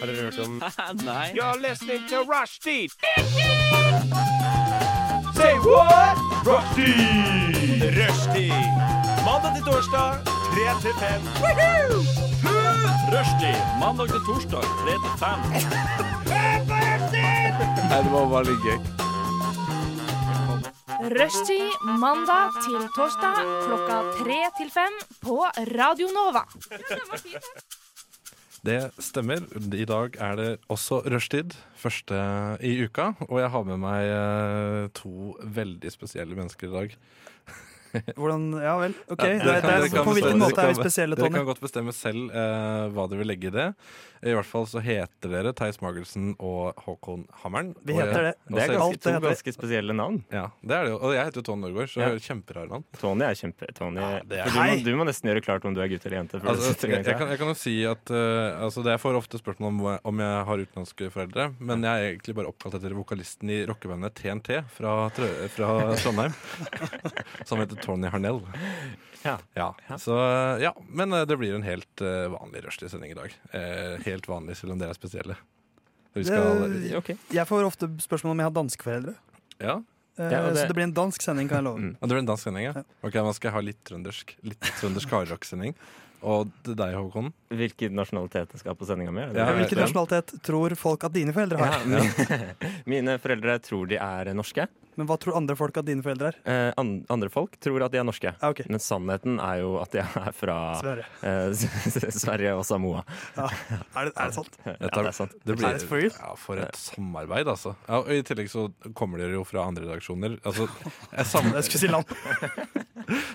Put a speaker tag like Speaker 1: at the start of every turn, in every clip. Speaker 1: Har dere hørt om
Speaker 2: Nei.
Speaker 1: You're listening to Rushdie! Say what? Rushdie! Rushdie! Mandag til torsdag, 3 til 5. Rushdie!
Speaker 2: Mandag til torsdag, 3 til 5.
Speaker 1: Det var veldig gøy.
Speaker 3: Rushtid mandag til torsdag klokka tre til fem på Radio Nova.
Speaker 4: Det stemmer. I dag er det også rushtid, første i uka. Og jeg har med meg eh, to veldig spesielle mennesker i dag.
Speaker 5: Hvordan, ja vel, ok.
Speaker 4: Ja,
Speaker 5: det,
Speaker 4: dere kan-
Speaker 5: det,
Speaker 4: dere kan
Speaker 5: på hvilken
Speaker 4: bestemme-
Speaker 5: måte er
Speaker 4: dere
Speaker 5: vi
Speaker 4: kan-
Speaker 5: spesielle,
Speaker 4: Dere
Speaker 5: Tony?
Speaker 4: kan godt bestemme selv eh, hva dere vil legge i det. I hvert fall så heter dere Theis Magelsen og Håkon Hammeren.
Speaker 5: Vi
Speaker 4: Og jeg-
Speaker 5: heter det.
Speaker 4: og
Speaker 5: Det
Speaker 4: så-
Speaker 5: er ganske- Alt
Speaker 6: to
Speaker 5: heter-
Speaker 6: ganske spesielle navn.
Speaker 4: Ja, det er det jo. Og jeg heter jo Tone Norgård, så
Speaker 6: Ja.
Speaker 4: kjemperar navn.
Speaker 6: Tony er kjempe... Tony.
Speaker 4: det er-
Speaker 6: For du, må, du må nesten gjøre klart om du er gutt eller jente. før du
Speaker 4: Altså,
Speaker 6: setter i gang
Speaker 4: jeg, jeg, kan,
Speaker 6: til det.
Speaker 4: jeg kan jo si at eh, altså, det Jeg får ofte spørsmål om, hva- om jeg har utenlandske foreldre, men jeg er egentlig bare oppkalt etter vokalisten i rockebandet TNT fra, Trø fra Trondheim. som heter Tony Harnell.
Speaker 6: Ja.
Speaker 4: Så eh, ja, men eh, det blir en helt eh, vanlig rushtid-sending i dag. Eh, helt vanlig, selv om dere er spesielle. Vi skal,
Speaker 5: Det-
Speaker 6: Ok.
Speaker 5: Jeg får ofte spørsmål om jeg har danske foreldre.
Speaker 4: ja,
Speaker 5: Eh,
Speaker 6: Ja, og det-
Speaker 5: Så det blir en dansk sending, kan jeg love.
Speaker 6: Mm.
Speaker 4: Og Det blir en dansk sending, ja?
Speaker 5: Ja.
Speaker 4: Ok, Man skal ha litt trøndersk Litt trøndersk hardrock-sending. Og til deg, Håkon.
Speaker 6: Hvilken nasjonalitet skal på sendinga mi?
Speaker 4: Ja, jeg vet
Speaker 5: Hvilken
Speaker 4: det.
Speaker 5: nasjonalitet tror folk at dine foreldre har?
Speaker 6: Mine foreldre tror de er norske.
Speaker 5: Men hva tror andre folk at dine foreldre er?
Speaker 6: Eh, an- andre folk tror at de er norske.
Speaker 5: Ja, ok,
Speaker 6: Men sannheten er jo at de er fra
Speaker 5: Sverre.
Speaker 6: eh, Sverige og Samoa.
Speaker 5: Er det, er det sant?
Speaker 6: Ja,
Speaker 4: Dette er-
Speaker 6: det er sant.
Speaker 4: Det
Speaker 5: Er det for real?
Speaker 4: ja, For et samarbeid, altså. Ja, og I tillegg så kommer dere jo fra andre redaksjoner. Altså, jeg sam-
Speaker 5: Jeg skulle si land.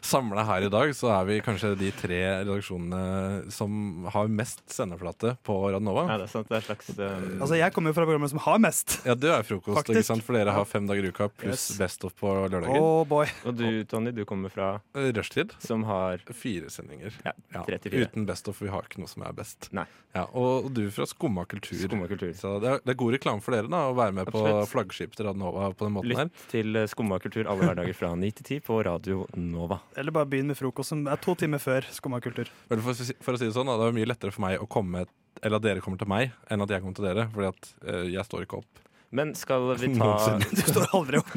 Speaker 4: Samla her i dag så er vi kanskje de tre redaksjonene som har mest sendeflate på
Speaker 6: Ja,
Speaker 4: Radnova.
Speaker 6: det er sant. Det er et slags eh,
Speaker 5: Altså, jeg kommer jo fra programmet som har mest.
Speaker 4: Ja, du er frokost,
Speaker 5: Faktisk.
Speaker 4: ikke sant? for dere har fem dager i uka pluss
Speaker 5: Yes.
Speaker 4: Best of på lørdager.
Speaker 5: Oh boy.
Speaker 6: Og du, Tony, du kommer fra
Speaker 4: Rushtid
Speaker 6: som har
Speaker 4: fire sendinger.
Speaker 6: ja,
Speaker 4: Ja,
Speaker 6: tre til fire.
Speaker 4: Uten Best of, for vi har ikke noe som er best.
Speaker 6: Nei.
Speaker 4: Ja, og du fra Skumma kultur.
Speaker 6: Skumma kultur.
Speaker 4: Så det er, det er god reklame for dere da å være med på
Speaker 6: Absolutt.
Speaker 4: flaggskipet til Radnova på den måten her.
Speaker 6: Lytt til eh, Skumma kultur alle hverdager fra 9 til 10 på Radio Nova.
Speaker 5: Eller bare begynn med frokost, som er to timer før skumma kultur.
Speaker 4: Vel, for, å si- for å si det sånn, da, det er mye lettere for meg å komme eller at dere kommer til meg, enn at jeg kommer til dere. Fordi at eh, jeg står ikke opp.
Speaker 6: Men skal vi ta
Speaker 4: Noensinne.
Speaker 5: Du står aldri opp.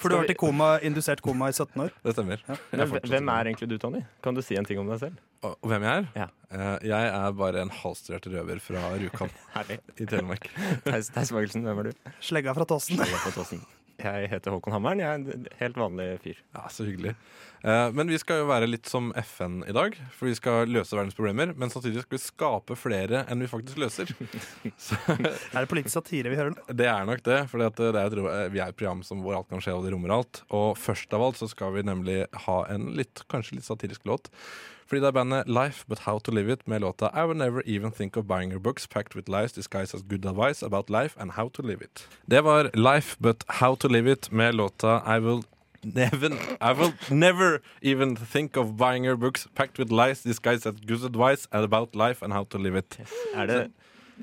Speaker 5: For du har vært i koma, indusert koma i 17 år.
Speaker 4: Det stemmer.
Speaker 6: Men
Speaker 4: Jeg fortsetter.
Speaker 6: Hvem er egentlig du, Tony? Kan du si en ting om deg selv?
Speaker 4: Og og hvem jeg er?
Speaker 6: Ja.
Speaker 4: Eh, jeg er bare en halvstudert røver fra Rjukan
Speaker 6: Herlig.
Speaker 4: i Telemark.
Speaker 6: Theis Theis Magelsen, hvem er du?
Speaker 5: Slegga fra Tåsen.
Speaker 6: Jeg er fra Tåsen. Jeg heter Håkon Hammeren. Jeg er en d- helt vanlig fyr.
Speaker 4: Ja, Så hyggelig. Eh, men vi skal jo være litt som FN i dag, for vi skal løse verdens problemer. Men samtidig skal vi skape flere enn vi faktisk løser.
Speaker 5: Er det politisk satire vi hører nå?
Speaker 4: Det er nok det, for det er et, ro- eh, vi er et program som hvor alt kan skje, og det rommer alt. Og først av alt så skal vi nemlig ha en litt, kanskje litt satirisk låt. Fordi det er bandet Life But How To Live It med låta I Would Never Even Think Of Buying Your Books Packed With Lies Disguised As Good Advice About Life And How To Live It. Det var Life But How To Live It med låta I Will Never, I will never even think of buying your books packed with lies disguised as good advice about life and how to live it.
Speaker 6: Er det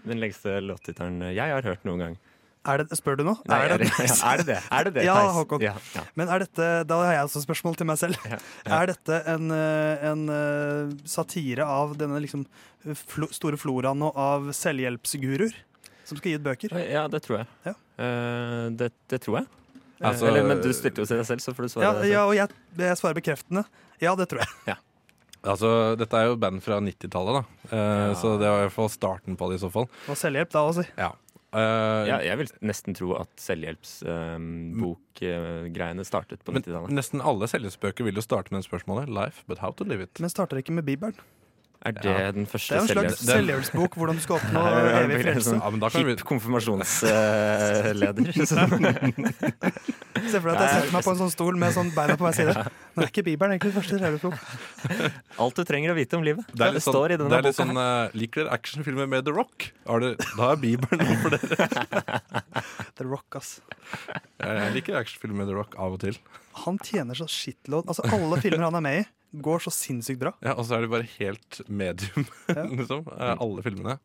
Speaker 6: den lengste låttittelen jeg har hørt noen gang?
Speaker 5: Er det, spør du nå?
Speaker 6: Nei,
Speaker 5: er det,
Speaker 6: ja, er det det? Er det det,
Speaker 5: Ja,
Speaker 6: Theis?
Speaker 5: Håkon.
Speaker 6: Ja, ja.
Speaker 5: men er dette, da har jeg også spørsmål til meg selv. Er dette en, eh, en eh, satire av denne liksom flo, store floraen nå av selvhjelpsguruer? Som skal gi ut bøker?
Speaker 6: Ja, det tror jeg.
Speaker 5: Ja.
Speaker 6: Eh, det, det tror jeg.
Speaker 4: Altså,
Speaker 6: Eller, men du stilte jo til deg selv, så får du svare
Speaker 5: Ja,
Speaker 6: deg selv.
Speaker 5: ja og jeg, jeg svarer bekreftende. Ja, det tror jeg.
Speaker 4: Altså, Dette er jo band fra 90-tallet, da. Eh, Så det var i hvert fall starten på det, i så fall.
Speaker 5: Og selvhjelp, da også.
Speaker 4: Ja. Eh,
Speaker 6: Ja, jeg vil nesten tro at selvhjelpsbokgreiene startet på
Speaker 4: men
Speaker 6: 90-tallet.
Speaker 4: nesten alle selvhetsbøker vil jo starte med det spørsmålet. Life, but how to live it.
Speaker 5: Men starter ikke med Bibelen.
Speaker 6: Er det den
Speaker 5: Det
Speaker 6: første
Speaker 5: er jo en slags
Speaker 6: selvhjelps...
Speaker 5: selvhjelpsbok hvordan du skal oppnå
Speaker 6: Ja, ja, ja,
Speaker 5: evig
Speaker 6: det er
Speaker 5: frelse.
Speaker 6: sånn
Speaker 4: Ja, men da kan vi-
Speaker 6: Hipp konfirmasjonsleder.
Speaker 5: Se for deg at jeg setter meg på en sånn stol med sånn beina på hver side. Men det er ikke Bibelen egentlig første selvhjelpsbok.
Speaker 6: Alt du trenger å vite om livet,
Speaker 4: Det er litt sånn,
Speaker 6: står i
Speaker 4: det
Speaker 6: denne
Speaker 4: er litt
Speaker 6: boka.
Speaker 4: sånn eh, Liker dere actionfilmer med The Rock? Har dere- da er Bibelen noe for dere.
Speaker 5: The Rock, ass.
Speaker 4: Jeg jeg liker actionfilmer med The Rock av og til.
Speaker 5: Han tjener så shitload. Altså, alle filmer han er med i, går så sinnssykt bra.
Speaker 4: Ja, Og så er de bare helt medium, liksom. eh, alle filmene.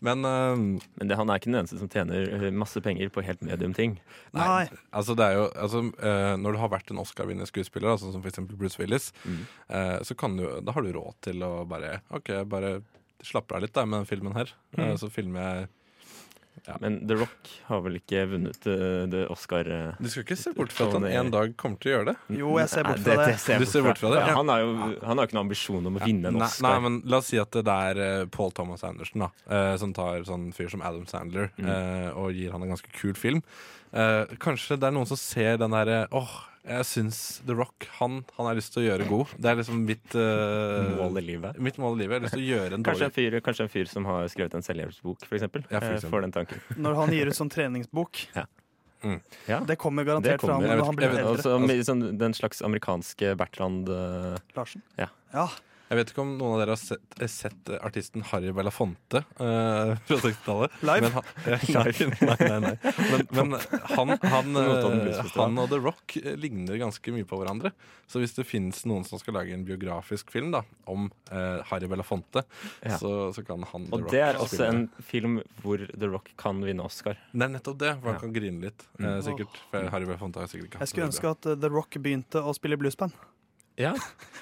Speaker 4: Men eh,
Speaker 6: Men det, han er ikke den eneste som tjener eh, masse penger på helt medium ting.
Speaker 5: Nei.
Speaker 4: Altså det er jo, altså, eh, når du har vært en Oscar-vinnende skuespiller, Mm. altså, som f.eks. Bruce Willis, eh, så kan du, da har du råd til å bare OK, bare slapper av litt da, med den filmen her. Eh,
Speaker 6: Mm.
Speaker 4: Så filmer jeg
Speaker 6: Men The Rock har vel ikke vunnet eh, det Oscar... eh,
Speaker 4: Du skal ikke se bort fra at han
Speaker 6: Tony-
Speaker 4: en dag kommer til å gjøre det.
Speaker 5: Jo, jeg ser bort
Speaker 6: Nei,
Speaker 5: fra det.
Speaker 6: ser jeg
Speaker 4: Du ser bort fra det, ja.
Speaker 6: Ja, han, har jo, han har jo ikke noen ambisjon om å vinne en
Speaker 4: nei,
Speaker 6: Oscar.
Speaker 4: Nei, men La oss si at det er eh, Paul Thomas Anderson da, eh, som tar sånn fyr som Adam Sandler eh, og gir han en ganske kul film. Eh, kanskje det er noen som ser den derre Åh, jeg syns The Rock, han, han har lyst til å gjøre god. Det er liksom mitt eh,
Speaker 6: Mål i livet.
Speaker 4: Mitt mål i livet. Jeg har lyst til å gjøre en
Speaker 6: Kanskje
Speaker 4: dårlig
Speaker 6: en, fyr, kanskje en fyr som har skrevet en selvhjelpsbok, for eksempel.
Speaker 4: Ja, for
Speaker 6: eh,
Speaker 4: eksempel.
Speaker 6: Får den tanken.
Speaker 5: Når han gir ut sånn treningsbok.
Speaker 6: Ja.
Speaker 4: Mm.
Speaker 6: Ja.
Speaker 5: Det kommer garantert
Speaker 6: Det kommer,
Speaker 5: fram
Speaker 4: jeg
Speaker 5: når
Speaker 4: vet-
Speaker 5: han
Speaker 4: jeg
Speaker 5: blir
Speaker 4: vet-
Speaker 5: eldre.
Speaker 6: Og så med sånn, den slags amerikanske Bertrand eh,
Speaker 5: Larsen.
Speaker 6: Ja.
Speaker 4: Jeg vet ikke om noen av dere har sett, eh, sett eh, artisten Harry Belafonte eh, fra 60-tallet.
Speaker 5: Live?
Speaker 4: Men han, nei, nei, nei, nei. Men, men han, han,
Speaker 6: Nå tar den
Speaker 4: eh,
Speaker 6: bluesfestivalen.
Speaker 4: han og The Rock eh, ligner ganske mye på hverandre. Så hvis det finnes noen som skal lage en biografisk film da, om eh, Harry Belafonte,
Speaker 6: Ja.
Speaker 4: så, så kan han The
Speaker 6: Og
Speaker 4: Rock
Speaker 6: det er også
Speaker 4: spille.
Speaker 6: en film hvor The Rock kan vinne Oscar.
Speaker 4: Det er nettopp det. Man
Speaker 6: Ja.
Speaker 4: kan grine litt, eh,
Speaker 6: Mm.
Speaker 4: sikkert. For Harry Belafonte har sikkert ikke
Speaker 5: Jeg skulle
Speaker 4: så
Speaker 5: ønske
Speaker 4: bra.
Speaker 5: at uh, The Rock begynte å spille bluesband.
Speaker 4: Ja.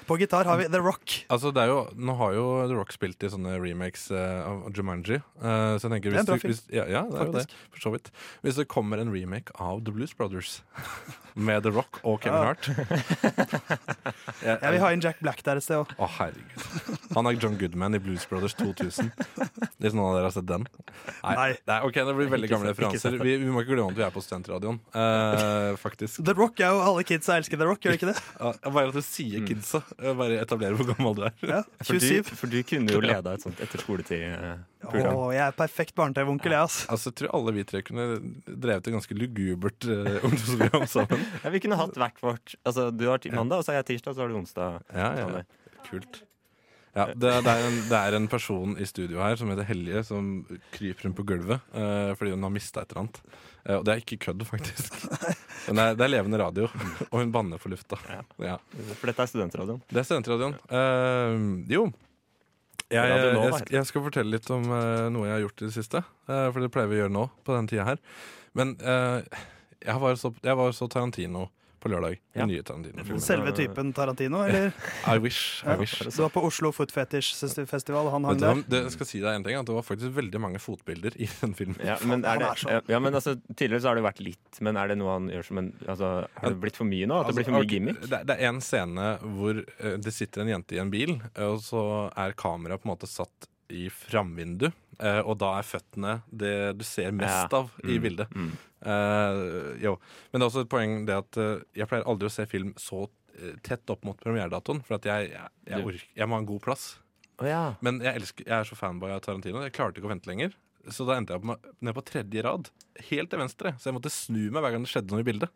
Speaker 5: På gitar har vi The Rock.
Speaker 4: Altså, det er jo, nå har jo The Rock spilt i sånne remakes eh, av Jumanji. eh, så jeg tenker
Speaker 5: Det er en
Speaker 4: hvis
Speaker 5: bra
Speaker 4: du, hvis, ja, ja, det er jo det,
Speaker 5: Faktisk.
Speaker 4: for så vidt. Hvis det kommer en remake av The Blues Brothers med The Rock og Kevin
Speaker 5: Ja.
Speaker 4: Hart Jeg-
Speaker 5: Jeg vil ha inn Jack Black der et sted òg.
Speaker 4: Å, herregud. Han er John Goodman i Blues Brothers 2000. Hvis noen av dere har sett den. Nei.
Speaker 5: Nei.
Speaker 4: ok, Det blir veldig
Speaker 6: Ikke
Speaker 4: gamle
Speaker 6: sett- ikke
Speaker 4: referanser.
Speaker 6: sett den.
Speaker 4: Vi, vi må ikke glemme at vi er på studentradioen, eh, faktisk.
Speaker 5: The Rock er jo alle kidsa elsker The Rock, gjør de ikke det?
Speaker 4: Ja, bare at du sier
Speaker 5: Mm.
Speaker 4: kidsa, eh, bare etablerer hvor gammel du er.
Speaker 5: Ja,
Speaker 6: For du,
Speaker 5: 27.
Speaker 6: for du kunne jo leda et sånt etter skoletid-program.
Speaker 5: Å, jeg er perfekt barne-TV-onkel, jeg, ass.
Speaker 4: Altså, jeg tror alle vi tre kunne drevet et ganske lugubert eh, ungdomsprogram sammen.
Speaker 6: Ja, vi kunne hatt hvert vårt. Altså, du har ti- mandag, og så har jeg tirsdag, så har du onsdag.
Speaker 4: Ja, ja,
Speaker 6: Sånn,
Speaker 4: Kult. Ja, det, det, er en, det er en person i studio her som heter Helje, som kryper rundt på gulvet eh, fordi hun har mista et eller annet. Eh, og det er ikke kødd, faktisk. Men det er, det er levende radio, og hun banner for lufta. Ja.
Speaker 6: For dette er studentradioen.
Speaker 4: Det er studentradioen. Eh, jo. Jeg, jeg,
Speaker 6: Radio Nova,
Speaker 4: sk- jeg skal fortelle litt om eh, noe jeg har gjort i det siste. eh, for det pleier vi å gjøre nå på den tida her. Men eh, jeg, var så, jeg var så Tarantino på lørdag.
Speaker 6: Ja.
Speaker 4: Den nye Tarantino-filmen.
Speaker 5: Selve typen Tarantino, eller?
Speaker 4: I wish.
Speaker 5: Ja.
Speaker 4: I wish.
Speaker 5: Du var på Oslo Foot Fetish Festival, han
Speaker 4: Vet
Speaker 5: hang
Speaker 4: du hva,
Speaker 5: der.
Speaker 4: det, jeg skal si deg en ting, at det var faktisk veldig mange fotbilder i den filmen.
Speaker 6: Ja, men er
Speaker 5: han
Speaker 6: det,
Speaker 5: er sånn.
Speaker 6: ja, men altså, tidligere så har det jo vært litt, men er det noe han gjør som en altså, Har det blitt for mye nå? At det blir for
Speaker 4: Altså,
Speaker 6: mye gimmick?
Speaker 4: Det, det er en scene hvor eh, det sitter en jente i en bil, eh, og så er kameraet på en måte satt i framvindu. eh, og da er føttene det du ser mest
Speaker 6: Ja.
Speaker 4: av i
Speaker 6: Mm,
Speaker 4: bildet.
Speaker 6: mm.
Speaker 4: Eh, jo. Men det er også et poeng det at eh, jeg pleier aldri å se film så eh, tett opp mot premieredatoen, for at jeg, jeg, jeg,
Speaker 6: Du-
Speaker 4: ork, jeg må ha en god plass.
Speaker 6: Å ja.
Speaker 4: Men jeg, elsker, jeg er så fanboy av Tarantino. Jeg klarte ikke å vente lenger. Så da endte jeg opp med, ned på tredje rad, helt til venstre. Så jeg måtte snu meg hver gang det skjedde noe i bildet.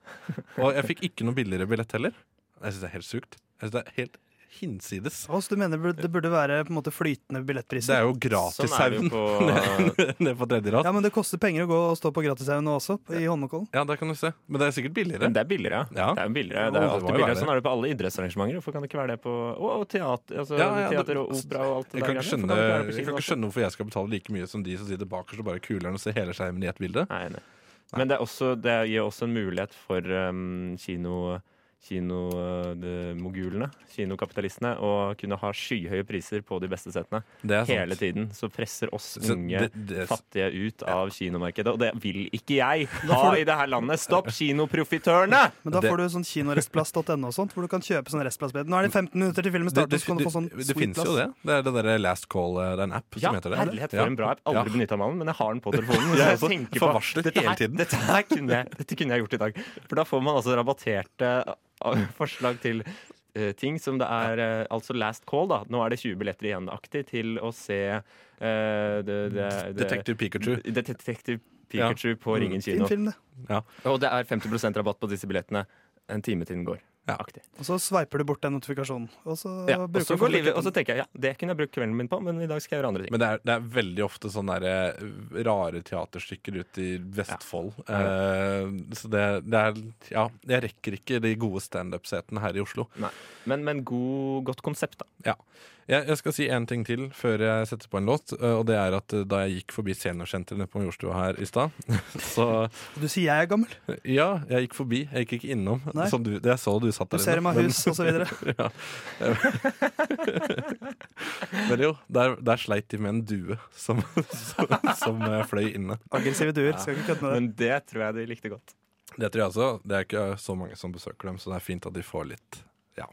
Speaker 4: Og jeg fikk ikke noe billigere billett heller. Jeg syns det er helt sykt. Jeg synes det er helt hinsides.
Speaker 5: Hva, så du mener bur- det burde være på en måte flytende
Speaker 4: Det
Speaker 5: billettpriser?
Speaker 4: er jo
Speaker 6: Sånn er det jo
Speaker 4: gratishaugen
Speaker 6: på
Speaker 4: ned på tredje rad.
Speaker 5: Ja, men det koster penger å gå og stå på Gratishaugen nå også, i Holmenkollen.
Speaker 4: Ja, der kan du se. Men det er sikkert billigere.
Speaker 6: Men det er billigere.
Speaker 4: Ja.
Speaker 6: Det er jo billigere.
Speaker 4: Jo,
Speaker 6: Det er
Speaker 4: det
Speaker 6: jo
Speaker 4: må jo
Speaker 6: alltid billigere.
Speaker 4: være det.
Speaker 6: Sånn er det på alle idrettsengasjementer. Hvorfor kan det ikke være det på og, og teater, altså,
Speaker 4: Ja, ja,
Speaker 6: teater og
Speaker 4: det-
Speaker 6: opera og alt det
Speaker 4: Jeg kan,
Speaker 6: der?
Speaker 4: ikke
Speaker 6: greiene? Hvorfor kan det ikke være
Speaker 4: skjønne, jeg kan
Speaker 6: på
Speaker 4: ikke
Speaker 6: kino også?
Speaker 4: skjønne hvorfor jeg skal betale like mye som de som sitter bakerst og bare kuler'n og ser hele skjermen i ett bilde.
Speaker 6: Nei, nei. Men det, er også, det gir også en mulighet for um, kino kinomogulene, kinokapitalistene, å kunne ha skyhøye priser på de beste setene
Speaker 4: Det er
Speaker 6: hele
Speaker 4: sant.
Speaker 6: tiden. Så presser oss
Speaker 4: Så
Speaker 6: unge
Speaker 4: det- det-
Speaker 6: fattige ut av kinomarkedet. Og det vil ikke jeg ha i det her landet! Stopp kinoprofitørene!
Speaker 5: Men da
Speaker 4: Det-
Speaker 5: får du sånn kinorestplass.no og sånt, hvor du kan kjøpe sånn restplassbillett. Nå er det 15 minutter til filmen starter, så kan du få sånn
Speaker 4: det, det
Speaker 5: sweet
Speaker 4: finnes jo
Speaker 5: plass.
Speaker 4: det. Det er det derre Last Call, eh, det er en app
Speaker 6: Ja,
Speaker 4: som heter det.
Speaker 6: herlighet for
Speaker 4: Ja.
Speaker 6: en bra app. Aldri
Speaker 4: Ja.
Speaker 6: benyttet meg av den, men jeg har den på telefonen.
Speaker 4: Jeg
Speaker 6: Så
Speaker 4: er
Speaker 6: jeg
Speaker 4: for-
Speaker 6: tenker
Speaker 4: for
Speaker 6: på,
Speaker 4: varslet
Speaker 6: dette her-
Speaker 4: hele tiden.
Speaker 6: Dette, her kunne jeg, dette kunne jeg gjort i dag. For da får man altså rabatterte eh, forslag til eh, ting som det er eh, Altså last call, da. Nå er det 20 billetter igjen-aktig til å se eh, det, det, det,
Speaker 4: Detective Pikachu.
Speaker 6: Det- Detective Pikachu på
Speaker 4: Mm.
Speaker 6: Ringen
Speaker 5: Fin
Speaker 6: kino.
Speaker 5: film, det.
Speaker 6: Og det er 50 rabatt på disse billettene en time til den går.
Speaker 4: Ja.
Speaker 6: Aktig.
Speaker 5: Og så sveiper du bort den notifikasjonen. Og så
Speaker 6: Ja, og
Speaker 5: bruker
Speaker 6: så
Speaker 5: du
Speaker 6: går livet, og så tenker jeg ja, det kunne jeg brukt kvelden min på, men i dag skal jeg gjøre andre ting.
Speaker 4: Men det er, det er veldig ofte sånne der, eh, rare teaterstykker ute i Vestfold. Eh, så det, det er Ja, jeg rekker ikke de gode standup-setene her i Oslo.
Speaker 6: Nei. Men, men god, godt konsept, da.
Speaker 4: Ja. Jeg, jeg skal si én ting til før jeg setter på en låt. eh, Og det er at eh, da jeg gikk forbi seniorsenteret nede på Majorstua her i stad, så
Speaker 5: Du sier jeg er gammel.
Speaker 4: Ja, jeg gikk forbi. Jeg gikk ikke innom.
Speaker 5: Nei.
Speaker 4: Som du, jeg så du satt
Speaker 5: Du
Speaker 4: der
Speaker 5: ser dem av
Speaker 4: men-
Speaker 5: hus osv.
Speaker 4: Ja. Men jo, der, der sleit de med en due som, som, som eh, fløy inne.
Speaker 5: Aggressive duer. Skal ikke kødde med det.
Speaker 6: Men det tror jeg de likte godt.
Speaker 4: Det tror jeg altså. Det er ikke så mange som besøker dem, så det er fint at de får litt ja.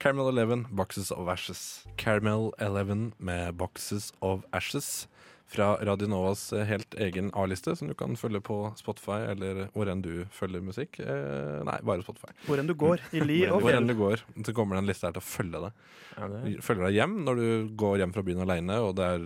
Speaker 4: Caramel Eleven, Boxes of Ashes. Caramel Eleven med Boxes of Ashes fra Radio Novas eh, helt egen A-liste, som du kan følge på Spotify eller hvor enn du følger musikk. Eh, nei, bare Spotify.
Speaker 5: Hvor enn du går. I li og
Speaker 4: Hvor enn
Speaker 5: fjell.
Speaker 4: du går, så kommer den lista her til å følge deg.
Speaker 6: Ja, det
Speaker 4: følger deg hjem når du går hjem fra byen alene, og det er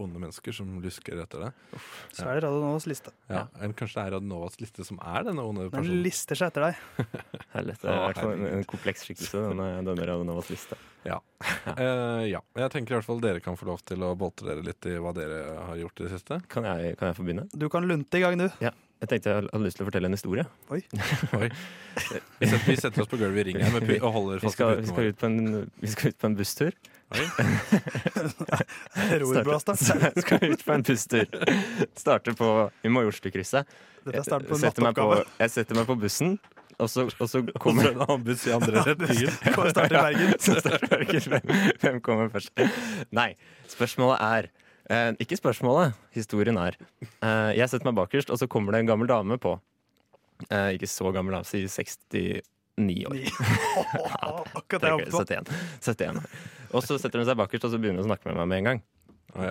Speaker 4: onde mennesker som lusker etter deg.
Speaker 5: Så er det Radio Novas liste.
Speaker 4: Ja, eller Kanskje det er Radionovas liste som er denne onde
Speaker 5: Den
Speaker 4: personen.
Speaker 5: lister seg etter deg.
Speaker 6: er lett. Det er i hvert fall en,
Speaker 4: herregud.
Speaker 6: en kompleks skikkelse, denne, denne Radio Novas liste.
Speaker 4: Eh, ja, Jeg tenker i hvert fall dere kan få lov til å boltre dere litt i hva dere har gjort i det siste.
Speaker 6: Kan jeg, kan jeg få begynne?
Speaker 5: Du kan lunte i gang, du.
Speaker 6: Jeg tenkte jeg hadde lyst til å fortelle en historie.
Speaker 4: Oi. Vi setter, vi setter oss på gulvet i ringen med pu og holder
Speaker 6: Vi
Speaker 4: fast i
Speaker 6: skal, vi,
Speaker 4: putene
Speaker 6: skal
Speaker 4: våre.
Speaker 6: ut på en, vi skal ut på en busstur.
Speaker 5: Rorblaster.
Speaker 6: Starte- skal ut på en busstur. Starter på i Majorstukrysset.
Speaker 5: Dette er starten på en
Speaker 6: Setter meg på-
Speaker 5: matteoppgave.
Speaker 6: Jeg setter meg på bussen, og så, og så
Speaker 4: Og så
Speaker 6: kommer
Speaker 4: er det en annen buss i andre retningen.
Speaker 5: Bare starte i Bergen.
Speaker 6: Så står det ikke Hvem hvem kommer først? Nei, spørsmålet er eh, Ikke spørsmålet, historien er eh, Jeg setter meg bakerst, og så kommer det en gammel dame på eh, Ikke så gammel, da, si 69 år
Speaker 5: Ni. Akkurat det jeg håpet på.
Speaker 6: 71, 71 år Og så setter hun seg bakerst, og så begynner hun å snakke med meg med en gang
Speaker 4: Å,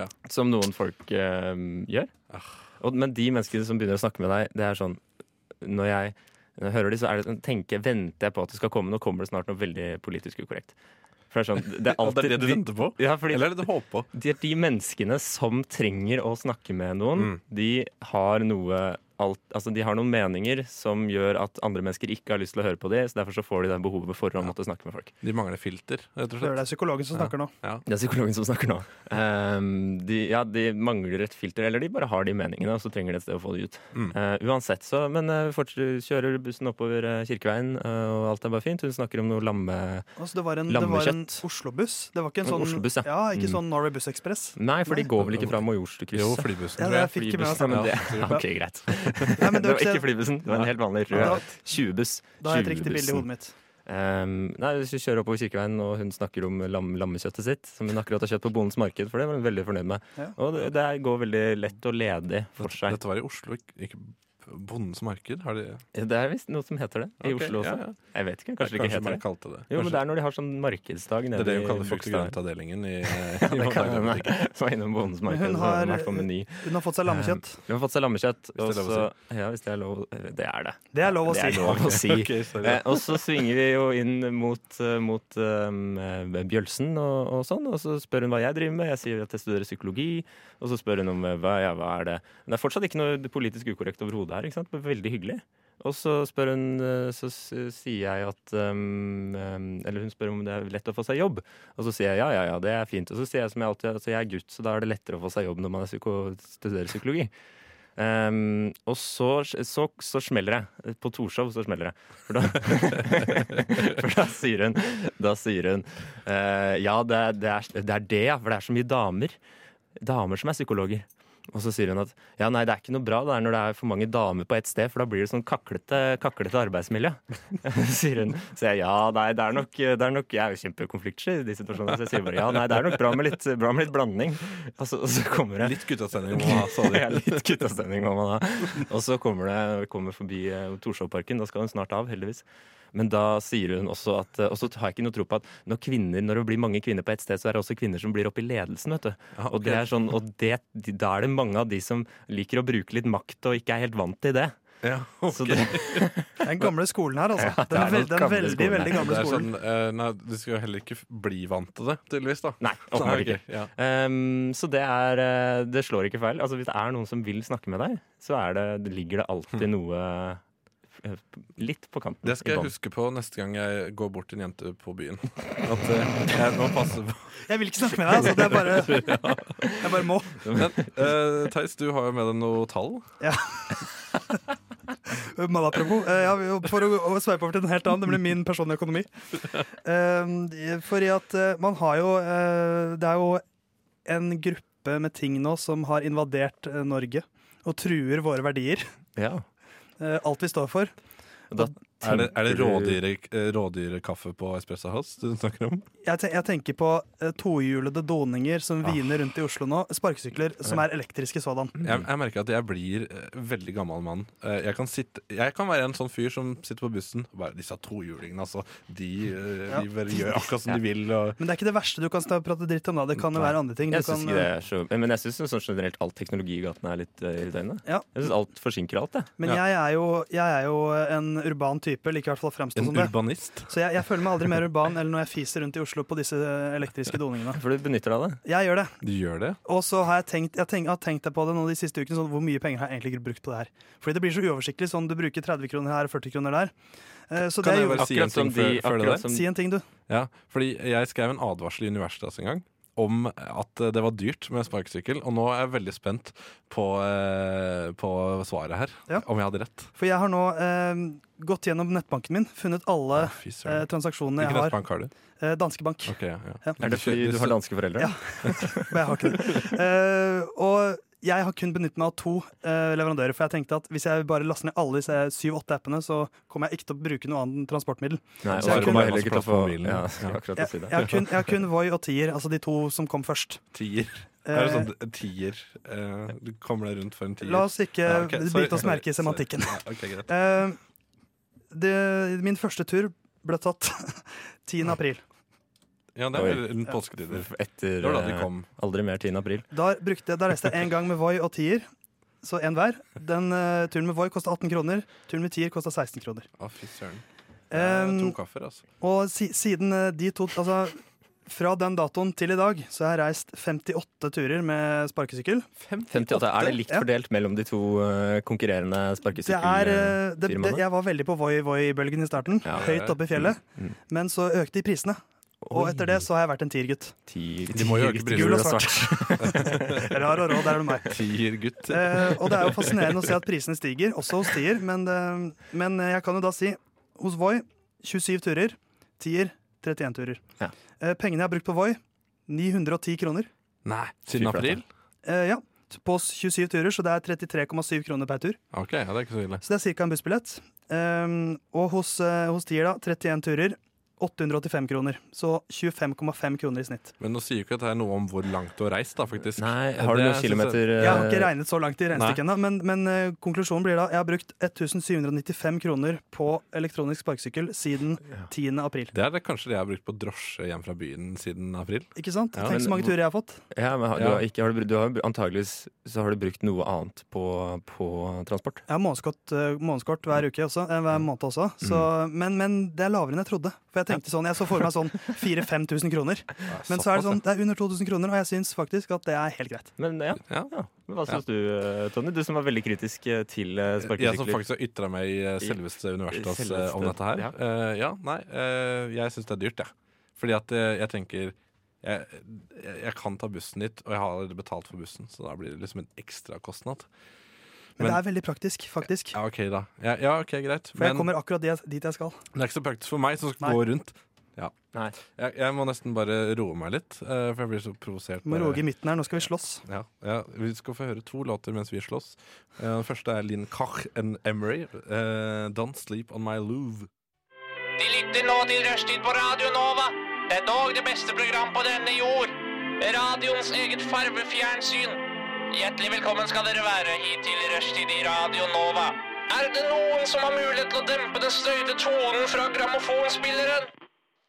Speaker 4: ja.
Speaker 6: Som noen folk eh, gjør
Speaker 4: Ah.
Speaker 6: og, Men de menneskene som begynner å snakke med deg Det er sånn Når jeg når jeg hører de, så er det sånn, tenker, venter jeg på at det skal komme Nå kommer det snart noe veldig politisk ukorrekt For det er sånn Det er
Speaker 4: At det
Speaker 6: alltid
Speaker 4: er det du
Speaker 6: de-
Speaker 4: venter på?
Speaker 6: ja, fordi
Speaker 4: Eller er det du håper på?
Speaker 6: de, de menneskene som trenger å snakke med noen,
Speaker 4: Mm.
Speaker 6: de har noe alt, altså de har noen meninger som gjør at andre mennesker ikke har lyst til å høre på det, så derfor så får de det behovet for å måtte snakke med folk.
Speaker 4: De mangler filter, rett og
Speaker 5: Det
Speaker 4: slett.
Speaker 5: er psykologen som snakker nå.
Speaker 6: Det er psykologen som snakker nå. Ehm, de, ja, de mangler et filter, eller de bare har de meningene, og så trenger de et sted å få det ut.
Speaker 4: Mm.
Speaker 6: Eh, uansett, så Men eh, fortsetter, kjører bussen oppover eh, Kirkeveien, eh, og alt er bare fint. Hun snakker om noe lamme...
Speaker 5: Altså, det var en, det var en
Speaker 6: Lammekjøtt.
Speaker 5: Oslo-buss. Det var ikke en
Speaker 6: En
Speaker 5: sånn
Speaker 6: Oslo-buss, ja.
Speaker 5: ikke
Speaker 6: Mm.
Speaker 5: sånn Norway Buss Express.
Speaker 6: Nei, for de går vel ikke fra
Speaker 4: Jo,
Speaker 6: Majorstukrysset?
Speaker 4: flybussen,
Speaker 5: Ja,
Speaker 4: tror
Speaker 5: det
Speaker 4: jeg.
Speaker 5: fikk ikke med oss.
Speaker 6: Ja, men det,
Speaker 4: Ja,
Speaker 6: ok, greit.
Speaker 5: Nei, men
Speaker 6: det var
Speaker 5: ikke
Speaker 6: ikke flybussen, det var en helt vanlig
Speaker 5: Da,
Speaker 6: rød 20-buss.
Speaker 5: da har jeg et riktig bilde i
Speaker 6: 20-bussen.
Speaker 5: hodet mitt.
Speaker 6: Ehm, nei, Hvis vi kjører oppover Kirkeveien, og hun snakker om lam, lammekjøttet sitt, som hun akkurat har kjøpt på Bondens Marked, for det var hun veldig fornøyd med.
Speaker 5: Ja.
Speaker 6: Og det, det går veldig lett og ledig for seg.
Speaker 4: Dette var i Oslo, ikke- ikke Bondens marked? Har de
Speaker 6: Det er visst noe som heter det i
Speaker 4: Ok,
Speaker 6: Oslo også.
Speaker 4: ja, ja.
Speaker 6: Jeg vet ikke, kanskje
Speaker 4: Kanskje,
Speaker 6: det ikke
Speaker 4: kanskje
Speaker 6: heter
Speaker 4: man
Speaker 6: det.
Speaker 4: kalte det.
Speaker 6: Jo, men
Speaker 4: Kanskje-
Speaker 6: Det er når de har sånn markedsdag
Speaker 4: Det er det
Speaker 6: nede
Speaker 4: hun
Speaker 6: i
Speaker 4: kaller frukt- og
Speaker 6: Bogstad.
Speaker 4: grøntavdelingen i, i
Speaker 6: Det kan hende.
Speaker 4: matvarebutikken.
Speaker 6: Som var innom Bondens
Speaker 5: Men
Speaker 6: Marked. Hun
Speaker 5: hun
Speaker 6: har,
Speaker 5: har-
Speaker 6: vært på meny.
Speaker 5: Hun har fått seg lammekjøtt.
Speaker 6: Hun har fått seg lammekjøtt.
Speaker 4: det er
Speaker 6: og
Speaker 4: lov å
Speaker 6: så- Ja, hvis det er lov. Det er det.
Speaker 5: Det er lov å
Speaker 6: Det
Speaker 5: si.
Speaker 6: er lov å si.
Speaker 4: Ok, sorry.
Speaker 6: Eh, og så svinger vi jo inn mot, eh, mot um, eh, Bjølsen og, og sånn, og så spør hun hva jeg driver med. Jeg sier at jeg studerer psykologi, og så spør hun om eh, hva, ja, hva er det Men Det er fortsatt ikke noe politisk ukorrekt overhodet her, ikke sant? men veldig hyggelig. Og så spør hun, eh, så s- sier jeg at um, um, Eller hun spør om det er lett å få seg jobb. Og så sier jeg ja, ja, ja, det er fint. Og så sier jeg som jeg alltid altså jeg er gutt, så da er det lettere å få seg jobb når man er psyko studerer psykologi. Um, og så, så, så smeller det. På Torshov så smeller det. For da, for da sier hun, da sier hun eh, Ja, det, er- det, er, det er det, ja. For det er så mye damer. Damer som er psykologer. Og så sier hun at ja, nei, det er ikke noe bra det er når det er for mange damer på ett sted, for da blir det sånn kaklete, kaklete arbeidsmiljø. sier hun. Så jeg ja, nei, det er nok, det er nok Jeg er jo kjempekonfliktsky i de situasjonene, så jeg sier bare ja, nei, det er nok bra med litt, bra med litt blanding. Og så, og så kommer det
Speaker 4: Litt guttastemning må man ha, sa
Speaker 6: ja,
Speaker 4: de.
Speaker 6: litt guttastemning må man ha. Og så kommer det kommer forbi eh, Torshovparken. Da skal hun snart av, heldigvis. Men da sier hun også at eh, Og så har jeg ikke noe tro på at når, kvinner, når det blir mange kvinner på ett sted, så er det også kvinner som blir oppe i ledelsen, vet du.
Speaker 4: Ja,
Speaker 6: Og det er sånn, og det, de- da er det mange av de som liker å bruke litt makt og ikke er helt vant til det.
Speaker 4: Ja,
Speaker 6: Så det,
Speaker 5: Den gamle skolen her, altså.
Speaker 6: Ja, det
Speaker 5: Den,
Speaker 6: er
Speaker 5: vel-
Speaker 6: den
Speaker 5: den
Speaker 6: gamle
Speaker 5: veldig,
Speaker 6: skolen her.
Speaker 5: veldig
Speaker 4: Det
Speaker 5: gamle
Speaker 4: er
Speaker 5: skolen.
Speaker 4: sånn, eh, nei, Du skal jo heller ikke f- bli vant til det, tydeligvis. da Sånn
Speaker 6: nei, åpenbart
Speaker 4: Nei,
Speaker 6: ikke.
Speaker 4: ok, ja.
Speaker 6: Ehm, så det er eh, Det slår ikke feil. Altså, hvis det er noen som vil snakke med deg, så er det, det ligger det alltid noe eh, litt på kanten.
Speaker 4: Hm. Det skal
Speaker 6: i
Speaker 4: jeg
Speaker 6: bånn.
Speaker 4: huske på neste gang jeg går bort til en jente på byen. At eh, jeg må passe på
Speaker 5: Jeg vil ikke snakke med deg, altså. Det er bare Jeg bare må.
Speaker 4: Men eh, Theis, du har jo med deg noe tall.
Speaker 5: Men apropos, eh, ja, vi- for å, å sveipe over til en helt annen, det blir min personlige økonomi. Eh, Fordi at eh, man har jo eh, Det er jo en gruppe med ting nå som har invadert eh, Norge. Og truer våre verdier.
Speaker 6: Ja.
Speaker 5: eh, Alt vi står for.
Speaker 6: Da
Speaker 4: Er det, er det
Speaker 6: tenker du-
Speaker 4: rådyre, eh, rådyrekaffe på Espresso House du snakker om?
Speaker 5: Jeg, ten jeg tenker på eh, tohjulede doninger som hviner rundt i Oslo nå. Sparkesykler som er elektriske sådan.
Speaker 4: Jeg, jeg merker at jeg blir eh, veldig gammel mann. Eh, jeg, kan sitte, jeg kan være en sånn fyr som sitter på bussen og bare Disse tohjulingene, altså. De, eh,
Speaker 5: Ja.
Speaker 4: de bare gjør akkurat som de vil. Og,
Speaker 5: Men det er ikke det verste du kan stå og prate dritt om. da Det kan jo være andre ting. Du
Speaker 6: Jeg syns
Speaker 5: kan, eh,
Speaker 6: ikke det er så Men jeg syns sånn generelt all teknologi i gatene er litt eh, irriterende.
Speaker 5: Ja.
Speaker 6: Jeg syns alt forsinker alt, jeg.
Speaker 5: Men jeg er, jo, jeg er jo eh, en urban type, liker i hvert fall å fremstå
Speaker 4: en
Speaker 5: som det.
Speaker 4: urbanist.
Speaker 5: Så jeg, jeg føler meg aldri mer urban eller når jeg fiser rundt i Oslo på disse eh, elektriske doningene.
Speaker 6: For du benytter deg av det.
Speaker 5: Jeg gjør det.
Speaker 4: Du gjør det?
Speaker 5: Og så har jeg tenkt, jeg tenk, har tenkt deg på det nå de siste ukene, sånn, hvor mye penger har jeg egentlig brukt på det her? Fordi det blir så uoversiktlig, sånn du bruker 30 kroner her og 40 kroner der. Eh, Så
Speaker 4: Kan
Speaker 5: det
Speaker 4: jeg
Speaker 5: gjorde
Speaker 4: bare si en
Speaker 6: Akkurat som
Speaker 4: ting før,
Speaker 6: de-
Speaker 4: før det
Speaker 6: akkurat
Speaker 4: der?
Speaker 6: som-
Speaker 5: Si en ting, du.
Speaker 4: Ja, fordi jeg skrev en advarsel i Universitas en gang om at det var dyrt med sparkesykkel, og nå er jeg veldig spent på, eh, på svaret her.
Speaker 5: Ja.
Speaker 4: Om jeg hadde rett.
Speaker 5: For jeg har nå eh, gått gjennom nettbanken min, funnet alle
Speaker 4: Å, Fy
Speaker 5: eh,
Speaker 4: søren.
Speaker 5: transaksjonene jeg
Speaker 4: Hvilken
Speaker 5: har.
Speaker 4: nettbank har du?
Speaker 5: Eh, Danske Bank.
Speaker 4: Ok, ja, ja.
Speaker 5: Ja.
Speaker 6: Er det fordi du har danske foreldre?
Speaker 5: Ja. Men jeg har ikke det. Eh, og jeg har kun benyttet meg av to eh, leverandører, for jeg tenkte at hvis jeg bare laster ned alle disse syv-åtte appene, så kommer jeg ikke til å bruke noe annet transportmobil.
Speaker 6: Nei,
Speaker 5: Så
Speaker 6: og
Speaker 5: jeg
Speaker 6: så
Speaker 5: kunne-
Speaker 6: kommer jeg heller ikke til å få
Speaker 4: Mobilen.
Speaker 6: Ja, jeg skulle akkurat til å
Speaker 5: Jeg,
Speaker 6: si
Speaker 5: jeg,
Speaker 6: det.
Speaker 5: har kun, jeg har kun Voi og Tier, altså de to som kom først.
Speaker 4: Tier.
Speaker 5: Eh,
Speaker 4: er det sånn d- tier? Eh, du kommer deg rundt for en tier?
Speaker 5: la oss ikke
Speaker 4: Ja, ok, sorry,
Speaker 5: bite Eh, oss
Speaker 4: sorry,
Speaker 5: merke i
Speaker 4: sorry.
Speaker 5: semantikken.
Speaker 4: Ja, ok, greit.
Speaker 5: Eh, det, min første tur ble tatt 10. april.
Speaker 4: Ja, det er vel rundt påsketider. Det
Speaker 6: Etter
Speaker 4: var da de
Speaker 6: eh,
Speaker 4: kom.
Speaker 6: Aldri mer 10. april.
Speaker 5: Da, brukte, da reiste jeg én gang med Voi og Tier, så én hver. Den eh, turen med Voi kosta 18 kroner, turen med Tier kosta 16 kroner.
Speaker 4: Å, fy søren. Det er
Speaker 5: Um,
Speaker 4: to kaffer, altså.
Speaker 5: Og si, siden eh, de to Altså, fra den datoen til i dag så har jeg reist 58 turer med sparkesykkel.
Speaker 6: 58. Er det likt
Speaker 5: Ja.
Speaker 6: fordelt mellom de to eh, konkurrerende
Speaker 5: Det er,
Speaker 6: sparkesykkelfirmaene?
Speaker 5: eh, det, det, jeg var veldig på Voi-Voi-bølgen i starten,
Speaker 6: Ja,
Speaker 5: høyt oppe i fjellet.
Speaker 4: Mm,
Speaker 5: Men så økte de prisene, og etter det så har jeg vært en tiergutt.
Speaker 4: De må jo øke prisene.
Speaker 5: Gul og Rar og rå, der er du meg.
Speaker 4: Tier-gutt.
Speaker 5: Eh, og det er jo fascinerende å se at prisene stiger, også hos Tier. Men, det- men eh, jeg kan jo da si hos Voi 27 turer, Tier 31 turer.
Speaker 6: Ja.
Speaker 5: Eh, pengene jeg har brukt på Voi, 910 kroner.
Speaker 4: Nei, siden
Speaker 6: Fy flate.
Speaker 4: april?
Speaker 5: Eh, ja, på 27 turer, så det er 33,7 kroner per tur.
Speaker 4: Ok, ja, det er ikke så ille.
Speaker 5: Så det er ca. en bussbillett. Eh, og hos, eh, hos Tier, da, 31 turer. 885 kroner, så 25,5 kroner i snitt.
Speaker 4: Men nå sier jo ikke dette noe om hvor langt du har reist, da, faktisk.
Speaker 6: Nei, har du noen
Speaker 4: Det sånn synes jeg-
Speaker 6: kilometer
Speaker 5: Jeg har ikke
Speaker 6: eh,
Speaker 5: regnet så langt i regnestykket ennå, men, men eh, konklusjonen blir da jeg har brukt 1795 kroner på elektronisk sparkesykkel siden 10. april.
Speaker 4: Det er det kanskje det jeg har brukt på drosje hjem fra byen siden april.
Speaker 5: Ikke sant?
Speaker 4: Ja,
Speaker 5: Tenk
Speaker 6: men
Speaker 5: så mange
Speaker 6: hvor-
Speaker 5: turer jeg har fått.
Speaker 6: Ja, men har,
Speaker 4: Ja.
Speaker 6: Du har ikke, har du, br- du har, br- antageligvis så har du brukt noe annet på, på transport.
Speaker 5: Jeg har månedskort, eh, månedskort hver uke også, eh, hver måned også. Så,
Speaker 4: Mm.
Speaker 5: men, men det er lavere enn jeg trodde. For jeg tenkte sånn, jeg så for meg sånn 4000-5000 kroner. Men så er det sånn, det er under 2000 kroner, og jeg syns faktisk at det er helt greit.
Speaker 6: Men ja,
Speaker 4: Ja.
Speaker 5: sånn
Speaker 6: ja. Men Hva syns du, eh, Tony? Du som var veldig kritisk eh, til eh,
Speaker 4: Jeg som
Speaker 6: sparkesykler.
Speaker 4: faktisk har ytra meg i eh, selveste Universitas eh, om
Speaker 6: Selveste,
Speaker 4: dette her.
Speaker 6: ja.
Speaker 4: Eh, ja, nei, eh, jeg syns det er dyrt, jeg. Fordi at eh, jeg tenker jeg, jeg jeg kan ta bussen dit, og jeg har allerede betalt for bussen, så da blir det liksom en ekstrakostnad.
Speaker 5: Men,
Speaker 4: Men-
Speaker 5: det er veldig praktisk, faktisk.
Speaker 4: Ja, OK, da. Ja, ja ok, greit.
Speaker 5: For jeg
Speaker 4: Men
Speaker 5: kommer akkurat dit jeg- dit jeg skal.
Speaker 4: det er ikke så praktisk for meg som skal
Speaker 5: Nei.
Speaker 4: gå rundt. Ja.
Speaker 6: Nei.
Speaker 4: Jeg, jeg må nesten bare roe meg litt, eh, for jeg blir så provosert.
Speaker 5: Du må
Speaker 4: bare-
Speaker 5: roge i midten her, nå skal vi slåss.
Speaker 4: Ja, ja, Vi skal få høre to låter mens vi slåss. Eh, Den første er Linn Kach and Emery. eh, 'Don't Sleep On My Louvre'.
Speaker 7: De lytter nå til Rushtid på Radio Nova. Det er dog det beste program på denne jord. Radioens eget farvefjernsyn. Hjertelig velkommen skal dere være hit til Rushtid i Radio Nova. Er det noen som har mulighet til å dempe den støyte tonen fra grammofonspilleren?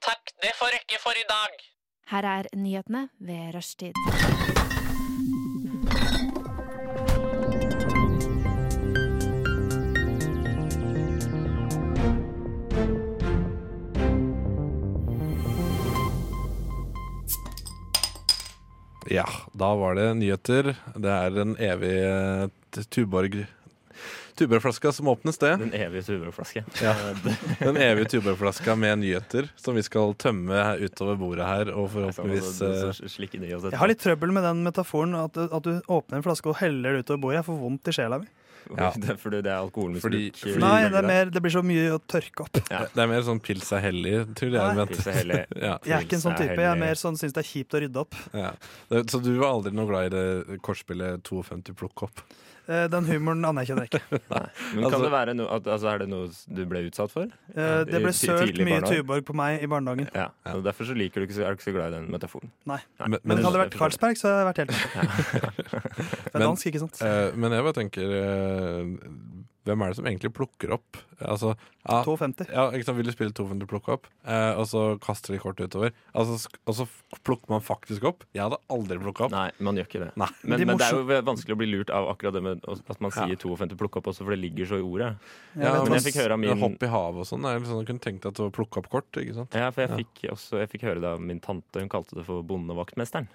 Speaker 7: Takk, det får rekke for i dag.
Speaker 8: Her er nyhetene ved rushtid.
Speaker 4: Ja, da var det nyheter. Det er en evig eh, t- Tuborg Tuberflaska som åpnes, det.
Speaker 6: Den evige suveroflaske.
Speaker 4: Den evige tuberflaska med nyheter som vi skal tømme her utover bordet her. Og
Speaker 6: sånn, altså,
Speaker 4: forhåpentligvis eh,
Speaker 6: Slikke det i oss
Speaker 5: Jeg har litt trøbbel med den metaforen at, at du åpner en flaske og heller det utover bordet. Jeg får vondt i sjela mi.
Speaker 4: Ja.
Speaker 6: Det er Fordi det er
Speaker 4: Fordi-
Speaker 6: alkoholmisbruk.
Speaker 4: fordi-
Speaker 5: Nei, det, er mer, det blir så mye å tørke opp.
Speaker 6: Ja.
Speaker 4: Det er mer sånn pils er hellig, tror jeg.
Speaker 5: Nei.
Speaker 4: Bent. Ja,
Speaker 5: Jeg er ikke en sånn type. Jeg er mer sånn syns det er kjipt å rydde opp.
Speaker 4: ja. Det- Så du var aldri noe glad i det kortspillet 52 plukk opp?
Speaker 5: Eh, Den humoren anerkjenner jeg ikke.
Speaker 6: Men kan
Speaker 4: Altså-
Speaker 6: det være noe, at, altså, er det noe du ble utsatt for?
Speaker 5: Eh, Det ble
Speaker 6: Ti-
Speaker 5: sølt
Speaker 6: tidlig
Speaker 5: mye
Speaker 6: barnehage.
Speaker 5: Tuborg på meg i barnehagen.
Speaker 6: Ja. Og derfor så liker du ikke, så- er du ikke så glad i den metaforen.
Speaker 5: Nei.
Speaker 4: Men,
Speaker 5: Men
Speaker 4: men,
Speaker 5: hadde det vært Carlsberg, så hadde jeg vært helt med. Det er
Speaker 4: Men-
Speaker 5: dansk, ikke sant?
Speaker 4: eh, men jeg bare tenker eh, Hvem er det som egentlig plukker opp? Altså, ja,
Speaker 5: 2,50.
Speaker 4: ja, ikke sant, Vil du spille 200 plukk opp, eh, og så kaster de kortet utover? Altså, sk- og så f- plukker man faktisk opp? Jeg hadde aldri plukka opp.
Speaker 6: Nei, man gjør ikke det.
Speaker 4: Nei.
Speaker 6: Men,
Speaker 5: De
Speaker 6: men det er jo vanskelig å bli lurt av akkurat det med at man sier
Speaker 4: Ja.
Speaker 6: 52 plukk opp også, for det ligger så i ordet.
Speaker 4: Ja,
Speaker 6: men jeg fikk høre av min-
Speaker 4: Hopp i havet og sånn. det er liksom, Jeg kunne tenkt at det var plukke opp kort. ikke sant?
Speaker 6: Ja, for jeg fikk, også, jeg fikk høre det av min tante. Hun kalte det for bondevaktmesteren.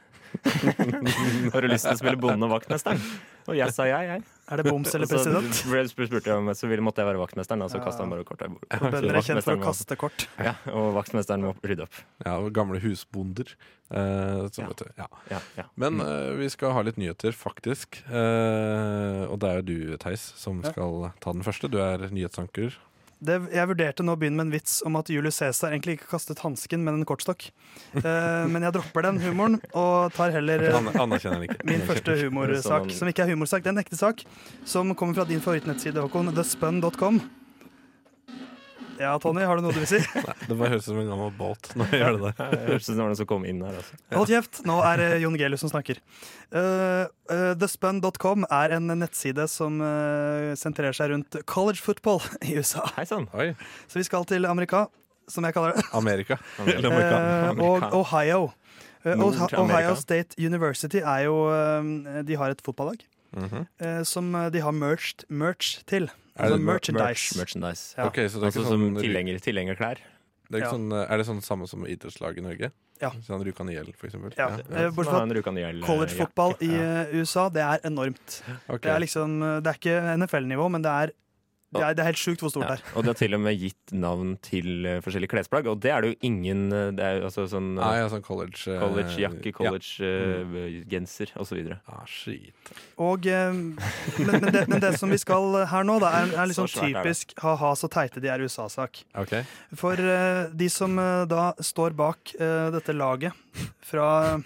Speaker 6: Har du lyst til å spille bondevaktmesteren? Og jeg sa jeg, jeg.
Speaker 5: Er det boms eller
Speaker 6: Og så
Speaker 5: president?
Speaker 6: ble jeg spurt- spurte jeg om så ville måtte jeg være vaktmesteren, da, så
Speaker 5: Ja.
Speaker 6: kasta han bare kortet i bordet.
Speaker 5: For Bønder er kjent
Speaker 6: Vaktmesteren
Speaker 5: for å
Speaker 6: må-
Speaker 5: kaste kort.
Speaker 6: Ja, og vaktmesteren må rydde opp.
Speaker 4: Ja, og Gamle husbonder. Eh, som
Speaker 6: Ja.
Speaker 4: vet du, ja.
Speaker 6: Ja, ja.
Speaker 4: Men eh, vi skal ha litt nyheter, faktisk. Eh, og det er jo du, Theis, som
Speaker 5: Ja.
Speaker 4: skal ta den første. Du er nyhetsanker.
Speaker 5: Det, jeg vurderte nå å begynne med en vits om at Julius Cæsar egentlig ikke kastet hansken, men en kortstokk. Eh, men jeg dropper den humoren og tar heller eh,
Speaker 4: An anerkjenner den ikke.
Speaker 5: min første humorsak, som ikke er humorsak, det er en ekte sak, som kommer fra din favorittnettside, Håkon, thespun.com. Ja, Tony, har du noe du vil si?
Speaker 4: Det bare høres ut som en gammel båt når jeg gjør det der.
Speaker 6: Det Hørtes ut som det var noen som kom inn her. Altså.
Speaker 5: Hold kjeft, nå er det Jon Gelius som snakker. Eh, eh, Thespun.com er en nettside som eh, sentrerer seg rundt college football i USA.
Speaker 6: Hei sann!
Speaker 4: Oi,
Speaker 5: Så vi skal til Amerika, som jeg kaller det.
Speaker 4: Amerika. Eller
Speaker 5: Eh,
Speaker 4: Amerika.
Speaker 5: og Ohio. Eh,
Speaker 6: Nord
Speaker 5: Oha-
Speaker 6: til Amerika.
Speaker 5: Ohio State University er jo eh, De har et fotballag
Speaker 4: Mhm.
Speaker 5: eh, som eh, de har merged merch til.
Speaker 4: Er
Speaker 5: Altså
Speaker 4: det mer-
Speaker 5: merchandise.
Speaker 6: Merchandise.
Speaker 5: Ja.
Speaker 4: Ok, så det er
Speaker 6: Altså
Speaker 4: ikke
Speaker 6: som
Speaker 4: sånn, det
Speaker 6: tilhenger, tilhengerklær.
Speaker 4: er, ikke
Speaker 5: Ja.
Speaker 4: sånn, er det sånn samme som idrettslag i Norge?
Speaker 5: Ja.
Speaker 4: Sånn Rjukan IL, for eksempel?
Speaker 5: Ja. Eh, Bortsett fra at collegefotball i eh, USA, det er enormt.
Speaker 4: Ok.
Speaker 5: Det er liksom eh, Det er ikke NFL-nivå, men det er det er, det er helt sjukt hvor stort
Speaker 6: Ja,
Speaker 5: det er.
Speaker 6: og det har til og med gitt navn til eh, forskjellige klesplagg, og det er det jo ingen eh, Det er jo altså sånn
Speaker 4: Nei,
Speaker 5: Ah,
Speaker 4: ja, sånn college... eh,
Speaker 6: college-jakke,
Speaker 5: Mm.
Speaker 6: college-genser eh, og så videre
Speaker 4: Ja. Ah, shit.
Speaker 5: Og, eh, men, men, det, men det som vi skal her nå, da, er, er liksom
Speaker 6: Så svært er det.
Speaker 5: typisk ha-ha, så teite de er USA-sak.
Speaker 4: Ok.
Speaker 5: For eh, de som eh, da står bak eh, dette laget fra,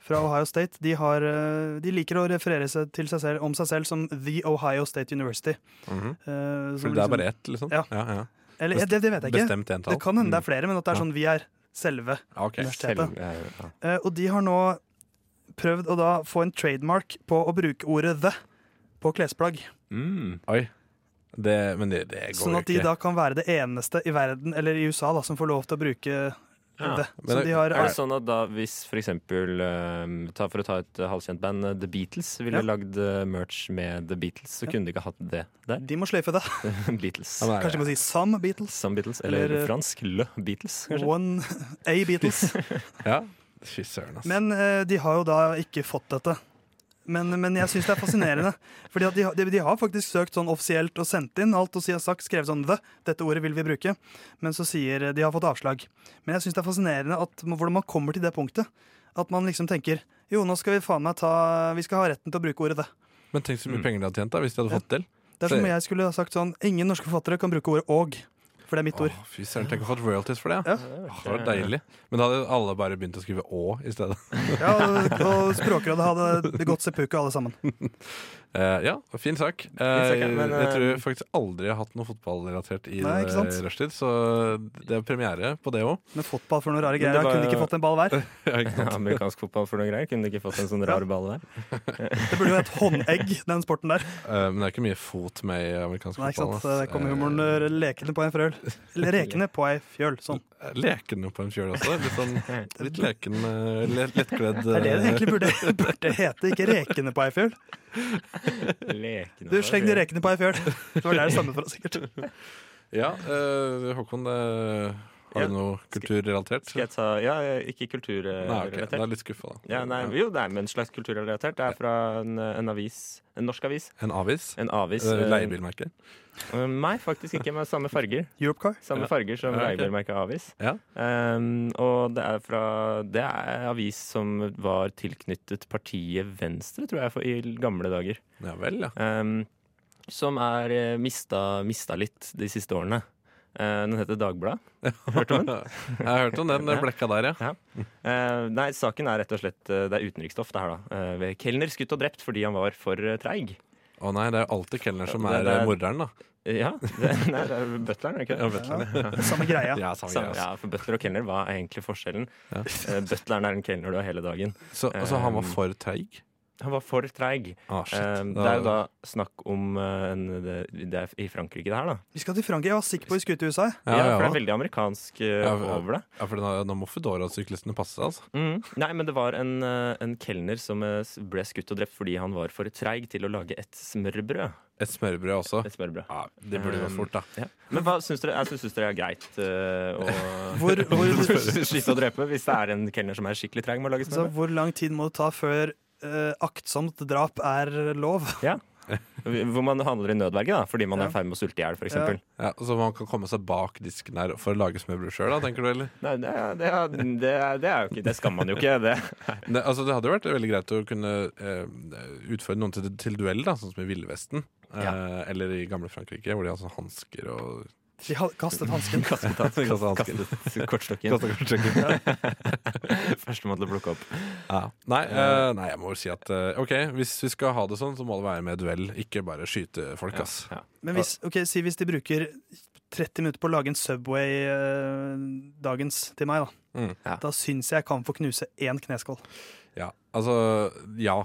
Speaker 5: fra Ohio State, de, har, eh, de liker å referere seg til seg selv, om seg selv som The Ohio State University. Eh,
Speaker 4: Mhm.
Speaker 5: som
Speaker 4: For det er
Speaker 5: liksom-
Speaker 4: bare ett, liksom?
Speaker 5: Ja.
Speaker 4: ja, ja.
Speaker 5: Eller, eh, det, det vet jeg ikke.
Speaker 4: Bestemt entall?
Speaker 5: Det kan hende det er
Speaker 4: Mm.
Speaker 5: flere, men at det er
Speaker 4: Ja.
Speaker 5: sånn vi er selve
Speaker 4: Ok.
Speaker 5: universitetet.
Speaker 6: Selv- eh, ja.
Speaker 5: Eh, og de har nå prøvd å da få en trademark på å bruke ordet the på klesplagg.
Speaker 6: Mm.
Speaker 4: Oi. Det, men det, det går
Speaker 5: Sånn
Speaker 4: jo
Speaker 5: at de
Speaker 4: ikke.
Speaker 5: da kan være det eneste i verden, eller i USA, da, som får lov til å bruke
Speaker 6: Ja.
Speaker 5: the.
Speaker 4: Men
Speaker 5: Så
Speaker 4: det-
Speaker 5: de har
Speaker 6: Er det sånn at da hvis for eksempel eh, ta, For å ta et eh, halvkjent band, eh, The Beatles, ville
Speaker 5: Ja.
Speaker 6: lagd eh, merch med The Beatles, så kunne de ikke hatt det der.
Speaker 5: altså- De må sløyfe det.
Speaker 6: Beatles.
Speaker 4: Han er-
Speaker 5: Kanskje de må si some Beatles.
Speaker 6: Some Beatles, eller,
Speaker 5: Eller, eh,
Speaker 6: fransk Le Beatles, kanskje.
Speaker 5: One A Beatles.
Speaker 4: Ja. Fy søren, ass.
Speaker 5: Men eh, de har jo da ikke fått dette. Men, men jeg syns det er fascinerende. Fordi at de, har- de, de har faktisk søkt sånn offisielt og sendt inn alt og si- sagt, skrevet sånn the, dette ordet vil vi bruke. Men så sier eh, de har fått avslag. Men jeg syns det er fascinerende at, man- hvordan man kommer til det punktet. At man liksom tenker jo, nå skal vi faen meg ta Vi skal ha retten til å bruke ordet det.
Speaker 4: Men tenk så mye penger de hadde tjent da, hvis de hadde fått til.
Speaker 5: Det er som
Speaker 4: Så-
Speaker 5: om jeg skulle ha sagt sånn Ingen norske forfattere kan bruke ordet og. For det er mitt ord.
Speaker 4: Åh, fy søren, tenk å ha fått royalties for det. Ja.
Speaker 5: Ja.
Speaker 4: Åh, det var deilig. Men da hadde alle bare begynt å skrive Å i stedet.
Speaker 5: Ja, og, og Språkrådet hadde gått seppuku alle sammen.
Speaker 4: Eh, ja, fin sak. Eh,
Speaker 6: sak, ja, men,
Speaker 4: jeg
Speaker 6: eh,
Speaker 4: tror faktisk aldri jeg har hatt noe fotballrelatert i
Speaker 5: Nei, ikke sant?
Speaker 4: eh, rushtid, så det er premiere på det òg.
Speaker 5: Med fotball for noen rare
Speaker 6: Men
Speaker 5: greier.
Speaker 6: det
Speaker 5: Jeg
Speaker 6: var-
Speaker 5: kunne ikke fått en ball hver.
Speaker 6: Ja, amerikansk fotball for noen greier. Kunne de ikke fått en sånn rar ball der?
Speaker 5: Det burde jo hett håndegg, den sporten der.
Speaker 4: Eh, men det er ikke mye fot med i amerikansk
Speaker 5: Nei, ikke
Speaker 4: fotball.
Speaker 5: sant?
Speaker 4: ass.
Speaker 5: Der kommer humoren eh, lekende på en frøl. Eller rekende på ei fjøl. Sånn.
Speaker 4: Eh, Lekende på en fjøl også. Litt, sånn, litt leken, eh, le- lettkledd
Speaker 5: Det er det det
Speaker 4: eh,
Speaker 5: egentlig burde, burde hete, ikke rekende på ei fjøl.
Speaker 6: Lekende.
Speaker 5: Du, sleng de rekende på ei fjøl. Det var der det stammet fra, sikkert.
Speaker 4: Ja, eh, Håkon, det Har
Speaker 6: Ja.
Speaker 4: du noe kulturrelatert?
Speaker 6: Skal jeg ta Ja, ikke
Speaker 4: Nei, ok,
Speaker 6: kulturrelatert.
Speaker 4: Da er jeg litt skuffa, da.
Speaker 6: Ja, nei, jo, nei, men slags kulturrelatert. Det er fra en, en avis. En norsk avis.
Speaker 4: En avis?
Speaker 6: En avis.
Speaker 4: Eh,
Speaker 6: eh,
Speaker 4: Leiebilmerke?
Speaker 6: eh, Nei, faktisk ikke, men samme farger.
Speaker 5: Europe Car.
Speaker 6: Samme
Speaker 4: Ja.
Speaker 6: farger som
Speaker 4: Ja, ok.
Speaker 6: leiebilmerket Avis.
Speaker 4: Ja.
Speaker 6: Um, og det er fra Det er avis som var tilknyttet partiet Venstre, tror jeg, for, i gamle dager.
Speaker 4: Ja vel, ja.
Speaker 6: Um, som er eh, mista, mista litt de siste årene. Eh, den heter Dagbladet. Hørte du om den?
Speaker 4: Jeg har hørt om den den blekka der, ja.
Speaker 6: Eh, nei, saken er rett og slett eh, Det er utenriksstoff, det her, da. Eh, ved Kelner skutt og drept fordi han var for eh, treig.
Speaker 4: Å nei, det er jo alltid kelneren som
Speaker 6: Ja, det-
Speaker 4: er
Speaker 6: det er-
Speaker 4: eh, morderen, da.
Speaker 6: Eh, ja. Det, nei, det er butleren, er det ikke?
Speaker 4: Ja, vet du.
Speaker 5: Samme greia.
Speaker 4: Ja, samme
Speaker 6: Samme,
Speaker 4: greie, altså.
Speaker 6: ja, for butler og kelner, hva er egentlig forskjellen?
Speaker 4: Ja.
Speaker 6: Eh, butleren er en kelner du har hele dagen.
Speaker 4: Så altså, han var
Speaker 6: Um,
Speaker 4: for treig?
Speaker 6: Han var for treig.
Speaker 4: Ah, shit.
Speaker 6: Eh, det er jo da snakk om eh, en, det, det er i Frankrike, det her, da.
Speaker 5: Vi skal til Frankrike. Jeg var sikker på vi skulle til USA.
Speaker 4: Ja,
Speaker 6: Ja,
Speaker 4: ja,
Speaker 6: For det
Speaker 4: ja.
Speaker 6: er veldig amerikansk eh,
Speaker 4: Ja, ja.
Speaker 6: over det.
Speaker 4: ja, for nå- nå må Foodora-syklistene passe seg, altså.
Speaker 6: Mm. Nei, men det var en, eh, en kelner som eh, ble skutt og drept fordi han var for treig til å lage et smørbrød.
Speaker 4: Et smørbrød også. Um,
Speaker 6: Et smørbrød.
Speaker 4: Ja, det burde gått fort, da.
Speaker 6: Ja. Men hva syns dere? Jeg syns dere er greit eh, å
Speaker 5: Hvor, hvor,
Speaker 6: skyte og drepe hvis det er en kelner som er skikkelig treg med å lage
Speaker 5: så
Speaker 6: smørbrød?
Speaker 5: hvor lang tid må det ta før eh, aktsomt drap er lov?
Speaker 6: Hvor man handler i nødverge da, fordi man
Speaker 5: Ja.
Speaker 6: er i ferd med å sulte i hjel, f.eks. eksempel
Speaker 4: Ja, så man kan komme seg bak disken der for å lage smørbrød sjøl, da, tenker du, eller?
Speaker 6: Nei, det, er- det, er- det, er- det er jo ikke Det skal man jo ikke. Det.
Speaker 4: Det, altså, det hadde jo vært veldig greit å kunne eh, utføre noen til, til duell, da, sånn som i Villvesten. Eh, Eller i gamle Frankrike, hvor de har sånn hansker og
Speaker 5: De har kastet hansken.
Speaker 6: Kastet,
Speaker 4: Kastet hansken.
Speaker 6: kastet kortstokken. Førstemann til å plukke opp.
Speaker 4: Nei, eh, nei, jeg må jo si at eh, OK, hvis vi skal ha det sånn, så må det være med duell, ikke bare skyte folk, ass.
Speaker 6: Ja.
Speaker 5: Men hvis, ok, si hvis de bruker 30 minutter på å lage en Subway eh, dagens til meg, da.
Speaker 4: Mm.
Speaker 6: Ja.
Speaker 5: Da syns jeg jeg kan få knuse én kneskål.
Speaker 4: Ja, altså Ja.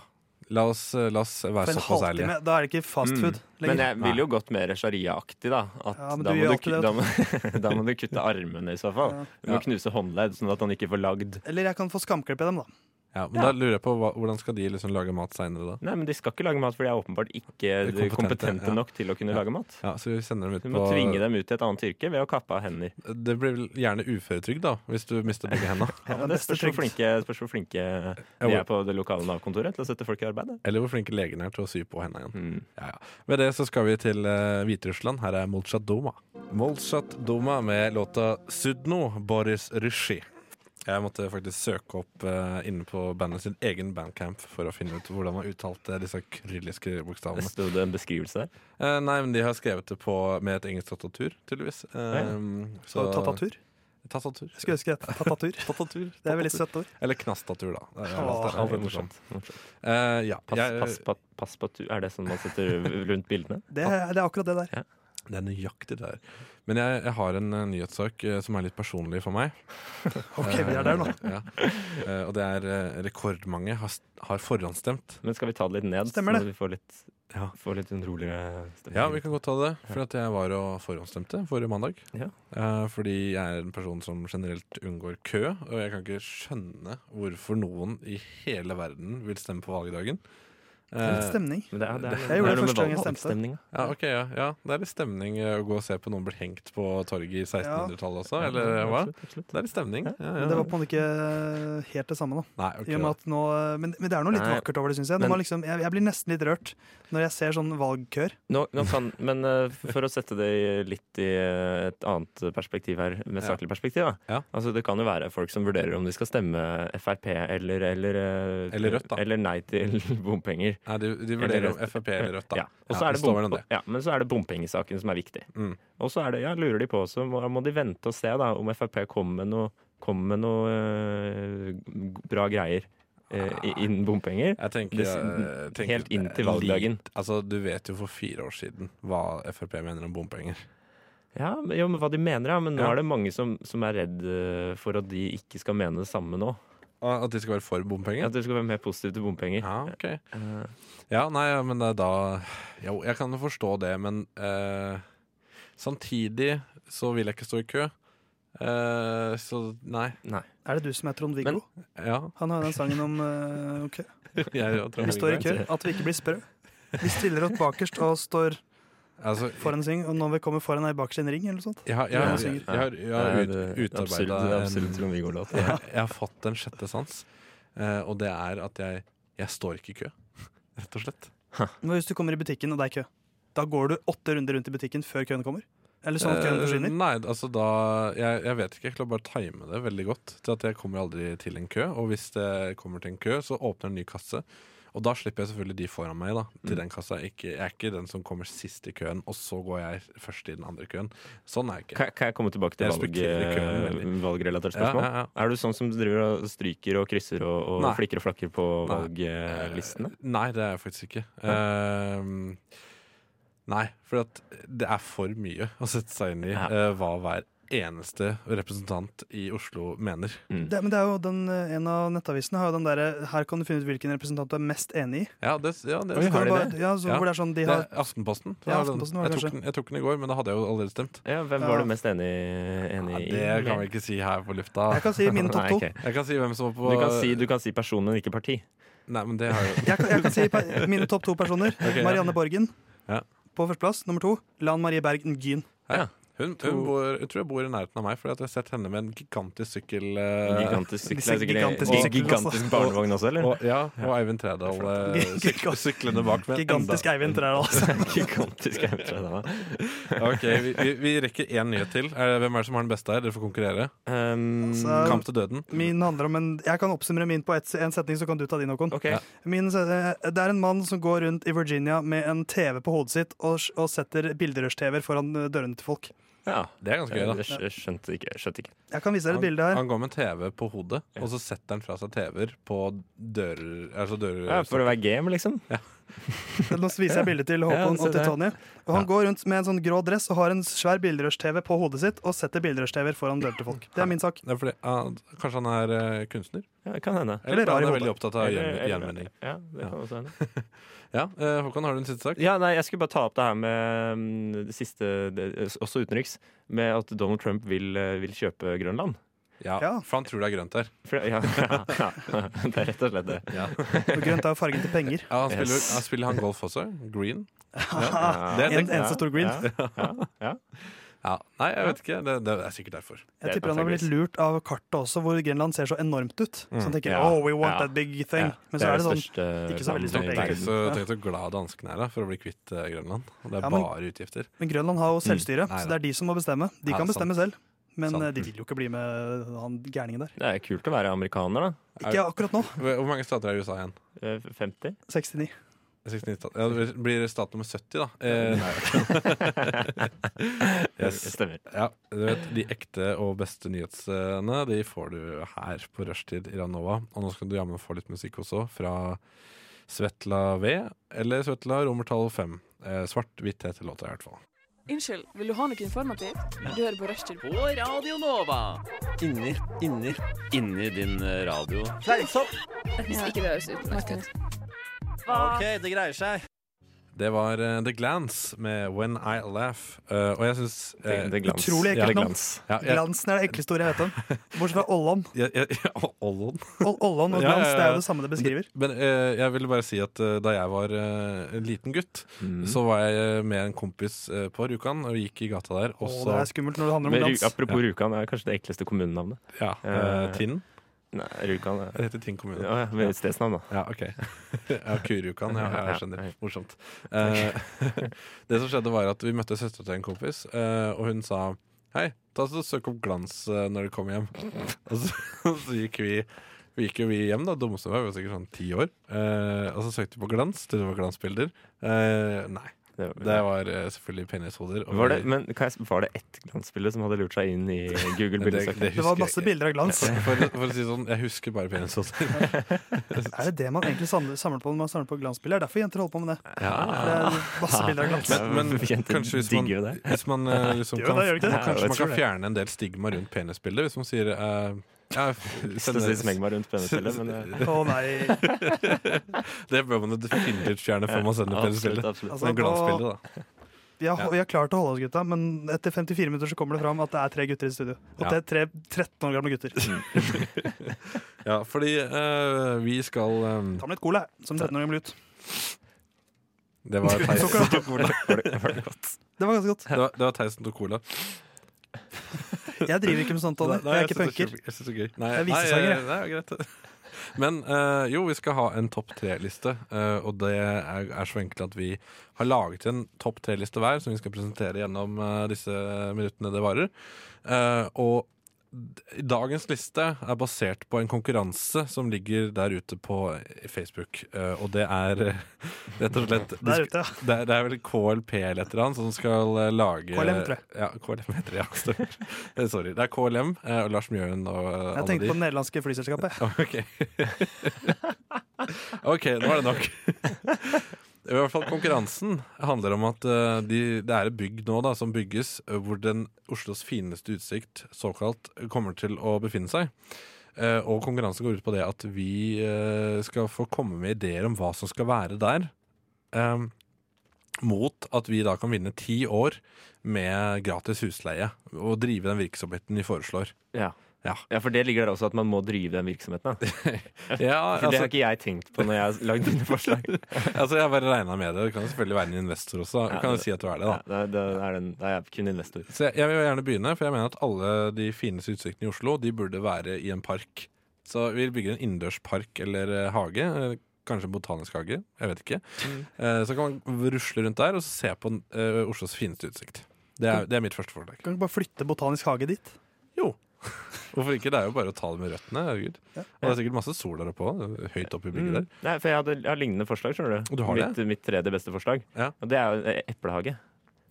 Speaker 4: La oss, eh, la oss
Speaker 5: For
Speaker 4: være
Speaker 5: en
Speaker 4: såpass ærlige.
Speaker 5: halvtime, da er det ikke fast food
Speaker 6: Men
Speaker 5: lenger.
Speaker 6: jeg vil jo godt mer sharia-aktig, da. At
Speaker 5: Ja,
Speaker 6: da,
Speaker 5: men du
Speaker 6: må
Speaker 5: gjør
Speaker 6: du,
Speaker 5: alltid
Speaker 6: ku- da, må, da må du kutte armene, i så fall.
Speaker 5: Ja.
Speaker 6: Du må
Speaker 4: Ja.
Speaker 6: knuse håndledd, sånn at han ikke får lagd
Speaker 5: Eller jeg kan få skamklipp i dem, da.
Speaker 4: Ja, men da lurer jeg på hva, hvordan skal de liksom lage mat seinere, da?
Speaker 6: Nei, men de skal ikke lage mat, for de er åpenbart ikke
Speaker 4: kompetente,
Speaker 6: kompetente,
Speaker 4: ja.
Speaker 6: nok til å kunne
Speaker 4: Ja.
Speaker 6: lage mat.
Speaker 4: Ja, så vi sender dem ut
Speaker 6: Du
Speaker 4: på
Speaker 6: må tvinge dem ut i et annet yrke ved å kappe av hender.
Speaker 4: Det blir vel gjerne uføretrygd, da, hvis du mister begge henda.
Speaker 5: Ja,
Speaker 6: det spørs hvor flinke, spørs hvor flinke de
Speaker 4: hvor-
Speaker 6: er på det lokale Nav-kontoret til å sette folk i arbeid. da.
Speaker 4: Eller hvor flinke legen er til å sy på henda igjen.
Speaker 6: Mm.
Speaker 4: Ja, ja. Med det så skal vi til eh, Hviterussland. Her er Molchat Doma. Molchat Doma med låta 'Sudno Boris Rushy'. Jeg måtte faktisk søke opp eh, inne på bandet sin egen bandcamp for å finne ut hvordan man uttalte disse krylliske bokstavene.
Speaker 6: Sto det en beskrivelse der?
Speaker 4: Eh, nei, men de har skrevet det på med et engelsk tattatur, tydeligvis. Uh,
Speaker 5: Så tatatur?
Speaker 4: Tattatur.
Speaker 5: Jeg skulle ønske det. het Tatatur. Det er et veldig søtt ord.
Speaker 4: Eller knastatur, da. Det er-
Speaker 5: Åh,
Speaker 4: det er alt ettersom.
Speaker 6: Morsomt. Morsomt.
Speaker 4: Eh, ja.
Speaker 6: Pass,
Speaker 4: jeg-
Speaker 6: pass, pa- pass på tur. Er det sånn man setter rundt bildene?
Speaker 5: Det, er- det er akkurat det der.
Speaker 4: Det er nøyaktig det der. Men jeg, jeg har en eh, nyhetssak eh, som er litt personlig for meg.
Speaker 5: Ok, vi er der nå.
Speaker 4: Ja. Eh, og det er eh, rekordmange har, st- har forhåndsstemt.
Speaker 6: Men skal vi ta det litt ned,
Speaker 5: Stemmer
Speaker 6: sånn
Speaker 5: det.
Speaker 6: at vi får litt,
Speaker 4: Ja.
Speaker 6: får litt en roligere stemning?
Speaker 4: Ja, vi kan godt ta det. For at jeg var og forhåndsstemte forrige mandag.
Speaker 6: Ja.
Speaker 4: Eh, fordi jeg er en person som generelt unngår kø. Og jeg kan ikke skjønne hvorfor noen i hele verden vil stemme på valgdagen.
Speaker 5: Det er litt
Speaker 4: Eh,
Speaker 5: stemning.
Speaker 6: Men det er, det er,
Speaker 5: Jeg gjorde
Speaker 6: er noe med
Speaker 5: det første gang jeg
Speaker 6: valg-
Speaker 5: stemte.
Speaker 6: valgstemning, da.
Speaker 4: ja, ok, ja, ja, Det er litt stemning eh, å gå og se på noen bli hengt på torget i 1600-tallet også,
Speaker 6: Ja,
Speaker 4: eller hva?
Speaker 6: absolutt, absolutt.
Speaker 4: Det er litt stemning. Ja, ja.
Speaker 5: Men det var på en måte ikke eh, helt det samme, da.
Speaker 4: Nei, ok,
Speaker 5: I og med
Speaker 4: da.
Speaker 5: at nå, eh, men, men det er noe litt
Speaker 6: Nei,
Speaker 5: vakkert over det, syns jeg. Når
Speaker 6: men-
Speaker 5: man liksom, jeg. Jeg blir nesten litt rørt når jeg ser sånn valgkør.
Speaker 6: Nå, nå kan, men eh, for å sette det i- litt i eh, et annet perspektiv her, med
Speaker 4: Ja.
Speaker 6: saklig perspektiv, da.
Speaker 4: Ja.
Speaker 6: Altså, det kan jo være folk som vurderer om de skal stemme Frp eller Eller, eh,
Speaker 4: Eller Rødt, da.
Speaker 6: eller nei til bompenger.
Speaker 4: Nei, de, de vurderer
Speaker 6: Eller
Speaker 4: om Frp eller Rødt, da.
Speaker 6: Ja. Og så
Speaker 4: Ja,
Speaker 6: er det
Speaker 4: det står vel om
Speaker 6: bom-
Speaker 4: det.
Speaker 6: ja, men så er det bompengesaken som er viktig.
Speaker 4: Mm.
Speaker 6: Og så er det, ja, lurer de på, så må, må de vente og se da, om Frp kommer med noe, kommer med noe eh, bra greier eh,
Speaker 4: Ah.
Speaker 6: i- innen bompenger.
Speaker 4: Jeg tenker,
Speaker 6: Det-
Speaker 4: jeg tenker
Speaker 6: helt inn til
Speaker 4: det er
Speaker 6: valgdagen.
Speaker 4: litt- Altså, du vet jo for fire år siden hva Frp mener om bompenger.
Speaker 6: Ja, men- jo, men hva de mener, ja. Men nå
Speaker 4: Ja.
Speaker 6: er det mange som, som er redd eh, for at de ikke skal mene det samme nå.
Speaker 4: Og At de skal være for bompenger.
Speaker 6: At du skal være mer positiv til bompenger.
Speaker 4: Ja, ok.
Speaker 6: Eh,
Speaker 4: Ja, nei, ja, men det er da Jo, jeg kan jo forstå det, men eh, samtidig så vil jeg ikke stå i kø. Eh, så nei.
Speaker 6: nei.
Speaker 5: Er det du som er Trond-Viggo?
Speaker 4: Ja,
Speaker 5: Han har jo den sangen om eh, ok,
Speaker 4: jeg, tror
Speaker 5: vi står i kø,
Speaker 4: jeg-
Speaker 5: at vi ikke blir sprø. Vi stiller oss bakerst og står
Speaker 4: Altså,
Speaker 5: Foran en sving, og når vi kommer foran ei bakerst i en ring, eller noe sånt.
Speaker 4: jeg har, jeg har, jeg har, jeg har ut,
Speaker 6: Absurd,
Speaker 4: utarbeida
Speaker 6: absurd
Speaker 4: en
Speaker 6: trommegolåt.
Speaker 4: jeg, jeg har fått en sjette sans, eh, og det er at jeg, jeg står ikke i kø. Rett og slett.
Speaker 5: Men hvis du kommer i butikken, og det er kø, da går du åtte runder rundt i butikken før køen kommer? Eller sånn at køen
Speaker 4: Eh,
Speaker 5: forsvinner?
Speaker 4: Nei, altså da jeg, jeg vet ikke. Jeg klarer bare å time det veldig godt. Til at jeg kommer aldri til en kø. Og hvis det kommer til en kø, så åpner en ny kasse. Og da slipper jeg selvfølgelig de foran meg da, til den kassa. Ikke, jeg er ikke den som kommer sist i køen, og så går jeg først i den andre køen. Sånn er jeg ikke.
Speaker 6: Kan, kan jeg komme tilbake til
Speaker 4: Jeg
Speaker 6: valg, eh,
Speaker 4: respekterer køen veldig.
Speaker 6: valgrelatert
Speaker 4: Ja,
Speaker 6: spørsmål?
Speaker 4: ja, ja.
Speaker 6: Er du sånn som driver og stryker og krysser og, og
Speaker 4: Nei.
Speaker 6: flikker og flakker på
Speaker 4: Nei.
Speaker 6: valglistene?
Speaker 4: Eh, Nei, det er jeg faktisk ikke. Ehm, nei, for at det er for mye å sette seg inn i
Speaker 6: Ja.
Speaker 4: eh, hva hver eneste representant i Oslo mener.
Speaker 5: Det, men det er jo den, eh, en av nettavisene har jo den derre 'her kan du finne ut hvilken representant du er mest enig i'.
Speaker 4: Ja, det, ja, det,
Speaker 5: Så kan du
Speaker 4: det?
Speaker 5: bare- Ja, så,
Speaker 4: Ja.
Speaker 5: Hvor det er sånn de
Speaker 4: Det
Speaker 5: har
Speaker 4: er Aftenposten.
Speaker 5: Ja,
Speaker 4: Det er den.
Speaker 5: Aftenposten var det
Speaker 4: jeg, tok
Speaker 5: kanskje.
Speaker 4: den, jeg tok den i går, men da hadde jeg jo allerede stemt.
Speaker 6: Ja, hvem
Speaker 5: Ja.
Speaker 6: var du mest enig, enig
Speaker 4: Ja,
Speaker 6: i?
Speaker 4: det kan vi ikke si her på lufta.
Speaker 5: Jeg kan si
Speaker 4: Ah.
Speaker 5: mine topp
Speaker 6: Nei,
Speaker 5: to.
Speaker 6: ok.
Speaker 4: Jeg kan si hvem som var på
Speaker 6: Du kan si, du kan si person, men ikke parti.
Speaker 4: Nei, men det har jo
Speaker 5: Jeg kan, jeg kan si pe- mine topp to personer.
Speaker 4: ja.
Speaker 5: Marianne Borgen
Speaker 4: Ja.
Speaker 5: på førsteplass. Nummer to Lan Marie Bergen Gyn.
Speaker 4: Hun, hun bor, jeg tror jeg bor i nærheten av meg, Fordi at jeg har sett henne med en gigantisk sykkel. eh,
Speaker 6: Gigantisk sykkel.
Speaker 5: Disse
Speaker 6: er sikkert-
Speaker 5: gigantiske
Speaker 6: og-
Speaker 5: syklene også.
Speaker 6: gigantisk barnevogn også, eller?
Speaker 4: og, ja, og Eivind Trædal eh, syk, syklende bak. med enda-
Speaker 5: Gigantisk Eivind Trædal. Altså.
Speaker 6: gigantisk jeg tror jeg det var.
Speaker 4: Ok, vi, vi, vi rekker én nyhet til. Er det, hvem er det som har den beste her? Dere får konkurrere.
Speaker 6: Um,
Speaker 5: Så-
Speaker 4: Kamp til døden.
Speaker 5: Min handler om en, jeg kan oppsummere min på et, en setning, så kan du ta din, Håkon.
Speaker 6: ok.
Speaker 5: Min, se- eh, det er en mann som går rundt i Virginia med en TV på hodet sitt og, s- og setter bilderørs-TV-er foran eh, dørene til folk.
Speaker 6: Ja.
Speaker 4: Det er ganske gøy, da.
Speaker 6: Jeg skj- skjønte ikke. Skjønte ikke.
Speaker 5: Jeg kan vise dere et bilde
Speaker 4: Han,
Speaker 5: her.
Speaker 4: han går med en TV på hodet, og så setter han fra seg TV-er på dører Altså dører
Speaker 6: Ja, for å være game, liksom?
Speaker 5: Nå viser jeg bildet til
Speaker 6: Ja,
Speaker 5: Håkon
Speaker 6: se
Speaker 5: og til
Speaker 6: der.
Speaker 5: Tonje. Og han går rundt med en sånn grå dress og har en svær bilderørs-TV på hodet sitt og setter bilderørs-TV-er foran dørene til folk. Det er min sak.
Speaker 4: Det er fordi, ah, kanskje han er eh, kunstner?
Speaker 6: Ja, det kan hende.
Speaker 4: Eller,
Speaker 5: Eller rar i
Speaker 4: han er
Speaker 5: hodet.
Speaker 4: veldig opptatt av
Speaker 6: Eller-
Speaker 4: gjen-
Speaker 6: eller-
Speaker 4: gjenvinning.
Speaker 6: Ja, det kan også hende.
Speaker 4: Ja, eh, Håkon, har du en siste sak?
Speaker 6: Ja, nei, Jeg skulle bare ta opp det her med mm, det siste, det, også utenriks, med at Donald Trump vil, eh, vil kjøpe Grønland.
Speaker 4: Ja,
Speaker 5: Ja.
Speaker 4: For han tror det er grønt der.
Speaker 6: For, ja, ja, det er rett og slett det.
Speaker 5: Og grønt er jo fargen til penger.
Speaker 4: Ja, han spiller,
Speaker 6: Yes.
Speaker 4: han spiller han golf også? Green?
Speaker 6: Ja,
Speaker 5: En eneste stor green.
Speaker 6: Ja, ja, ja.
Speaker 4: Ja, Nei, jeg vet ikke. Det, det er sikkert derfor.
Speaker 5: Jeg tipper han har blitt lurt av kartet også, hvor Grenland ser så enormt ut. Så han tenker
Speaker 6: Mm. Ja.
Speaker 5: 'oh, we want
Speaker 6: Ja.
Speaker 5: that big thing'.
Speaker 6: Ja,
Speaker 5: Men så er det sånn
Speaker 6: største eh,
Speaker 5: ikke så
Speaker 6: landet i
Speaker 5: veldig stort,
Speaker 4: Tenk
Speaker 6: verden.
Speaker 5: egentlig.
Speaker 4: så, tenk så glad danskene er da, for å bli kvitt eh, Grønland. Og det er
Speaker 5: Ja, men-
Speaker 4: bare utgifter.
Speaker 5: Men Grønland har jo selvstyre,
Speaker 4: Nei
Speaker 5: så
Speaker 4: da.
Speaker 5: det er de som må bestemme. De
Speaker 4: Ja,
Speaker 5: kan
Speaker 4: Mm. sant.
Speaker 5: bestemme selv. Men
Speaker 4: Sant.
Speaker 5: eh, de vil jo ikke bli med han gærningen der.
Speaker 6: Det er kult å være amerikaner, da.
Speaker 4: Er-
Speaker 5: Ikke akkurat nå.
Speaker 4: Hvor hvor mange stater er i USA igjen?
Speaker 6: Eh, 50?
Speaker 5: 69.
Speaker 4: 69 stater. Ja, det blir stat nummer 70, da. Eh, Yes.
Speaker 6: Stemmer.
Speaker 4: Ja, du vet, De ekte og beste nyhetene De får du her på rushtid i Ranova. Og nå skal du jammen få litt musikk også, fra Svetla V, eller Svetla romertall 5. Eh, Svart-hvitt heter låta, i hvert fall.
Speaker 9: Unnskyld, vil du ha noe informativt? Du hører på Rushtid.
Speaker 10: På Radio Nova. Inni, inni, inni din eh, radio. Fleisopp!
Speaker 9: Hvis ikke det høres utenlandsk ut.
Speaker 10: OK, det greier seg.
Speaker 4: Det var eh, The Glance med When I Laugh. Eh, og jeg syns eh,
Speaker 6: Det er glans.
Speaker 5: Utrolig
Speaker 6: Ja, det
Speaker 5: ekkelt
Speaker 6: er
Speaker 5: navn.
Speaker 6: glans.
Speaker 4: ja, jeg,
Speaker 5: Glansen er det ekleste ordet jeg vet om. Bortsett fra Ollan.
Speaker 4: jeg, jeg, Å, Ollon.
Speaker 5: Ol- Ollan og
Speaker 4: Ja, ja,
Speaker 5: glans,
Speaker 4: ja.
Speaker 5: det er jo det samme det beskriver.
Speaker 4: Men eh, jeg ville bare si at eh, da jeg var eh, en liten gutt,
Speaker 5: Mm.
Speaker 6: Mm.
Speaker 4: så var jeg eh, med en kompis eh, på Rjukan og gikk i gata der. Og
Speaker 5: Å,
Speaker 4: så
Speaker 5: det er skummelt når det handler
Speaker 6: Men,
Speaker 5: om
Speaker 6: Ru-
Speaker 5: glans.
Speaker 6: apropos Rjukan, er kanskje det ekleste kommunenavnet.
Speaker 4: ja, eh,
Speaker 6: Eh,
Speaker 4: Tinn.
Speaker 6: Nei, Rjukan er
Speaker 4: Det heter Tinn kommune.
Speaker 6: ja, ja, men stedsnavn, da.
Speaker 4: Ja, ok. Ja, Kurukan, ja, jeg skjønner.
Speaker 6: Ja, ja.
Speaker 4: Morsomt. Eh, det som skjedde var at vi møtte søstera til en kompis, eh, og hun sa Hei, ta så søk opp glans eh, når du kommer hjem. Og så, så gikk vi vi gikk jo vi hjem, da, dummeste var vi var sikkert sånn ti år. Eh, og så søkte vi på glans. Det var glansbilder. Eh, nei.
Speaker 6: Det
Speaker 4: Det var eh, selvfølgelig penishoder. og
Speaker 6: Var det,
Speaker 4: vi-
Speaker 6: men kan jeg, var det ett glansbilde som hadde lurt seg inn i Google
Speaker 4: Men det-
Speaker 6: bildesøker?
Speaker 5: Det var
Speaker 4: det husker jeg
Speaker 5: masse
Speaker 4: ikke.
Speaker 5: bilder av glans.
Speaker 4: For, for, for å si det sånn, jeg husker bare penishoder.
Speaker 5: Er det det man egentlig samler, samler på når man samler på glansbilder? Det er derfor jenter holder på med det. For det er masse bilder av glans.
Speaker 4: Men, men
Speaker 6: Jenter
Speaker 4: kanskje hvis man,
Speaker 6: digger jo det.
Speaker 4: hvis man eh, liksom
Speaker 5: Gjør
Speaker 4: kan,
Speaker 5: det, gjør det ikke det?
Speaker 6: Ja,
Speaker 4: Kanskje
Speaker 6: jeg
Speaker 4: man
Speaker 6: tror
Speaker 4: kan
Speaker 6: det.
Speaker 4: fjerne en del stigma rundt penisbildet hvis man sier eh, ja, f-
Speaker 6: Lyst til å si smeng
Speaker 4: sender,
Speaker 6: meg rundt penisbildet, men eh,
Speaker 5: Å nei.
Speaker 4: Det bør man jo definitivt fjerne før man sender
Speaker 6: absolutt,
Speaker 4: penisbildet.
Speaker 6: absolutt.
Speaker 5: Altså,
Speaker 4: Men glansbildet, da.
Speaker 5: Vi har, vi har klart å holde oss, gutta, men etter 54 minutter så kommer det fram at det er tre gutter i studio. Og
Speaker 4: Ja.
Speaker 5: det er tre 13 år gamle gutter.
Speaker 4: Ja, fordi eh, vi skal eh,
Speaker 5: Ta med litt cola, jeg, som 13 år gammel gutt.
Speaker 4: Det var Theisen
Speaker 5: Sukker. Det var ganske godt.
Speaker 4: det var, det var Theisen tok cola.
Speaker 5: Jeg driver ikke med sånt, Anne.
Speaker 4: Nei,
Speaker 5: Jeg er ikke
Speaker 4: synes det
Speaker 5: punker.
Speaker 4: er kjempe- Jeg synes det er gøy. Nei,
Speaker 5: Jeg er
Speaker 4: nei,
Speaker 5: visesanger, jeg.
Speaker 4: eh, nei, greit. Men eh, jo, vi skal ha en topp tre-liste. eh, og det er, er så enkelt at vi har laget en topp tre-liste hver, som vi skal presentere gjennom eh, disse minuttene det varer. Eh, og d- dagens liste er basert på en konkurranse som ligger der ute på Facebook. eh, og det er eh, rett og slett
Speaker 5: Der ute, ja.
Speaker 4: det er, det er vel KLP eller et eller annet som skal eh, lage
Speaker 5: KLM, tror jeg.
Speaker 4: Ja, KLM heter det, ja. stemmer. Eh, Sorry. Det er KLM eh, og Lars Mjøen og eh,
Speaker 5: Jeg
Speaker 4: alle
Speaker 5: tenkte på
Speaker 4: de.
Speaker 5: det nederlandske flyselskapet.
Speaker 4: Ok. OK, nå er det nok. I hvert fall Konkurransen handler om at eh, de, det er et bygg nå da, som bygges eh, hvor den Oslos fineste utsikt såkalt kommer til å befinne seg. Eh, og konkurransen går ut på det at vi eh, skal få komme med ideer om hva som skal være der. eh, mot at vi da kan vinne ti år med gratis husleie og drive den virksomheten vi foreslår.
Speaker 6: Ja.
Speaker 4: Ja.
Speaker 6: ja, for det ligger der også at man må drive den virksomheten. Da.
Speaker 4: Ja,
Speaker 6: For det har ikke jeg tenkt på når jeg har lagd mine forslag.
Speaker 4: Altså, jeg bare regna med det. Du kan jo selvfølgelig være en investor også.
Speaker 6: Ja,
Speaker 4: Du kan jo
Speaker 6: det-
Speaker 4: si at du er det,
Speaker 6: Ja,
Speaker 4: da.
Speaker 6: da, da, er den, da er jeg kun investor.
Speaker 4: Så jeg, jeg vil gjerne begynne, for jeg mener at alle de fineste utsiktene i Oslo De burde være i en park. Så vi bygger en innendørspark eller eh, hage. eh, Kanskje en botanisk hage. Jeg vet ikke.
Speaker 6: Mm.
Speaker 4: Eh, Så kan man rusle rundt der og så se på eh, Oslos fineste utsikt. Det er, det er mitt første forslag.
Speaker 5: Kan du ikke bare flytte Botanisk hage dit?
Speaker 4: Jo. Hvorfor ikke? Det er jo bare å ta det med røttene. Herregud. Og det er sikkert masse sol der oppe også, Høyt oppe i bygget der.
Speaker 6: Mm. Nei, for jeg, hadde, jeg har lignende forslag, skjønner du.
Speaker 4: Du har
Speaker 6: mitt, mitt tredje beste forslag.
Speaker 4: Ja.
Speaker 6: Og det er jo eh, eplehage.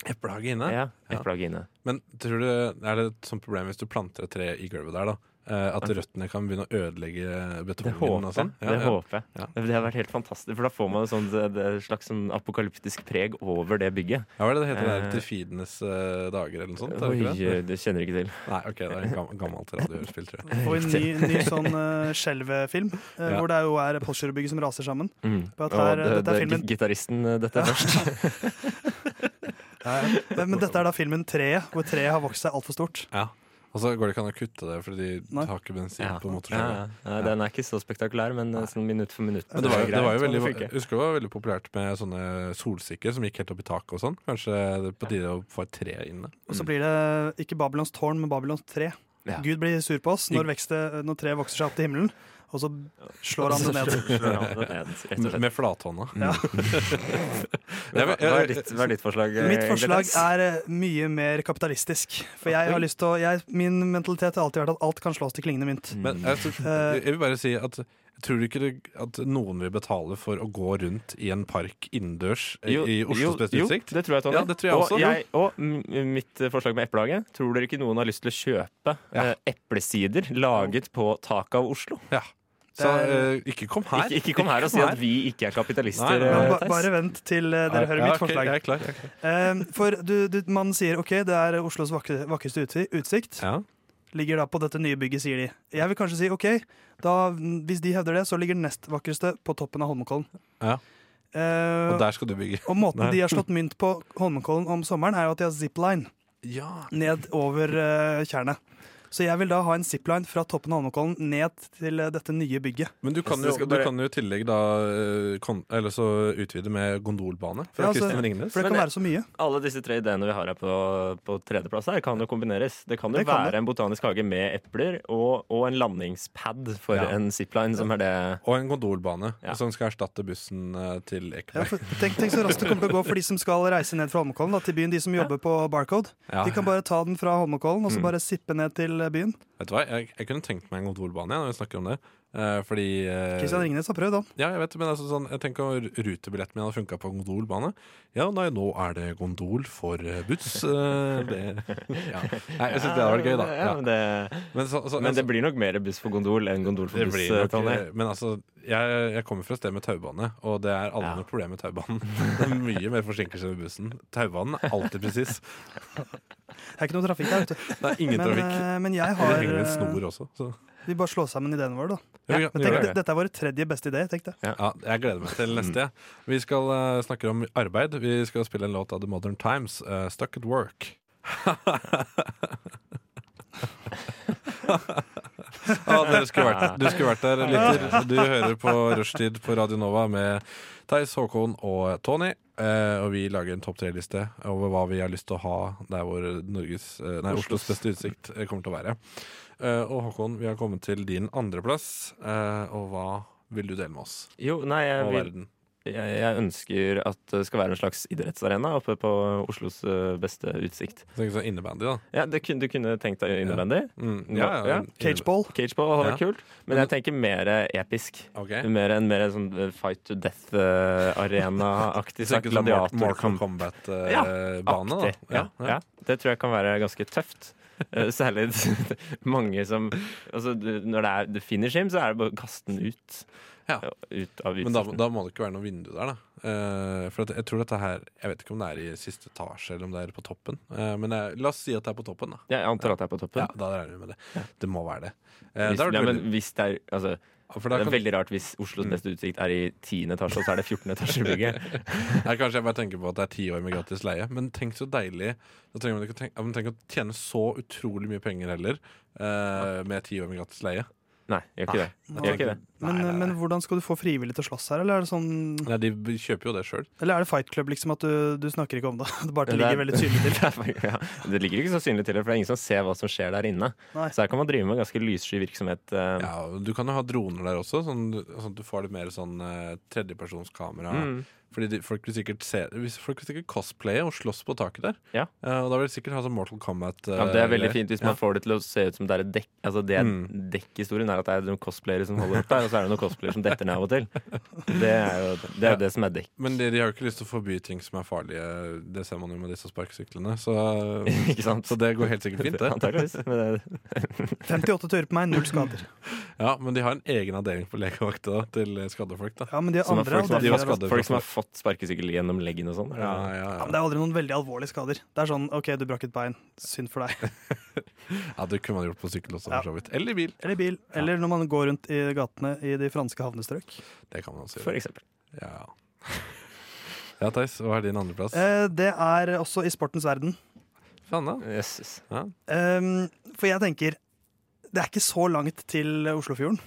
Speaker 4: Eplehage inne.
Speaker 6: Ja, eplehage inne.
Speaker 4: Men tror du, er det et sånt problem hvis du planter et tre i gulvet der, da? Eh, At røttene kan begynne å ødelegge
Speaker 6: Det
Speaker 4: betongen
Speaker 6: håper
Speaker 4: og
Speaker 6: jeg.
Speaker 4: sånn?
Speaker 6: det håper jeg.
Speaker 4: Ja.
Speaker 6: Det hadde vært helt fantastisk, for da får man et sånt, eh, det- et slags sånn apokalyptisk preg over det bygget.
Speaker 4: Ja, hva er det det heter? Det er
Speaker 6: Eh,
Speaker 4: Til fidenes eh, dager eller noe sånt? Er det
Speaker 6: Oi,
Speaker 4: ikke det?
Speaker 6: eh, det kjenner jeg ikke til.
Speaker 4: Nei, ok, det er en gam- gammelt radiohørspill, tror jeg.
Speaker 5: Og en ny, ny sånn eh, skjelvefilm, eh,
Speaker 4: Ja.
Speaker 5: hvor det jo er Postgirobygget som raser sammen.
Speaker 6: Mm.
Speaker 5: For at her, eh,
Speaker 6: Og det,
Speaker 5: dette er
Speaker 6: det,
Speaker 5: filmen.
Speaker 6: Gitaristen, eh, dette er først.
Speaker 5: Men, men dette er da filmen Treet, hvor treet har vokst seg altfor stort.
Speaker 4: Ja. Og så går det ikke an å kutte det, fordi de
Speaker 5: Nei.
Speaker 4: har ikke bensin
Speaker 6: Ja.
Speaker 4: på
Speaker 6: Ja,
Speaker 4: motorsykkelen.
Speaker 6: ja. Nei, Den er ikke så spektakulær, men eh, sånn minutt for minutt.
Speaker 4: Men det var,
Speaker 6: eh,
Speaker 4: det var jo
Speaker 6: greit,
Speaker 4: veldig,
Speaker 6: og det
Speaker 4: jeg
Speaker 6: funker.
Speaker 4: husker det var veldig populært med sånne solsikker som gikk helt opp i taket og sånn. Kanskje det er på tide å få et tre inne.
Speaker 5: Og så blir det ikke Babylons tårn, men Babylons tre.
Speaker 6: Ja.
Speaker 5: Gud blir sur på oss når, vekste, når treet vokser seg opp til himmelen, og så slår han det ned.
Speaker 6: Slår han det ned, rett og slett.
Speaker 4: Med flathånda.
Speaker 5: Ja.
Speaker 4: Jeg- jeg-
Speaker 6: Hva er ditt, hva er ditt forslag? eh,
Speaker 5: Mitt forslag
Speaker 6: Gledes?
Speaker 5: er eh, mye mer kapitalistisk. For jeg har lyst til å jeg, Min mentalitet har alltid vært at alt kan slås til klingende mynt.
Speaker 4: Men
Speaker 6: Mm.
Speaker 4: jeg, tror-
Speaker 5: Eh.
Speaker 4: jeg vil bare si at Tror du ikke det, at noen vil betale for å gå rundt i en park innendørs eh, i-
Speaker 6: Jo,
Speaker 4: i
Speaker 6: jo,
Speaker 4: Oslos beste
Speaker 6: jo,
Speaker 4: utsikt?
Speaker 6: det tror jeg, Tony.
Speaker 4: Ja, det tror jeg
Speaker 6: og
Speaker 4: også.
Speaker 6: Jeg, og m- mitt eh, forslag med eplehage. Tror dere ikke noen har lyst til å kjøpe eh, eplesider laget på taket av Oslo?
Speaker 4: Ja. Så eh, ikke kom her.
Speaker 6: Ikke, ikke kom her og si at vi ikke er kapitalister.
Speaker 4: Nei, nei,
Speaker 5: Men
Speaker 6: eh,
Speaker 5: ba,
Speaker 6: Theis.
Speaker 5: bare vent til eh, dere hører
Speaker 4: Ja,
Speaker 5: mitt
Speaker 4: ok,
Speaker 5: forslag.
Speaker 4: Jeg er klar. Jeg er klar.
Speaker 5: Eh, for du, du, man sier ok, det er Oslos vakre, vakreste utsi- utsikt.
Speaker 4: Ja.
Speaker 5: Ligger da på dette nye bygget, sier de. Jeg vil kanskje si ok, da, hvis de hevder det, så ligger den nest vakreste på toppen av Holmenkollen.
Speaker 4: Ja.
Speaker 5: Eh,
Speaker 4: Og der skal du bygge.
Speaker 5: og måten
Speaker 4: Nei.
Speaker 5: de har slått mynt på Holmenkollen om sommeren, er jo at de har zipline
Speaker 4: Ja.
Speaker 5: ned over eh, tjernet. Så jeg vil da ha en zipline fra toppen av Holmenkollen ned til eh, dette nye bygget.
Speaker 4: Men du kan,
Speaker 6: Altså,
Speaker 4: jo,
Speaker 6: det skal
Speaker 4: du
Speaker 6: bare-
Speaker 4: kan jo i tillegg da eh, kon eller så utvide med gondolbane fra
Speaker 5: Ja, altså,
Speaker 4: Kristin Ringnes.
Speaker 5: For det kan
Speaker 6: Men-
Speaker 5: være så mye.
Speaker 6: Alle disse tre ideene vi har her på, på tredjeplass, her kan jo kombineres. Det kan jo
Speaker 5: Det kan
Speaker 6: være en botanisk hage med epler og, og en landingspad for
Speaker 4: Ja.
Speaker 6: en zipline, som er det
Speaker 4: Og en gondolbane
Speaker 6: Ja.
Speaker 4: som skal erstatte bussen eh, til
Speaker 5: Ja,
Speaker 4: Ekeberg.
Speaker 5: for, tenk, tenk så raskt det kommer til å gå for de som skal reise ned fra Holmenkollen da, til byen, de som jobber på Barcode.
Speaker 4: Ja. Mm.
Speaker 5: De kan bare ta den fra Holmenkollen og så bare sippe ned til byen.
Speaker 4: Vet du hva, jeg, jeg kunne tenkt meg en gondolbane ja, når vi snakker om det. Eh, fordi eh,
Speaker 5: Kristian Ringnes har prøvd, han.
Speaker 4: Ja, jeg vet, men altså, sånn, jeg tenker om ru- rutebilletten min hadde funka på gondolbane. Ja, nei, nå er det gondol for eh, buss. eh, Det, ja. Nei, jeg syns det hadde vært gøy, da.
Speaker 6: Ja,
Speaker 4: Ja.
Speaker 6: men, det,
Speaker 4: Men, så, så,
Speaker 6: men det blir nok mer buss for gondol enn gondol for
Speaker 4: det
Speaker 6: buss,
Speaker 4: blir nok-
Speaker 6: Tonje.
Speaker 4: Men altså, jeg, jeg kommer fra et sted med taubane, og det er alle
Speaker 6: Ja.
Speaker 4: noe problem med taubanen. Det er mye mer forsinkelser med bussen. Taubanen er alltid presis.
Speaker 5: Det er ikke noe trafikk der, vet du.
Speaker 4: Det er ingen
Speaker 5: Men,
Speaker 4: trafikk.
Speaker 5: eh, men jeg
Speaker 4: Det
Speaker 5: har
Speaker 4: henger en
Speaker 5: eh,
Speaker 4: snor også. Så.
Speaker 5: Vi bare slår sammen ideene våre, da.
Speaker 4: Ja, vi-
Speaker 5: Men
Speaker 4: vi gjør
Speaker 5: tenk,
Speaker 4: det.
Speaker 5: det- Dette er våre tredje beste ideer, tenk det.
Speaker 4: Ja, jeg gleder meg til neste. jeg. Vi skal eh, snakke om arbeid. Vi skal spille en låt av The Modern Times, eh, 'Stuck at Work'. ah, dere, skulle vært, dere skulle vært der, lytter. Du hører på Rushtid på Radio Nova med Theis, Håkon og Tony. Eh, og vi lager en topp tre-liste over hva vi har lyst til å ha der hvor Norges, eh, nei, Oslos beste utsikt eh, kommer til å være. Eh, og Håkon, vi har kommet til din andreplass, eh, og hva vil du dele med oss
Speaker 6: Jo, nei, jeg,
Speaker 4: og
Speaker 6: vil,
Speaker 4: verden?
Speaker 6: jeg, jeg ønsker at det skal være en slags idrettsarena oppe på Oslos eh, beste utsikt.
Speaker 4: Jeg tenker sånn innebandy, da.
Speaker 6: Ja, det kunne, Du kunne tenkt deg innebandy.
Speaker 4: Mm,
Speaker 6: Ja, ja.
Speaker 5: Cageball.
Speaker 6: Cageball hadde vært
Speaker 4: Ja.
Speaker 6: kult, men jeg tenker mer episk.
Speaker 4: Ok.
Speaker 6: Mer en mer en sånn eh, fight to eh, death-arena-aktig.
Speaker 4: Så ikke sånn Mor- Mortal
Speaker 6: liksom. Ja,
Speaker 4: Kombat-bane, da.
Speaker 6: Aktig. Ja, ja. Det tror jeg kan være ganske tøft. Eh, Særlig mange som altså, du- Når det er the finish him, så er det bare å kaste den ut.
Speaker 4: Ja.
Speaker 6: Ut av
Speaker 4: Men da,
Speaker 6: utsikten.
Speaker 4: da må det ikke være noe vindu der, da. Eh, for at jeg tror dette her Jeg vet ikke om det er i siste etasje eller om det er på toppen. Eh, men eh, la oss si at det er på toppen, da.
Speaker 6: Ja, jeg antar at det er på toppen.
Speaker 4: Ja, da regner vi med det. Det må være det. Eh,
Speaker 6: Hvis,
Speaker 4: da er det
Speaker 6: ja, men
Speaker 4: veldig-
Speaker 6: hvis det er altså,
Speaker 4: for da
Speaker 6: Det er
Speaker 4: kan, Mm.
Speaker 6: veldig rart hvis Oslos beste utsikt er i 10. etasje, og så er det 14. etasje i bygget.
Speaker 4: Nei, kanskje jeg bare tenker på at det er ti år med gratis leie, men tenk så deilig. Da trenger man ikke å tenke, ja, man trenger ikke å tjene så utrolig mye penger heller eh, med ti år med gratis leie.
Speaker 6: Nei, gjør ikke det.
Speaker 4: Ah,
Speaker 6: Gjør ikke det.
Speaker 5: Men,
Speaker 4: Nei, nei, nei.
Speaker 5: men hvordan skal du få frivillig til å slåss her, eller er det sånn
Speaker 4: Nei, de b- kjøper jo det sjøl.
Speaker 5: Eller er det Fight Club, liksom, at du, du snakker ikke om det? Det bare at det
Speaker 6: Det er-
Speaker 5: ligger veldig synlig til.
Speaker 6: ja, det ligger ikke så synlig til det, for det er ingen som ser hva som skjer der inne.
Speaker 5: Nei.
Speaker 6: Så her kan man drive med ganske lyssky virksomhet. eh,
Speaker 4: Ja, og du kan jo ha droner der også, sånn, du- sånn at du får litt mer sånn eh, tredjepersonskamera.
Speaker 6: Mm.
Speaker 4: Fordi de, folk vil sikkert se hvis- Folk vil sikkert cosplaye og slåss på taket der.
Speaker 6: Ja.
Speaker 4: Eh, og da vil de sikkert ha sånn Mortal Kombat. eh,
Speaker 6: Ja, Det er veldig
Speaker 4: greier.
Speaker 6: fint hvis man
Speaker 4: Ja. Mm.
Speaker 6: får det til å se ut som det er et dekk. Altså det er dekkhistorien er at det er noen cosplayere som holder opp der, og så er det noen cosplayere som detter ned av og til. Det er jo det, er jo det som er dekk.
Speaker 4: Men de, de har jo ikke lyst til å forby ting som er farlige. Det ser man jo med disse sparkesyklene. Så,
Speaker 6: Ikke sant?
Speaker 4: så det går helt sikkert fint, det.
Speaker 6: Antakeligvis. Men det,
Speaker 5: 58 turer på meg, null skader.
Speaker 4: Ja, men de har en egen avdeling på legevakta til skadde folk, da.
Speaker 5: Ja, men de har
Speaker 6: som er
Speaker 5: andre
Speaker 6: folk, som
Speaker 4: de var
Speaker 6: har
Speaker 5: avdelinger. også.
Speaker 6: fått,
Speaker 4: skadet
Speaker 6: folk som har fått sparkesykkel gjennom leggen og sånn. er det-
Speaker 4: Ja, ja,
Speaker 5: Ja, men
Speaker 4: ja.
Speaker 5: det er aldri noen veldig alvorlige skader. Det er sånn OK, du brakk et bein. Synd for deg.
Speaker 4: ja, det kunne man gjort på sykkel også,
Speaker 5: Ja.
Speaker 4: for så vidt. Eller i bil.
Speaker 5: Eller i bil. Eller når man går rundt i gatene i de franske havnestrøk.
Speaker 4: Det kan man også
Speaker 6: For
Speaker 4: gjøre.
Speaker 6: eksempel.
Speaker 4: Ja, ja Theis, hva er din andreplass?
Speaker 5: Eh, Det er også i sportens verden.
Speaker 4: Faen, da.
Speaker 6: Yes.
Speaker 5: Ehm, For jeg tenker det er ikke så langt til Oslofjorden.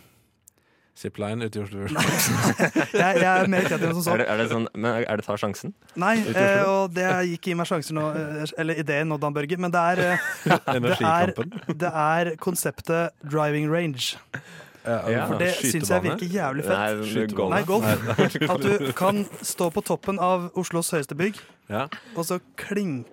Speaker 4: Zipline ute i Oslofjorden.
Speaker 5: Jeg, jeg er mer kreativ enn som
Speaker 6: Er,
Speaker 5: så.
Speaker 6: det, er det sånn Men er det ta sjansen?
Speaker 5: Nei, eh, og det gikk i meg sjanser nå, eh, eller ideen nå, Dan Børge, men det er, eh, det er,
Speaker 4: Energikampen.
Speaker 5: det er konseptet driving range.
Speaker 6: Ja.
Speaker 5: For det syns jeg
Speaker 4: Skytebane.
Speaker 5: virker jævlig
Speaker 6: Nei,
Speaker 5: fett.
Speaker 6: det er golf.
Speaker 5: Nei, golf. At du kan stå på toppen av Oslos høyeste bygg
Speaker 4: Ja.
Speaker 5: og så klinke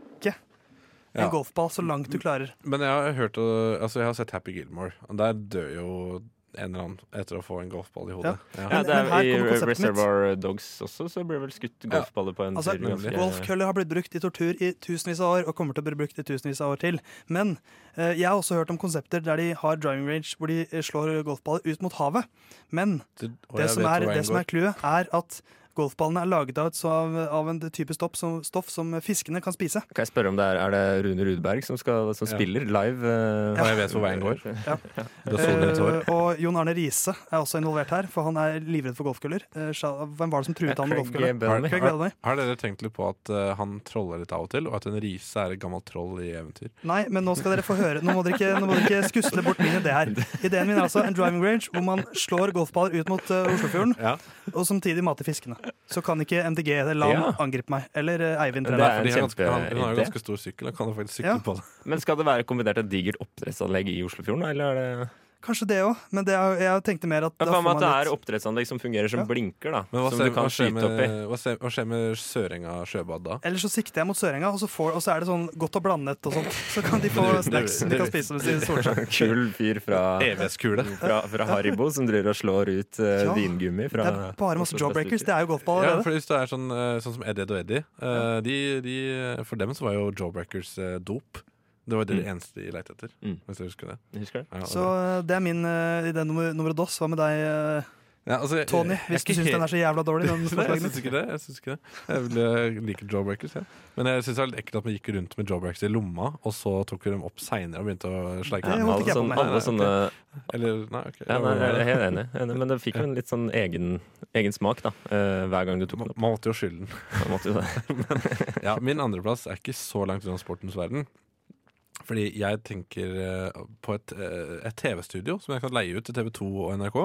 Speaker 4: Ja.
Speaker 5: en golfball så langt du klarer.
Speaker 4: Men jeg har hørt øh, Altså jeg har sett Happy Gilmore, og der dør jo en eller annen etter å få en golfball i hodet. Ja.
Speaker 6: Ja,
Speaker 5: Men-
Speaker 6: det er
Speaker 5: men her
Speaker 6: I
Speaker 5: kommer konseptet mitt.
Speaker 6: Reservoir Dogs også så blir det vel skutt golfballer
Speaker 4: Mm,
Speaker 6: på en
Speaker 5: Altså,
Speaker 6: tur ganske-
Speaker 5: Golfkøller har blitt brukt i tortur i tusenvis av år og kommer til å bli brukt i tusenvis av år til. Men eh, jeg har også hørt om konsepter der de har driving range hvor de eh, slår golfballer ut mot havet. Men
Speaker 4: Du- og
Speaker 5: Det
Speaker 4: jeg
Speaker 5: som
Speaker 4: vet
Speaker 5: er,
Speaker 4: hvor
Speaker 5: det
Speaker 4: veien
Speaker 5: som er
Speaker 4: går.
Speaker 5: clouet, er at golfballene er laget av, et så- av, av en type stoff som, stoff som fiskene kan spise.
Speaker 6: Kan jeg spørre om det er, er det Rune Rudberg som, skal, som
Speaker 4: Ja.
Speaker 6: spiller live? eh,
Speaker 4: Og jeg vet hvor veien går. Du har solet
Speaker 5: Eh,
Speaker 4: ditt hår.
Speaker 5: og Jon Arne Riise er også involvert her, for han er livredd for golfkøller. Eh, sja- hvem var det som truet han med
Speaker 6: Craig
Speaker 5: golfkøller?
Speaker 6: Bellamy.
Speaker 5: Craig Bellamy.
Speaker 4: Har dere tenkt litt på at øh, han troller litt av og til, og at en rise er et gammelt troll i eventyr?
Speaker 5: Nei, men nå skal dere få høre. Nå må dere ikke, nå må dere ikke skusle bort min idé her. Ideen min er altså en driving range hvor man slår golfballer ut mot eh, Oslofjorden,
Speaker 4: Ja.
Speaker 5: og samtidig mater fiskene. Så kan ikke MDG eller LAN
Speaker 6: Ja.
Speaker 5: angripe meg. Eller eh, Eivind
Speaker 6: Det
Speaker 4: Det
Speaker 5: Trelle.
Speaker 6: er
Speaker 4: er
Speaker 6: en
Speaker 4: fordi han, ganske, han, han har jo
Speaker 6: kjempeidé.
Speaker 4: ganske stor sykkel, han kan jo faktisk sykle
Speaker 5: Ja.
Speaker 4: på det.
Speaker 6: Men skal det være kombinert et digert oppdrettsanlegg i Oslofjorden, da, eller er det
Speaker 5: Kanskje det òg, men det er, jeg tenkte mer at
Speaker 6: ja,
Speaker 5: da
Speaker 6: Hva
Speaker 5: får
Speaker 6: med at det
Speaker 5: man
Speaker 6: er
Speaker 5: litt-
Speaker 6: oppdrettsanlegg som fungerer som
Speaker 5: Ja.
Speaker 6: blinker, da?
Speaker 4: Men hva
Speaker 6: som
Speaker 4: skjer,
Speaker 6: du
Speaker 4: hva
Speaker 6: kan
Speaker 4: skjer,
Speaker 6: skyte
Speaker 4: med,
Speaker 6: opp i?
Speaker 4: hva skjer, hva skjer med Sørenga sjøbad da?
Speaker 5: Eller så sikter jeg mot Sørenga, og så, får, og så er det sånn godt og blandet og sånt. Så kan de få
Speaker 4: Det- det-
Speaker 5: snacks som de kan spise mens de soler seg.
Speaker 6: Kul fyr fra,
Speaker 4: E EVS-kule.
Speaker 6: fra, fra Haribo som driver og slår ut eh,
Speaker 5: Ja.
Speaker 6: vingummi
Speaker 5: Det
Speaker 6: fra
Speaker 5: er bare masse jawbreakers. Det er jo golfball
Speaker 4: Ja,
Speaker 5: allerede.
Speaker 4: for hvis det er sånn, eh, sånn som Eddie Ed og Eddie eh, de, de, For dem så var jo Jawbreakers eh, dop. Det var det
Speaker 6: Mm.
Speaker 4: eneste de lette etter.
Speaker 6: Mm.
Speaker 4: Hvis jeg husker det.
Speaker 6: Husker du?
Speaker 4: Ja,
Speaker 5: Så eh, det er min eh, idé nummer, nummer dos. Hva med deg, eh,
Speaker 4: ja, altså, jeg-
Speaker 5: Tony?
Speaker 4: jeg er
Speaker 5: Hvis du
Speaker 4: ikke
Speaker 5: syns
Speaker 4: helt-
Speaker 5: den er så jævla dårlig. Den
Speaker 4: Nei, altså, jeg
Speaker 5: forslagen.
Speaker 4: syns ikke det. Jeg, synes ikke det. jeg, vil, jeg liker jawbreakers, jeg. Men jeg syns det er litt ekkelt at man gikk rundt med jawbreakers i lomma, og så tok vi dem opp seinere og begynte å sleike
Speaker 5: Ja,
Speaker 4: dem.
Speaker 5: holdt
Speaker 6: alle,
Speaker 5: ikke jeg på
Speaker 6: sånne,
Speaker 5: med.
Speaker 6: alle sånne
Speaker 4: Eller, nei, ok.
Speaker 6: ja, nei, Jeg er helt enig, enig, men det fikk jo en litt sånn egen, egen smak, da. eh, hver gang du tok den opp.
Speaker 4: Man måtte jo skylde den.
Speaker 6: på en måte.
Speaker 4: Ja, min andreplass er ikke så langt unna sportens verden. Fordi jeg tenker eh, på et, eh, et TV-studio som jeg kan leie ut til TV 2 og NRK.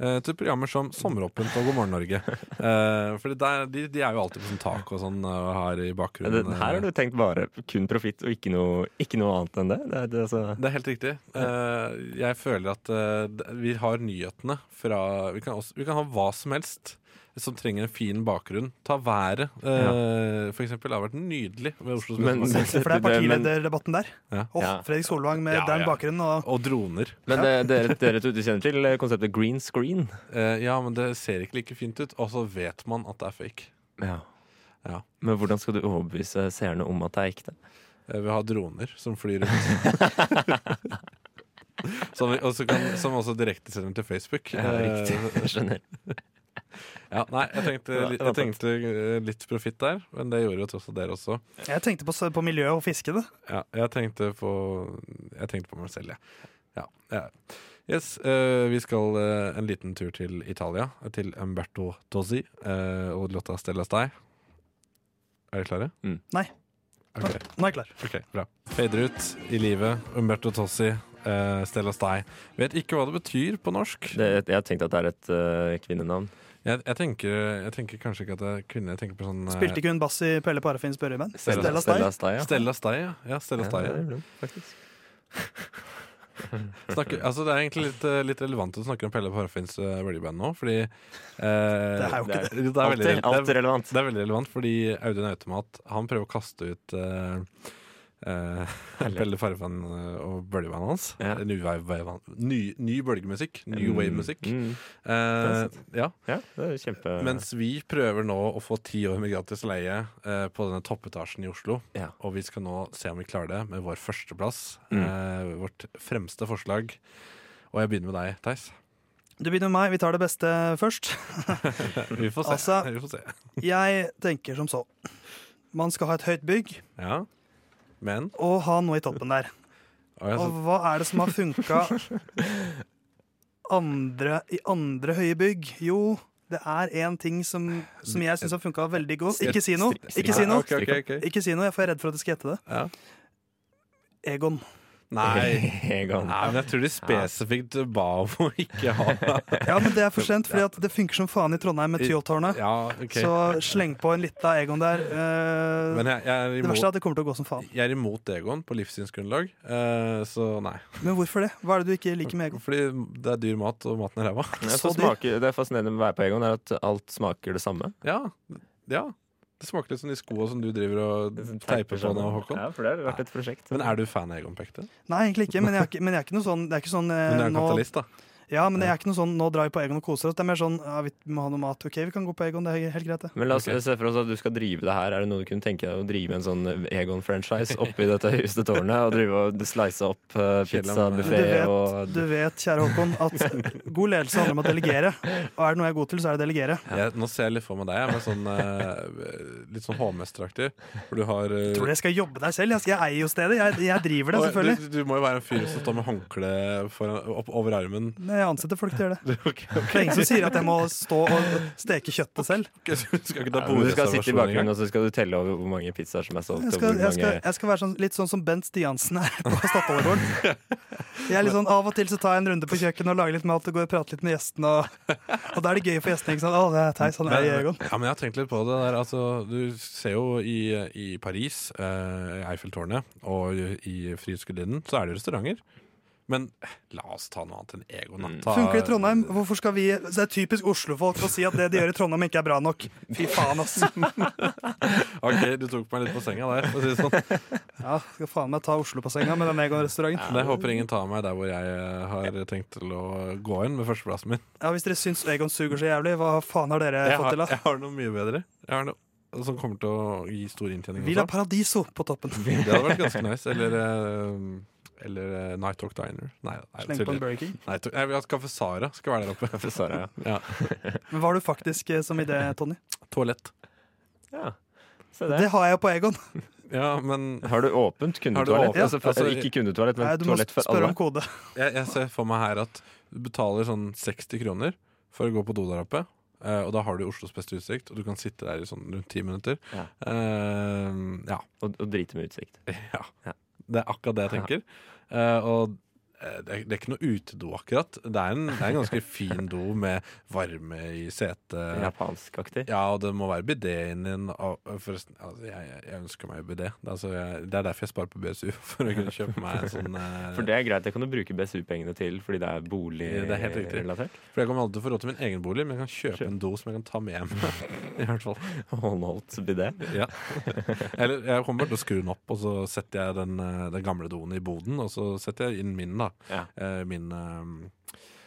Speaker 4: eh, til programmer som Sommeråpent og God morgen Norge. Uh, fordi der, de, de er jo alltid på sånn tak og sånn eh, her i
Speaker 6: Ja,
Speaker 4: bakgrunnen.
Speaker 6: det- Her har du tenkt bare kun profitt og ikke noe, ikke noe annet enn det. det, er- det er altså,
Speaker 4: Det er helt riktig. Eh, jeg føler at eh, d- vi har nyhetene fra vi kan, også, vi kan ha hva som helst som trenger en fin bakgrunn. Ta været, eh, for eksempel. Det har vært nydelig ved Oslo
Speaker 6: Men-
Speaker 4: Spektrum.
Speaker 5: For det er partilederdebatten der.
Speaker 4: Ja.
Speaker 5: Åh,
Speaker 6: Ja.
Speaker 5: Fredrik Solvang med
Speaker 4: Ja,
Speaker 5: den
Speaker 4: ja.
Speaker 5: bakgrunnen. Og
Speaker 4: Og droner.
Speaker 6: men det, dere, dere to du kjenner til eh, konseptet green screen?
Speaker 4: Eh, ja, men det ser ikke like fint ut. Og så vet man at det er fake.
Speaker 6: Ja.
Speaker 4: Ja.
Speaker 6: Men hvordan skal du overbevise seerne om at det er ekte?
Speaker 4: Eh, Vi har droner som flyr rundt. som, vi, også kan, som også direktesender til Facebook.
Speaker 6: Ja, riktig. Skjønner.
Speaker 4: Eh, ja, nei, jeg tenkte, litt- jeg tenkte eh, litt profitt der, men det gjorde jo tross alt dere også.
Speaker 5: jeg tenkte på, på miljøet og fiskene.
Speaker 4: Ja, jeg tenkte på Jeg tenkte på meg selv, jeg. Ja, ja. Yes, eh, vi skal eh, en liten tur til Italia, til Umberto Tozzi eh, og låta 'Stella Stei'. Er dere klare?
Speaker 6: Mm.
Speaker 5: Nei.
Speaker 4: Ok,
Speaker 5: Nå er jeg klar.
Speaker 4: ok, bra. Fader ut i livet. Umberto Tozzi, eh, 'Stella Stei'. Vet ikke hva det betyr på norsk.
Speaker 6: Det, jeg tenkte at det er et eh, kvinnenavn.
Speaker 4: Jeg, jeg, tenker, jeg tenker kanskje ikke at det er kvinne. Jeg tenker på sånn eh,
Speaker 5: Spilte ikke hun bass i Pelle Parafins børreband?
Speaker 4: Stella-
Speaker 5: Stella Stei.
Speaker 6: Steia.
Speaker 4: Stella Stei, ja. ja Stella Stei.
Speaker 6: Ja, det gjorde hun faktisk.
Speaker 4: Snakker, altså det er egentlig litt, eh, litt relevant å snakke om Pelle Parafins uh, Bøljeband nå, fordi eh,
Speaker 5: er jo ikke
Speaker 4: det. er- Det er,
Speaker 6: Alt,
Speaker 4: veldig,
Speaker 6: er- alt
Speaker 4: det,
Speaker 6: er
Speaker 4: er,
Speaker 6: relevant.
Speaker 4: det er veldig relevant, fordi Audun Automat han prøver å kaste ut eh, eh, Pelle Parafin eh, og bøljebandet hans.
Speaker 6: Ja.
Speaker 4: New, wave, ny, ny bølgemusikk. New wave-musikk.
Speaker 6: Mm.
Speaker 4: Eh, ja.
Speaker 6: Ja, det er kjempe...
Speaker 4: Mens vi prøver nå å få ti år med gratis leie eh, på denne toppetasjen i Oslo.
Speaker 6: Ja.
Speaker 4: Og vi skal nå se om vi klarer det med vår førsteplass.
Speaker 6: Mm.
Speaker 4: Eh, vårt fremste forslag. Og jeg begynner med deg, Theis.
Speaker 5: Du begynner med meg, vi tar det beste først.
Speaker 4: Vi får se.
Speaker 5: Altså-
Speaker 4: vi får se.
Speaker 5: Jeg tenker som så. Man skal ha et høyt bygg
Speaker 4: Ja. Men
Speaker 5: og ha noe i toppen der.
Speaker 4: og jeg,
Speaker 5: Og hva er det som har funka andre, i andre høye bygg? Jo, det er én ting som, som jeg syns har funka veldig godt. Ikke si noe! Ikke si noe,
Speaker 4: Ok, ok, ok.
Speaker 5: Ikke si noe, jeg får redd for at du skal gjette det.
Speaker 4: Ja.
Speaker 5: Egon.
Speaker 4: Nei.
Speaker 6: Egon.
Speaker 4: Nei, men jeg tror de spesifikt ba om å ikke ha
Speaker 5: Ja, men det er for sent, fordi at det funker som faen i Trondheim med Tyholttårnet.
Speaker 4: Ja, ok.
Speaker 5: Så sleng på en lita Egon der. Eh,
Speaker 4: Men jeg, jeg, er
Speaker 5: det verste er
Speaker 4: imot,
Speaker 5: at det kommer til å gå som faen.
Speaker 4: jeg er imot Egon på livssynsgrunnlag, eh, så nei.
Speaker 5: Men hvorfor det? Hva er det du ikke liker med Egon?
Speaker 4: Fordi det er dyr mat, og maten er ræva.
Speaker 6: Det,
Speaker 5: så
Speaker 6: som smaker, det er fascinerende med å være på Egon, er at alt smaker det samme.
Speaker 4: Ja. ja. Det smaker litt som de skoa som du driver og
Speaker 5: sånn
Speaker 4: teiper sånn. på nå, Håkon.
Speaker 6: sånn Ja, for det har vært et prosjekt.
Speaker 4: Men er du fan av Egon på ekte?
Speaker 5: Nei, egentlig ikke, men jeg er ikke, men jeg er ikke noe sånn, det er ikke sånn eh,
Speaker 4: Men du er jo
Speaker 5: nå,
Speaker 4: kapitalist, da.
Speaker 5: ja, men jeg er ikke noe sånn 'nå drar vi på Egon og koser oss'. Det er mer sånn ja, 'vi må ha noe mat', ok, vi kan gå på Egon, det er helt greit, det.
Speaker 6: Men la oss
Speaker 4: Ok.
Speaker 6: se for oss at du skal drive det her. Er det noe du kunne tenke deg å drive en sånn Egon-franchise oppi dette høyeste tårnet? Og drive og slice opp uh,
Speaker 5: Du
Speaker 6: pizzabuffé
Speaker 5: vet,
Speaker 6: og
Speaker 5: du vet, kjære Håkon, at god ledelse handler om å delegere. Og er det noe jeg er god til, så er det delegere.
Speaker 4: Jeg, nå ser jeg litt for meg deg jeg, med sånn, eh, litt sånn hovmesteraktig. Hvor du har eh,
Speaker 5: Tror du jeg skal jobbe der selv? Jeg, skal, jeg eier jo stedet. Jeg, jeg driver det,
Speaker 4: Å,
Speaker 5: selvfølgelig.
Speaker 4: Du, du må jo være en fyr som står med håndkle foran, opp, over armen.
Speaker 5: Nei, Jeg ansetter folk til å gjøre det. Det er ingen som sier at jeg må stå og steke kjøttet selv.
Speaker 4: Du skal ikke ta
Speaker 6: Ja, men Du skal sitte i
Speaker 4: bordreservasjon
Speaker 6: bakgrunnen
Speaker 4: engang.
Speaker 6: og så skal du telle over hvor mange pizzaer som er solgt. Og hvor
Speaker 5: Jeg skal, jeg skal,
Speaker 6: mange
Speaker 5: jeg skal være sånn, litt sånn som Bent Stiansen er på Statoilegården. Jeg er litt sånn, Av og til så tar jeg en runde på kjøkkenet og lager litt mat og går og prater litt med gjestene. Og, og da er det gøy for gjestene. ikke sant? Å, det er Theis, han er i
Speaker 4: Men,
Speaker 5: Egon.
Speaker 4: ja, men jeg har tenkt litt på det der. Altså, du ser jo i, i Paris, eh, i Eiffeltårnet og i Frihetsgudinnen, så er det jo restauranter. Men eh, la oss ta noe annet enn Egon. da. Ta-
Speaker 5: Funker det i Trondheim? Hvorfor skal vi Det er typisk Oslo-folk å si at det de gjør i Trondheim, ikke er bra nok. Fy faen, ass.
Speaker 4: Ok, du tok meg litt på senga der. For å si det sånn.
Speaker 5: Ja, skal faen meg ta Oslo på senga med den Egon-restauranten.
Speaker 4: Men jeg håper ingen tar meg der hvor jeg eh, har tenkt til å gå inn med førsteplassen min.
Speaker 5: Ja, Hvis dere syns Egon suger så jævlig, hva faen har dere
Speaker 4: Jeg
Speaker 5: fått
Speaker 4: har,
Speaker 5: til? da?
Speaker 4: jeg har noe mye bedre. Jeg har noe som kommer til å gi stor inntjening.
Speaker 5: Villa
Speaker 4: også.
Speaker 5: Paradiso på toppen.
Speaker 4: Det hadde vært ganske nice. Eller, eh, eller eh, Night Talk Diner. Nei, nei,
Speaker 5: Sleng på en
Speaker 4: tuller.
Speaker 5: Burger King.
Speaker 4: Nei, to- nei, vi har Kaffe Sara skal være der oppe.
Speaker 6: Kaffe Sara,
Speaker 4: ja.
Speaker 5: Men hva har du faktisk eh, som idé, Tony?
Speaker 4: Toalett.
Speaker 6: Ja. Se
Speaker 5: Det
Speaker 6: der.
Speaker 5: har jeg jo på Egon.
Speaker 4: Ja, men
Speaker 6: Har du åpent
Speaker 4: Har du
Speaker 6: kundetoalett?
Speaker 4: åpent?
Speaker 6: Altså, for-
Speaker 4: Altså,
Speaker 6: eller ikke kundetoalett, men
Speaker 5: Nei, du må
Speaker 6: toalett for
Speaker 5: spørre
Speaker 6: alle.
Speaker 5: om kode.
Speaker 4: jeg, jeg ser for meg her at du betaler sånn 60 kroner for å gå på do der oppe. eh, og da har du Oslos beste utsikt, og du kan sitte der i sånn rundt ti minutter.
Speaker 6: Ja.
Speaker 4: Eh, ja.
Speaker 6: Og, og drite med utsikt.
Speaker 4: ja.
Speaker 6: Ja.
Speaker 4: Det er akkurat det jeg tenker. Eh, og eh, det er, det er ikke noe utedo, akkurat. Det er, en, det er en ganske fin do med varme i setet.
Speaker 6: Japanskaktig.
Speaker 4: Ja, og det må være bidéen din. og- og Forresten, altså, jeg, jeg- jeg ønsker meg bidé. Det er, altså, jeg, det er derfor jeg sparer på BSU, for å kunne kjøpe meg en sånn eh,
Speaker 6: For det er greit, det kan du bruke BSU-pengene til fordi det er
Speaker 4: Det er helt riktig.
Speaker 6: boligrelatert.
Speaker 4: For jeg kommer aldri til å få råd til min egen bolig, men jeg kan kjøpe
Speaker 6: Kjøp.
Speaker 4: en do som jeg kan ta med hjem. I hvert fall.
Speaker 6: Håndholdt bidé.
Speaker 4: Ja. Eller jeg kommer bare til å skru den opp, og så setter jeg den, eh, den gamle doen i boden, og så setter jeg inn min, da.
Speaker 6: Ja.
Speaker 4: Eh, Min eh,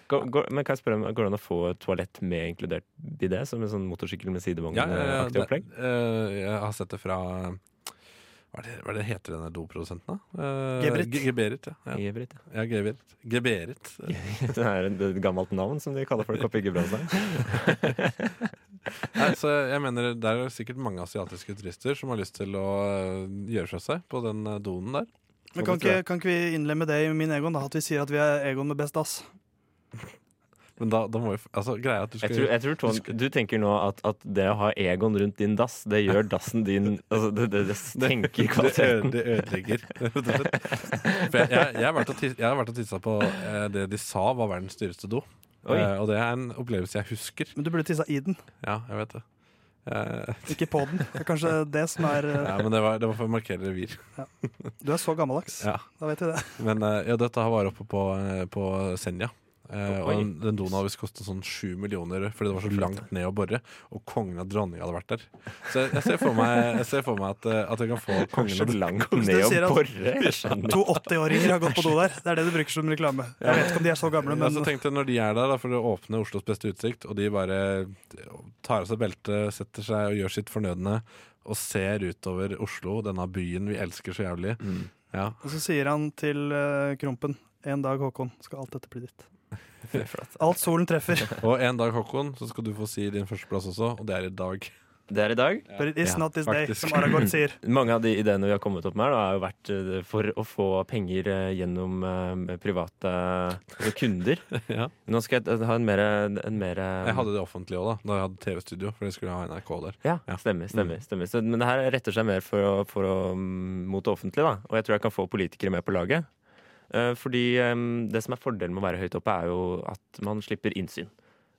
Speaker 6: Går, går, men kan jeg spørre, om- går det an å få et toalett med inkludert bidé, som en sånn motorsykkel med
Speaker 4: ja, ja, ja,
Speaker 6: sidevogn-aktig
Speaker 4: det-
Speaker 6: opplegg?
Speaker 4: eh, Jeg har sett det fra Hva er det, hva er det heter denne doprodusenten, da? Eh,
Speaker 5: Geberit.
Speaker 4: Ge- Geberit, ja. ja.
Speaker 6: I Britt, ja.
Speaker 4: ja Geberit. Geberit.
Speaker 6: Det er et gammelt navn som de kaller folk oppe i Gudbrandsdalen.
Speaker 4: Nei, så jeg mener Det er sikkert mange asiatiske turister som har lyst til å eh, gjøre fra seg på den eh, doen der.
Speaker 5: Men kan ikke, kan ikke vi innlemme det i min Egon, da? At vi sier at vi er Egon med best dass?
Speaker 4: Men da, da må vi f- altså, Greia er at du
Speaker 6: Jeg
Speaker 4: skal
Speaker 6: tror, jeg tror Trond, du tenker nå at, at det å ha Egon rundt din dass, det gjør dassen din altså, Det, det, det senker
Speaker 4: det, øde,
Speaker 6: kvaliteten.
Speaker 4: det ødelegger, rett og slett. For jeg, jeg, jeg har vært og tis- jeg har vært og tissa på eh, det de sa var verdens dyreste do.
Speaker 6: Oi.
Speaker 4: Eh, og det er en opplevelse jeg husker.
Speaker 5: Men du burde tissa i den,
Speaker 4: Ja, jeg vet det. Eh,
Speaker 5: ikke på den. Det er kanskje det som er eh,
Speaker 4: ja, men det var, det var for å markere revir.
Speaker 5: Du er så gammeldags.
Speaker 4: Ja.
Speaker 5: Da vet vi det.
Speaker 4: Men eh, ja, dette her var oppe på, eh, på Senja. Eh, og
Speaker 6: Oi.
Speaker 4: den, den doen hadde visst kostet sånn sju millioner fordi det var så langt ned å bore. Og kongen og dronninga hadde vært der. Så jeg, jeg, ser, for meg, jeg ser for meg at, eh, at jeg kan få kongen
Speaker 6: Så
Speaker 4: og
Speaker 6: langt
Speaker 5: du
Speaker 6: ned
Speaker 5: sier
Speaker 6: å
Speaker 5: at-
Speaker 6: bore. Jeg skjønner.
Speaker 5: To 80-åringer har gått på do der. Det er det du bruker som reklame. Jeg vet ikke om de er så gamle,
Speaker 4: Ja, så
Speaker 5: men
Speaker 4: tenkte jeg når de er der da, for å åpne Oslos beste utsikt, og de bare tar av seg beltet, setter seg og gjør sitt fornødne, og ser utover Oslo, denne byen vi elsker så jævlig. Ja,
Speaker 5: Og så sier han til eh, Krompen En dag, Håkon, skal alt dette bli ditt. Alt solen treffer.
Speaker 4: Og en dag, Håkon, så skal du få si din førsteplass også, og det er i dag.
Speaker 6: Det er i dag.
Speaker 5: But it is
Speaker 4: Ja,
Speaker 5: not this day,
Speaker 4: faktisk.
Speaker 5: som Aragorn sier.
Speaker 6: Mange av de ideene vi har kommet opp med, her da, har jo vært eh, for å få penger eh, gjennom eh, private altså kunder.
Speaker 4: Ja.
Speaker 6: Nå skal jeg eh, ha en mer, en mer
Speaker 4: Jeg hadde det offentlig òg, da da jeg hadde TV-studio, for jeg skulle ha NRK der.
Speaker 6: ja,
Speaker 4: Ja. Mm.
Speaker 6: stemmer. stemmer, stemmer. Så, men det her retter seg mer for å, for å, mm, mot det offentlige, da. og jeg tror jeg kan få politikere med på laget. Eh, Fordi eh, det som er fordelen med å være høyt oppe, er jo at man slipper innsyn.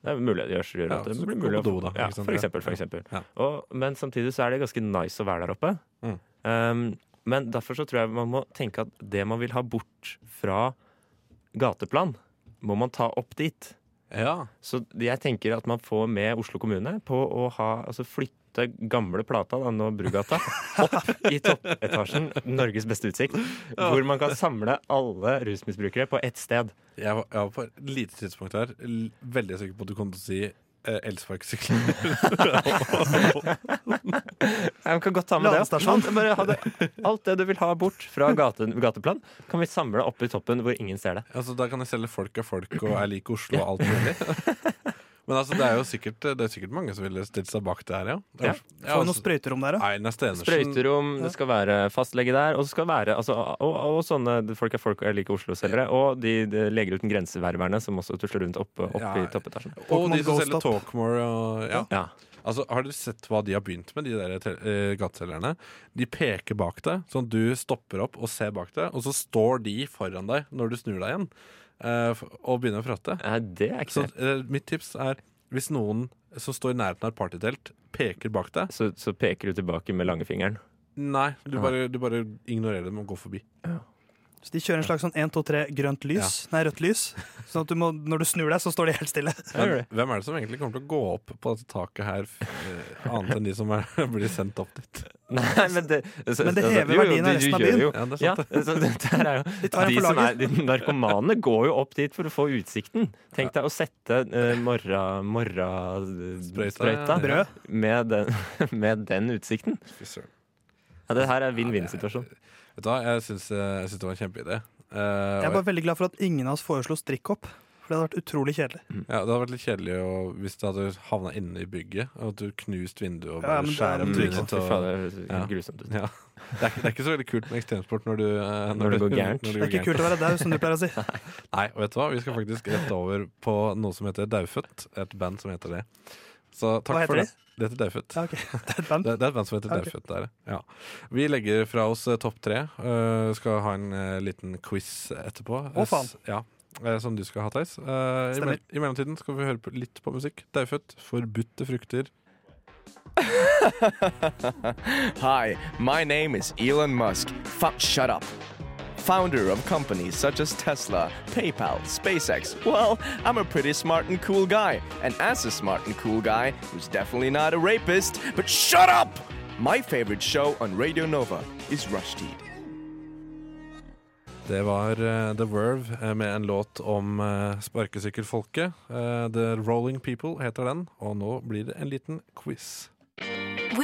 Speaker 6: Det er mulig, det gjør så gjør
Speaker 4: Ja,
Speaker 6: at det
Speaker 4: så
Speaker 6: blir
Speaker 4: gå
Speaker 6: mulig å få
Speaker 4: på do, da,
Speaker 6: Ja,
Speaker 4: ikke sant?
Speaker 6: for eksempel. For
Speaker 4: Ja.
Speaker 6: eksempel.
Speaker 4: Ja.
Speaker 6: Og, men samtidig så er det ganske nice å være der oppe.
Speaker 4: Mm.
Speaker 6: Um, men derfor så tror jeg man må tenke at det man vil ha bort fra gateplan, må man ta opp dit.
Speaker 4: Ja,
Speaker 6: Så jeg tenker at man får med Oslo kommune på å ha, altså flytte gamle plata, da, nå Brugata, opp i toppetasjen, Norges beste utsikt, hvor man kan samle alle rusmisbrukere på ett sted.
Speaker 4: jeg var, jeg var på et lite tidspunkt her l- veldig sikker på at du kom til å si eh, elsparkesykler.
Speaker 6: Jeg kan godt ta med det.
Speaker 5: Ladestasjon.
Speaker 6: Alt, bare ha det. Alt det du vil ha bort fra gate, gateplan, kan vi samle opp i toppen hvor ingen ser det.
Speaker 4: Altså, da kan jeg selge folk av folk og er lik Oslo og alt mulig. Men altså, det er jo sikkert, det er sikkert mange som ville stilt seg bak det her, ja. altså,
Speaker 6: Ja. altså-
Speaker 5: Får vi noen sprøyterom der, da?
Speaker 4: Einar Stenersen.
Speaker 6: Sprøyterom, det skal være fastlege der, og det skal være altså, og, og sånne folk er folk og jeg liker Oslo-selgere. Og de, de Leger uten grenseververne, som også tusler rundt opp, opp
Speaker 4: Ja.
Speaker 6: i toppetasjen.
Speaker 4: Og
Speaker 5: Pokémon
Speaker 4: de som
Speaker 5: Go
Speaker 4: selger
Speaker 5: Stop.
Speaker 4: Talkmore. Og, ja.
Speaker 6: Ja.
Speaker 4: Altså, har dere sett hva de har begynt med, de der te- eh, gateselgerne? De peker bak deg, sånn at du stopper opp og ser bak deg, og så står de foran deg når du snur deg igjen eh, f- og begynner å prate.
Speaker 6: Nei, det er ikke
Speaker 4: Så
Speaker 6: så,
Speaker 4: eh, mitt tips er hvis noen som står i nærheten av et partytelt, peker bak deg
Speaker 6: så, så peker du tilbake med langfingeren.
Speaker 4: Nei, du bare, du bare ignorerer dem og går forbi.
Speaker 5: Så de kjører en slags sånn 1, 2, 3 grønt lys, nei, rødt lys. Sånn at du må, når du snur deg, så står de helt stille.
Speaker 4: Men hvem er det som egentlig kommer til å gå opp på dette taket her, f- eh, annet enn de som er, blir sendt opp dit?
Speaker 6: Nei, men det, så-
Speaker 5: Men det
Speaker 6: altså,
Speaker 5: hever
Speaker 6: jo, jo,
Speaker 5: verdien av
Speaker 6: de- de
Speaker 5: resten av
Speaker 6: gjør
Speaker 5: byen.
Speaker 6: jo-
Speaker 4: Ja, det er
Speaker 6: Ja,
Speaker 4: sant, det.
Speaker 6: så det det her er jo
Speaker 5: De tar
Speaker 6: de,
Speaker 5: det
Speaker 6: som
Speaker 5: for
Speaker 6: er,
Speaker 5: laget.
Speaker 6: de narkomane går jo opp dit for å få utsikten. Tenk deg å sette uh, morra, morra eh,
Speaker 4: Sprøyta,
Speaker 6: sprøyta
Speaker 4: ja.
Speaker 5: Brød.
Speaker 6: med, den, med den utsikten.
Speaker 4: Fy søren.
Speaker 6: Ja, det her er vinn-vinn-situasjon.
Speaker 4: Vet du hva, jeg syns, eh, jeg syns det var en kjempeidé. Eh,
Speaker 5: Jeg er
Speaker 4: og-
Speaker 5: bare veldig glad for at ingen av oss foreslo strikkhopp. For det hadde vært utrolig kjedelig.
Speaker 4: ja, det hadde vært litt kjedelig å- hvis det hadde havna inne i bygget, og at du knust vinduet og
Speaker 5: Ja,
Speaker 4: bare
Speaker 5: men det er
Speaker 4: skjærer opp
Speaker 5: en
Speaker 6: Mm,
Speaker 5: trygg trikset.
Speaker 4: trynet
Speaker 6: fy
Speaker 4: ditt. og-
Speaker 6: faen, det
Speaker 4: Ja.
Speaker 6: høres grusomt ut.
Speaker 4: Ja. Det, er, ikke- det er ikke så veldig kult med ekstremsport når du eh,
Speaker 6: Når det går gærent.
Speaker 4: når
Speaker 5: Det er
Speaker 4: det går
Speaker 5: ikke kult å være daud, som du pleier å si.
Speaker 4: Nei, og vet du hva? Vi skal faktisk rette over på noe som heter Daufødt. Et band som heter det. Så takk
Speaker 5: Hva
Speaker 4: for
Speaker 5: heter
Speaker 4: det.
Speaker 5: de?
Speaker 4: Det heter Daufut.
Speaker 5: Ja, ok. Det er et band.
Speaker 4: Det, det er et band som heter
Speaker 5: Ja, ok.
Speaker 4: Daufut. det er det. Ja. Vi legger fra oss eh, topp tre. Eh, skal ha en eh, liten quiz etterpå.
Speaker 5: Å, faen.
Speaker 4: S- Ja. eh, som du skal ha, Theis. Eh, i,
Speaker 5: Stemmer.
Speaker 4: mell- I mellomtiden skal vi høre på, litt på musikk. Daufut, 'Forbudte frukter'.
Speaker 11: Hi, my name is Elon Musk. Fu- shut up. Founder of companies such as Tesla, PayPal, SpaceX. Well, I'm a pretty smart and cool guy. And as a smart and cool guy, who's definitely not a rapist, but shut up! My favorite show on Radio Nova is Rushdie.
Speaker 4: Det var eh, The Verve eh, med en låt om eh, sparkesykkelfolket. Eh, The Rolling People heter den, og nå blir det en liten quiz.
Speaker 12: Hvor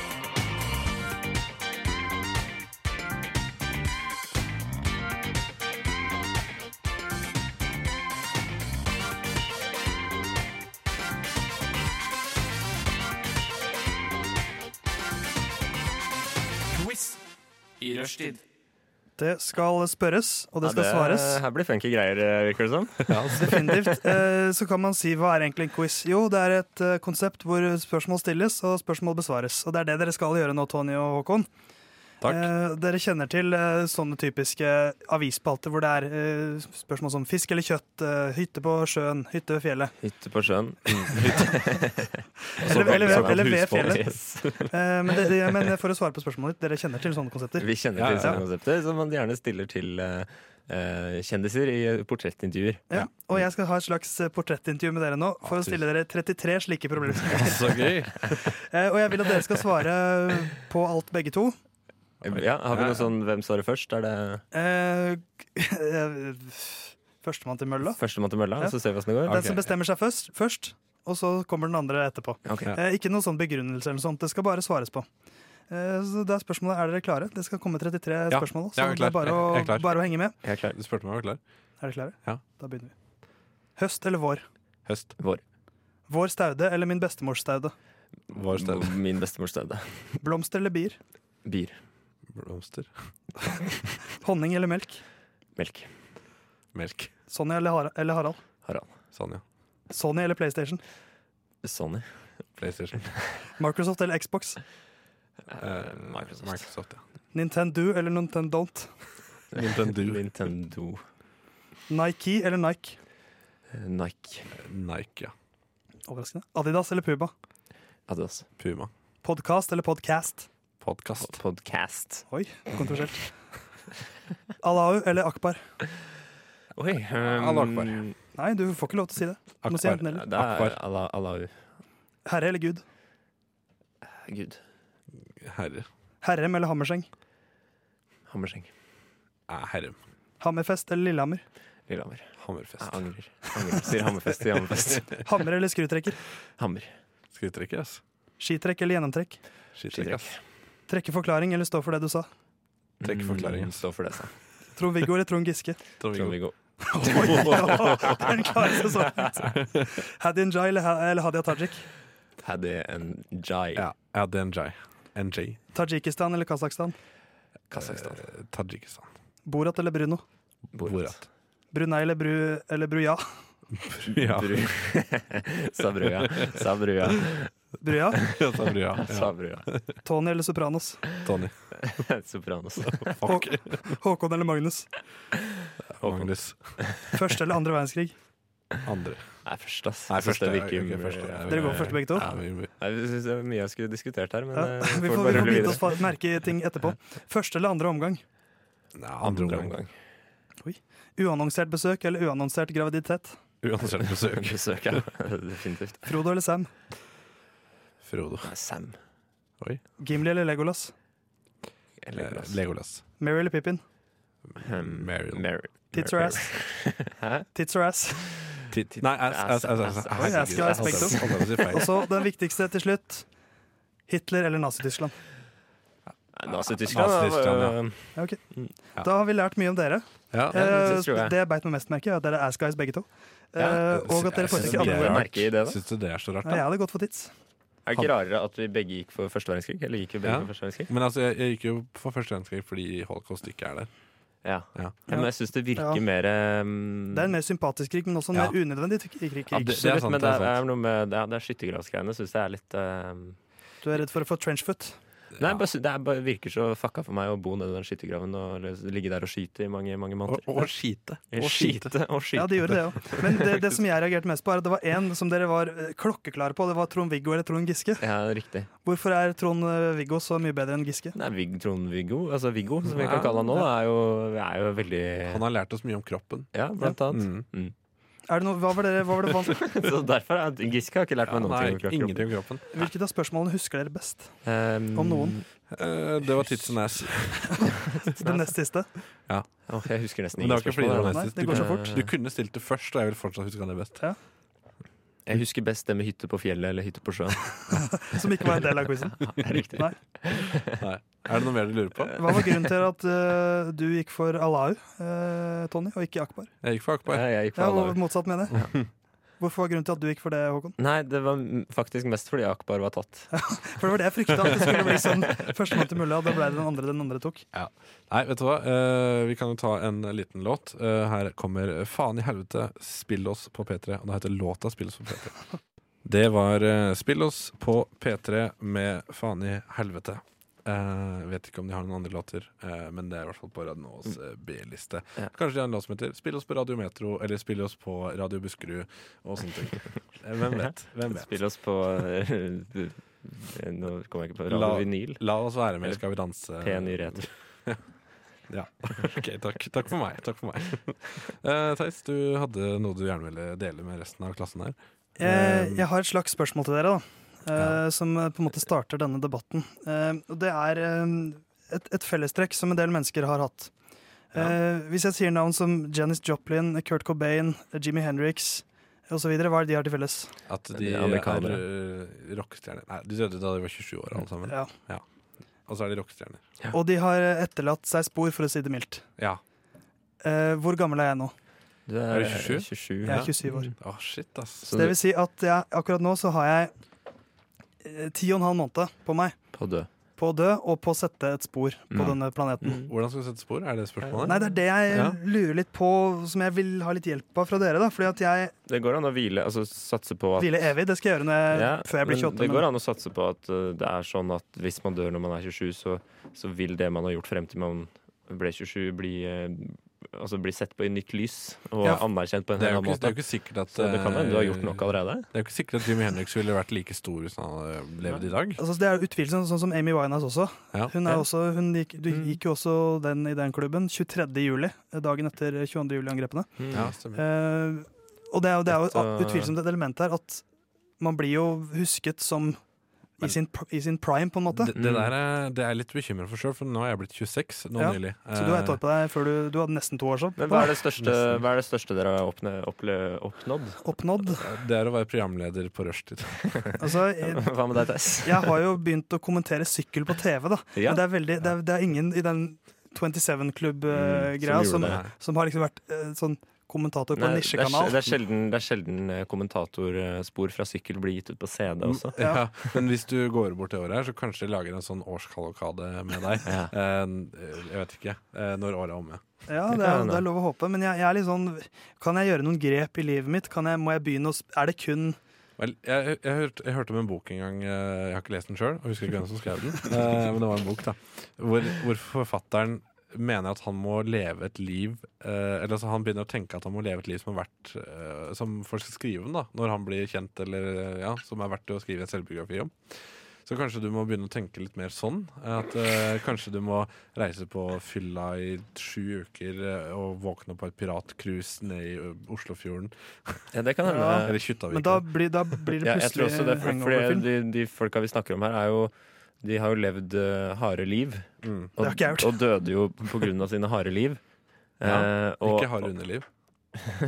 Speaker 13: Quiz i rushtid.
Speaker 5: Det skal spørres, og det skal
Speaker 6: Ja,
Speaker 5: svares.
Speaker 6: Her blir funky greier, eh, virker det som.
Speaker 5: Definitivt. Eh, Så kan man si hva er egentlig en quiz? Jo, det er et eh, konsept hvor spørsmål stilles og spørsmål besvares. Og det er det dere skal gjøre nå, Tony og Håkon. Eh, Dere kjenner til eh, sånne typiske avisspalter hvor det er eh, spørsmål som fisk eller kjøtt, eh, hytte på sjøen, hytte ved fjellet.
Speaker 6: Hytte på sjøen.
Speaker 5: Eller, eller, ved- eller ved
Speaker 6: Husbåt.
Speaker 5: fjellet.
Speaker 6: Yes.
Speaker 5: Eh, men, det, det- men for å svare på spørsmålet ditt, dere kjenner til sånne konsepter?
Speaker 6: Vi kjenner til sånne konsepter som man gjerne stiller til eh, eh, kjendiser i portrettintervjuer.
Speaker 5: Ja. Og jeg skal ha et slags eh, portrettintervju med dere nå for å stille dere 33 slike problemstillinger.
Speaker 6: Så gøy.
Speaker 5: Eh, Og jeg vil at dere skal svare på alt, begge to.
Speaker 6: Ja, har vi noe sånn 'Hvem svarer først'? Er det
Speaker 5: Eh, Førstemann til mølla.
Speaker 6: førstemann til mølla?
Speaker 5: Ja.
Speaker 6: Så ser vi åssen det går.
Speaker 5: Den som bestemmer seg først, først, og så kommer den andre etterpå.
Speaker 6: Ok.
Speaker 5: Eh, Ikke noen sånn begrunnelse eller noe sånt. Det skal bare svares på. Eh, Så det er spørsmålet, er dere klare? Det skal komme 33
Speaker 4: Ja.
Speaker 5: spørsmål,
Speaker 4: Ja,
Speaker 5: så
Speaker 4: jeg er
Speaker 5: det er
Speaker 4: klar.
Speaker 5: bare å,
Speaker 4: Jeg- jeg er klar.
Speaker 5: bare å henge med.
Speaker 4: Du spurte meg om jeg var klar.
Speaker 5: Er dere klare?
Speaker 4: Ja.
Speaker 5: Da begynner vi. Høst eller vår?
Speaker 4: Høst.
Speaker 6: Vår.
Speaker 5: Vår staude eller min bestemors staude?
Speaker 4: Vår sted.
Speaker 6: Min bestemors sted.
Speaker 5: Blomster eller bier?
Speaker 6: Bier.
Speaker 4: Blomster.
Speaker 5: Honning eller melk?
Speaker 6: Melk.
Speaker 4: Melk.
Speaker 5: Sonja eller, Har eller Harald?
Speaker 6: Harald.
Speaker 4: Sanja.
Speaker 5: Sony eller PlayStation?
Speaker 6: Sony.
Speaker 4: PlayStation.
Speaker 5: Microsoft eller Xbox?
Speaker 4: Eh, Microsoft. ja.
Speaker 5: Nintendo eller Nintendont?
Speaker 4: Nintendo.
Speaker 6: Nintendo.
Speaker 5: Nike eller Nike?
Speaker 6: Nike.
Speaker 4: Eh, Nike, ja.
Speaker 5: Overraskende. Adidas eller Puma?
Speaker 6: Adidas.
Speaker 4: Puma.
Speaker 5: Podcast eller podcast?
Speaker 4: Podkast.
Speaker 6: Podcast.
Speaker 5: Oi, kontroversielt. Alau eller Akbar?
Speaker 6: Oi. Um,
Speaker 5: Allahu Akbar. Nei, du får ikke lov til å si det. Du må si enten eller.
Speaker 6: Det er Allah, Allahu.
Speaker 5: Herre eller Gud?
Speaker 6: Gud.
Speaker 4: Herre.
Speaker 5: Herrem eller Hammerseng?
Speaker 6: Hammerseng.
Speaker 4: Eh, Herrem.
Speaker 5: Hammerfest eller Lillehammer?
Speaker 6: Lillehammer.
Speaker 4: Hammerfest.
Speaker 6: Jeg angrer. angrer. Sier Hammerfest til Hammerfest.
Speaker 5: Hammer eller skrutrekker?
Speaker 6: Hammer.
Speaker 4: Skritrekker, ass.
Speaker 5: Skitrekk eller gjennomtrekk?
Speaker 4: Skitrekk, ass.
Speaker 5: Trekke forklaring eller stå for det du sa?
Speaker 4: Trekker forklaringen.
Speaker 6: Mm, Stå for det, sa
Speaker 5: Trond-Viggo eller Trond Giske?
Speaker 6: Trond-Viggo.
Speaker 5: Oi, ja, den klare sesongen. Hadia Njay eller Ha- eller Hadia Tajik?
Speaker 6: Haddy and Jai.
Speaker 4: Ja, Haddy and Jai. NJ.
Speaker 5: Tadsjikistan eller Kasakhstan?
Speaker 6: Kasakhstan.
Speaker 4: Eh, Tadsjikistan.
Speaker 5: Borat eller Bruno?
Speaker 4: Borat.
Speaker 5: Brunei eller, Bru, eller Bruja?
Speaker 4: Ja.
Speaker 6: Sa brua. Sa brua.
Speaker 5: Bruja?
Speaker 4: Ja, sa brua, ja.
Speaker 6: Sa brua.
Speaker 5: Tony eller Sopranos?
Speaker 4: Tony.
Speaker 6: Sopranos.
Speaker 4: Fuck.
Speaker 5: Hå- Håkon eller Magnus?
Speaker 4: Magnus.
Speaker 5: Første eller andre verdenskrig?
Speaker 4: Andre.
Speaker 6: Nei, først, ass.
Speaker 4: Nei,
Speaker 6: Jeg synes
Speaker 4: første,
Speaker 6: det virker-
Speaker 4: ok, første.
Speaker 6: ja.
Speaker 5: Dere går for første begge to?
Speaker 4: Ja, vi- vi-
Speaker 6: Nei, Jeg synes det er mye jeg skulle diskutert her, men
Speaker 5: Ja,
Speaker 6: eh, får
Speaker 5: vi får,
Speaker 6: bare
Speaker 5: vi får
Speaker 6: rulle
Speaker 5: bite
Speaker 6: videre.
Speaker 5: oss fa- merke i ting etterpå. Første eller andre omgang?
Speaker 4: andre omgang.
Speaker 5: Uannonsert besøk eller uannonsert graviditet?
Speaker 4: Uansett besøk.
Speaker 6: Besøk, ja. Definitivt. Ah,
Speaker 5: Frodo eller Sam?
Speaker 4: Frodo.
Speaker 6: Sam.
Speaker 4: Oi.
Speaker 5: Gimli eller Legolas?
Speaker 4: Legolas. Eh, Legolas.
Speaker 5: Mary eller Pippin?
Speaker 4: Meryl.
Speaker 5: Tits or ass?
Speaker 6: Hæ?
Speaker 5: Tits or ass?
Speaker 4: Tit- Nei, ass, ass, ass. ass, ass.
Speaker 5: Oi, jeg skal ha respekt
Speaker 4: Holdt jeg på å si feil.
Speaker 5: Og så den viktigste til slutt. Hitler eller Nazi-Tyskland?
Speaker 6: Nazi-Tyskland.
Speaker 4: Nazi-Tyskland, ja.
Speaker 6: eh,
Speaker 5: Ja, ok.
Speaker 4: Ja.
Speaker 5: Da har vi lært mye om dere.
Speaker 4: Ja.
Speaker 5: Eh,
Speaker 6: Ja, det tror jeg.
Speaker 5: det jeg beit meg mest merke, er at dere er ass guys begge to. Eh,
Speaker 6: Ja.
Speaker 5: og at dere
Speaker 4: Jeg synes
Speaker 5: foretrekker
Speaker 4: det
Speaker 5: andre
Speaker 4: er
Speaker 5: ord.
Speaker 6: merke i det, da.
Speaker 4: Syns du det er så rart,
Speaker 5: Ja, jeg
Speaker 4: da?
Speaker 5: hadde gått for tits.
Speaker 6: Er det ikke rarere at vi begge gikk for første verdenskrig? Eller gikk vi begge
Speaker 4: Ja.
Speaker 6: for første verdenskrig?
Speaker 4: Men altså, jeg, jeg gikk jo for første verdenskrig fordi holocaust ikke er der.
Speaker 6: Ja. Ja, men jeg syns det virker
Speaker 5: Ja.
Speaker 6: mer eh,
Speaker 5: Det er en mer sympatisk krig, men også en
Speaker 6: Ja.
Speaker 5: mer unødvendig t- krig.
Speaker 6: Ja, det, det er sant, men det er, er noe med det er, det er skyttergravsgreiene. Syns jeg er litt eh,
Speaker 5: Du er redd for å få trenchfoot.
Speaker 6: Nei, bare, sy- det er, bare virker så fucka for meg å bo nedi den skyttergraven og løs- ligge der og skyte i mange mange måneder.
Speaker 5: Og- og skite.
Speaker 6: Og
Speaker 5: Og skite.
Speaker 6: skite. Og skite.
Speaker 5: Ja, det gjorde det òg. Men det, det som jeg reagerte mest på, er at det var én som dere var eh, klokkeklare på. Det var Trond-Viggo eller Trond Giske.
Speaker 6: Ja, riktig.
Speaker 5: Hvorfor er Trond-Viggo så mye bedre enn Giske?
Speaker 6: Nei, Vig, Trond-Viggo, altså Viggo, som vi kan
Speaker 5: Ja,
Speaker 6: kalle han nå,
Speaker 5: ja.
Speaker 6: er jo, er jo veldig
Speaker 4: Han har lært oss mye om kroppen.
Speaker 6: Ja, blant annet. Mm.
Speaker 5: Er det noe, hva var det, hva var det vant?
Speaker 6: Så derfor har Giske har ikke lært meg noen
Speaker 4: nei,
Speaker 6: ting. om
Speaker 4: ingenting om kroppen.
Speaker 5: Hvilket av spørsmålene husker dere best?
Speaker 6: Um,
Speaker 5: Om noen.
Speaker 4: Eh, det var tits and ass.
Speaker 5: Det nest siste?
Speaker 4: Ja.
Speaker 6: Åh, jeg husker nesten
Speaker 4: Men det var
Speaker 6: ingen
Speaker 4: ikke fordi det
Speaker 6: spørsmål, da.
Speaker 4: var nest
Speaker 6: Nei, det
Speaker 4: sist.
Speaker 6: går
Speaker 4: Du
Speaker 6: så fort.
Speaker 4: kunne- Du kunne stilt det først, og jeg vil fortsatt huske han det best.
Speaker 5: Ja.
Speaker 6: Jeg husker best det med hytte på fjellet eller hytte på sjøen.
Speaker 5: Som ikke var en del av quizen.
Speaker 6: Ja, riktig.
Speaker 5: Nei.
Speaker 4: Nei. Er det noe mer du lurer på?
Speaker 5: Hva var grunnen til at eh, du gikk for Alau, eh, Tony, og ikke Akbar?
Speaker 4: Jeg gikk for Akbar.
Speaker 6: jeg gikk for
Speaker 5: Ja,
Speaker 6: Alau.
Speaker 5: og motsatt mener jeg. Hvorfor var grunnen til at du gikk for det, Håkon?
Speaker 6: Nei, det var m- faktisk mest fordi Akbar var tatt.
Speaker 5: For det var det jeg frykta, at det skulle bli sånn førstemann til mølla, og da ble det den andre den andre tok.
Speaker 4: Nei, vet du hva? Eh, vi kan jo ta en liten låt. Eh, her kommer Faen i helvete, spill oss på P3. Og det heter låta Spill oss på P3. Det var eh, Spill oss på P3 med Faen i helvete. Eh, vet ikke om de har noen andre låter, eh, men det er i hvert fall på Radio Nås eh, B-liste. Kanskje de har en låt som heter Spill oss på Radio Metro, eller Spill oss på Radio Buskerud, og sånne ting. Eh, Hvem vet? Hvem vet?
Speaker 6: Spill oss på eh, Nå kommer jeg ikke på Radio
Speaker 4: La-
Speaker 6: Vinyl.
Speaker 4: La oss være med,
Speaker 6: Eller
Speaker 4: skal vi danse.
Speaker 6: Pen i retur.
Speaker 4: ja. OK, takk. Takk for meg. Takk for meg. Eh, Theis, du hadde noe du gjerne ville dele med resten av klassen her.
Speaker 5: Eh,
Speaker 4: Ehm,
Speaker 5: Jeg, jeg har et slags spørsmål til dere, da. eh, Som eh, på en måte starter denne debatten. Eh, og det er eh, et, et fellestrekk som en del mennesker har hatt. Eh, hvis jeg sier navn som Janis Joplin, Kurt Cobain, Jimmy Hendrix osv., hva er det de har til felles?
Speaker 4: At
Speaker 6: Men
Speaker 4: de
Speaker 6: de
Speaker 4: er
Speaker 6: amerikanere.
Speaker 4: eh, rockestjerner. Nei, de døde da de var 27 år, alle sammen.
Speaker 5: Ja.
Speaker 4: Og så er de rockestjerner.
Speaker 5: Og de har eh, etterlatt seg spor, for å si det mildt.
Speaker 4: Ja.
Speaker 5: Eh, hvor gammel er jeg nå?
Speaker 6: Du
Speaker 4: Er eh, du 27?
Speaker 5: Jeg er 27 år.
Speaker 4: Å, shit, ass.
Speaker 5: Så det vil si at jeg, akkurat nå så har jeg eh, ti og en halv måned på meg
Speaker 6: På død.
Speaker 5: på å dø og på å sette et spor på
Speaker 4: Mm.
Speaker 5: denne planeten.
Speaker 4: Hvordan skal du sette spor? Er det spørsmålet?
Speaker 5: Nei, det er det jeg
Speaker 4: Ja.
Speaker 5: lurer litt på, som jeg vil ha litt hjelp av fra dere. da Fordi at jeg
Speaker 6: Det går an å hvile, altså satse på at
Speaker 5: hviler evig. Det skal jeg gjøre når jeg,
Speaker 6: Ja,
Speaker 5: før jeg blir
Speaker 6: men
Speaker 5: 28.
Speaker 6: Det
Speaker 5: men-
Speaker 6: går an å satse på at uh, det er sånn at hvis man dør når man er 27, så, så vil det man har gjort frem til man ble 27, bli, uh, altså bli sett på i nytt lys og
Speaker 4: Ja.
Speaker 6: anerkjent på en
Speaker 4: Det er
Speaker 6: helt
Speaker 4: jo
Speaker 6: annen
Speaker 4: ikke-
Speaker 6: måte.
Speaker 4: det er jo ikke sikkert at, eh,
Speaker 6: så det kan hende du har gjort nok allerede.
Speaker 4: Det er jo ikke sikkert at Jimmy Henriks ville vært like stor hvis han hadde levd i dag.
Speaker 5: Altså, det er utvilsomt sånn som Amy Winehouse også.
Speaker 4: Ja.
Speaker 5: Hun,
Speaker 4: Ja.
Speaker 5: er også, hun gikk, du
Speaker 6: Mm.
Speaker 5: gikk jo også den i den klubben 23. juli, dagen etter 22. juli-angrepene.
Speaker 4: Mm. Ja, stemmer.
Speaker 5: Eh, og det er, jo- det er jo
Speaker 6: Dette-
Speaker 5: utvilsomt et element her at man blir jo husket som i sin, pr- i sin prime, på en måte.
Speaker 4: Det, det der er, det er jeg litt bekymra for sjøl, for nå er jeg blitt 26 nå
Speaker 5: Ja.
Speaker 4: nylig.
Speaker 5: Så du har et år på deg før du Du hadde nesten to år sånn.
Speaker 6: Eh. Men hva er det største, hva er det største dere har oppne, opple, oppnådd?
Speaker 5: Oppnådd?
Speaker 4: Eh, Det er å være programleder på rushtid.
Speaker 5: Altså, jeg-
Speaker 6: Hva med deg, Tess?
Speaker 5: Jeg har jo begynt å kommentere sykkel på TV, da.
Speaker 6: Ja.
Speaker 5: Men det er, veldig, det, er, det er ingen i den 27-klubb-greia
Speaker 6: Mm, som
Speaker 5: som,
Speaker 6: gjorde
Speaker 5: som,
Speaker 6: det.
Speaker 5: har liksom vært eh, sånn kommentator på
Speaker 6: det,
Speaker 5: en
Speaker 6: er,
Speaker 5: nisjekanal.
Speaker 6: det er sjelden, det er sjelden eh, kommentatorspor fra sykkel blir gitt ut på CD også.
Speaker 4: Ja. Men hvis du går bort det året her, så kanskje de lager en sånn årskalokade med deg. Eh, jeg vet ikke. eh, når året er omme.
Speaker 5: Ja, det er, det er lov å håpe. Men jeg, jeg er litt sånn Kan jeg gjøre noen grep i livet mitt? Kan jeg, må jeg begynne å sp- Er det kun
Speaker 4: Vel, jeg, jeg, hørte, jeg hørte om en bok en gang, eh, jeg har ikke lest den sjøl, og husker ikke hvem som skrev den, eh, men det var en bok, da, hvor, hvor forfatteren mener at han må leve et liv eh, Eller altså han begynner å tenke at han må leve et liv som er verdt eh, Som folk skal skrive om, da, når han blir kjent, eller eh, ja, som er verdt å skrive et selvbiografi om. Så kanskje du må begynne å tenke litt mer sånn. At eh, Kanskje du må reise på fylla i sju uker eh, og våkne opp på et piratcruise ned i ø, Oslofjorden.
Speaker 6: Ja, det kan hende.
Speaker 4: Eller Kjuttaviken.
Speaker 5: Men da blir, da blir det
Speaker 6: Ja, jeg tror
Speaker 5: plutselig
Speaker 6: også det, for, fordi
Speaker 5: hangover-film.
Speaker 6: de, de folka vi snakker om her, er jo de har jo levd eh, harde liv. Og,
Speaker 4: Mm.
Speaker 5: Det har ikke jeg gjort.
Speaker 6: og døde jo på grunn av sine harde liv.
Speaker 4: Ja,
Speaker 6: Eh, og-
Speaker 4: ikke harde underliv.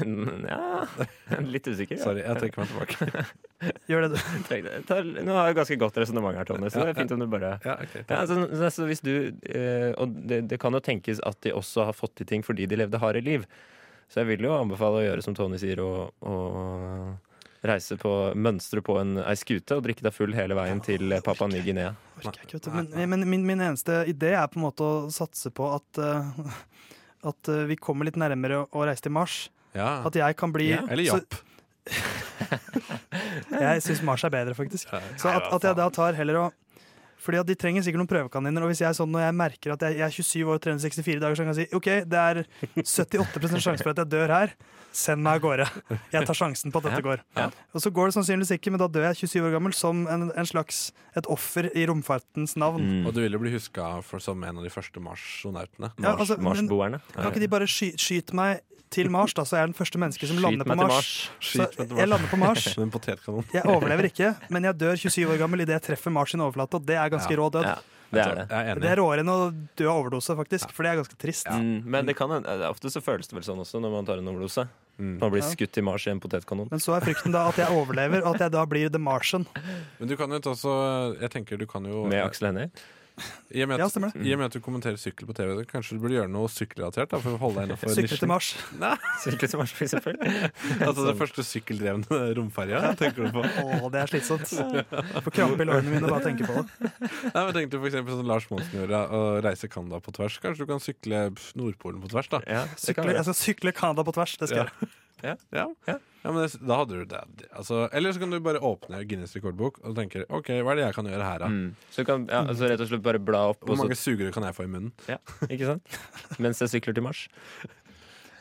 Speaker 6: Nja Litt usikker. ja.
Speaker 4: Sorry, jeg trekker meg tilbake.
Speaker 5: Gjør det,
Speaker 6: du. nå har jeg ganske godt resonnement her, Tony, så det er fint om du bare
Speaker 4: Ja, ok.
Speaker 6: Ja, så, så, så hvis du eh, Og det, det kan jo tenkes at de også har fått til ting fordi de levde harde liv. Så jeg vil jo anbefale å gjøre som Tony sier, og, og reise på mønstre på en, ei skute og drikke deg full hele veien til Papua Ny-Guinea.
Speaker 5: Kutt, Men, men min, min eneste idé er på en måte å satse på at, eh, at eh, vi kommer litt nærmere å- å reise til Mars.
Speaker 4: Ja.
Speaker 5: At jeg kan bli
Speaker 4: Ja, eller
Speaker 5: så-
Speaker 4: Japp.
Speaker 5: jeg syns Mars er bedre, faktisk. Så
Speaker 4: nei,
Speaker 5: at,
Speaker 4: hva
Speaker 5: at jeg da tar heller å fordi at De trenger sikkert noen prøvekaniner. Og hvis jeg er sånn, når jeg merker at jeg, jeg er 27 år og 364 dager, så kan jeg si OK, det er 78 sjanse for at jeg dør her. Send meg av gårde. Jeg tar sjansen på at dette går. Og så går det sannsynligvis ikke, men da dør jeg 27 år gammel som en, en slags et offer i romfartens navn.
Speaker 4: Og du vil jo bli huska for- som en av de første marsjonautene.
Speaker 5: Ja, altså, men- Kan ikke de bare sky, skyte meg til Mars, da, så jeg er den første mennesket som lander på Mars? Så
Speaker 4: Skyt meg til
Speaker 5: jeg lander på Mars.
Speaker 4: Med en potetkanon.
Speaker 5: Jeg overlever ikke, men jeg dør 27 år gammel idet jeg treffer Mars sin overflate, og det er ganske
Speaker 6: Ja.
Speaker 5: rå død.
Speaker 6: Ja, det er det. Jeg er enig.
Speaker 5: Det er råere enn å dø av overdose, faktisk, for det er ganske trist.
Speaker 6: Mm, Men det kan, hende- eh, ofte så føles det vel sånn også når man tar en overdose. Man blir
Speaker 5: Ja.
Speaker 6: skutt i Mars i en potetkanon.
Speaker 5: Men så er frykten da at jeg overlever, og at jeg da blir The Martian.
Speaker 4: Men du kan jo også Jeg tenker du kan jo
Speaker 6: Med Aksel Hennie?
Speaker 4: I og med
Speaker 5: Ja,
Speaker 4: at,
Speaker 5: stemmer det.
Speaker 4: i og med at du kommenterer sykkel på TV, kanskje du burde gjøre noe sykkelrelatert? da, For å holde deg innenfor
Speaker 5: Sykle
Speaker 4: nisjen.
Speaker 5: til Mars.
Speaker 4: Nei.
Speaker 6: Sykle til Mars, for eksempel.
Speaker 4: Altså den første sykkeldrevne romferja, tenker du på?
Speaker 5: Å, det er slitsomt. Jeg får krampe i lårene mine bare av å tenke på det.
Speaker 4: Nei, men tenkte for eksempel sånn Lars Monsen gjorde, å reise Canada på tvers. Kanskje du kan sykle pff, Nordpolen på tvers, da.
Speaker 5: Sykle, jeg skal sykle Canada på tvers, det skal jeg gjøre.
Speaker 4: Ja. Ja. Ja, men det, da hadde du det. det- Altså, eller så kan du bare åpne Guinness rekordbok og tenke OK, hva er det jeg kan gjøre her, da?
Speaker 6: Så du kan ja, altså rett og slett bare bla opp Mm.
Speaker 4: Hvor
Speaker 6: og så-
Speaker 4: mange sugere kan jeg få i munnen?
Speaker 6: Ja, ikke sant? Mens jeg sykler til Mars.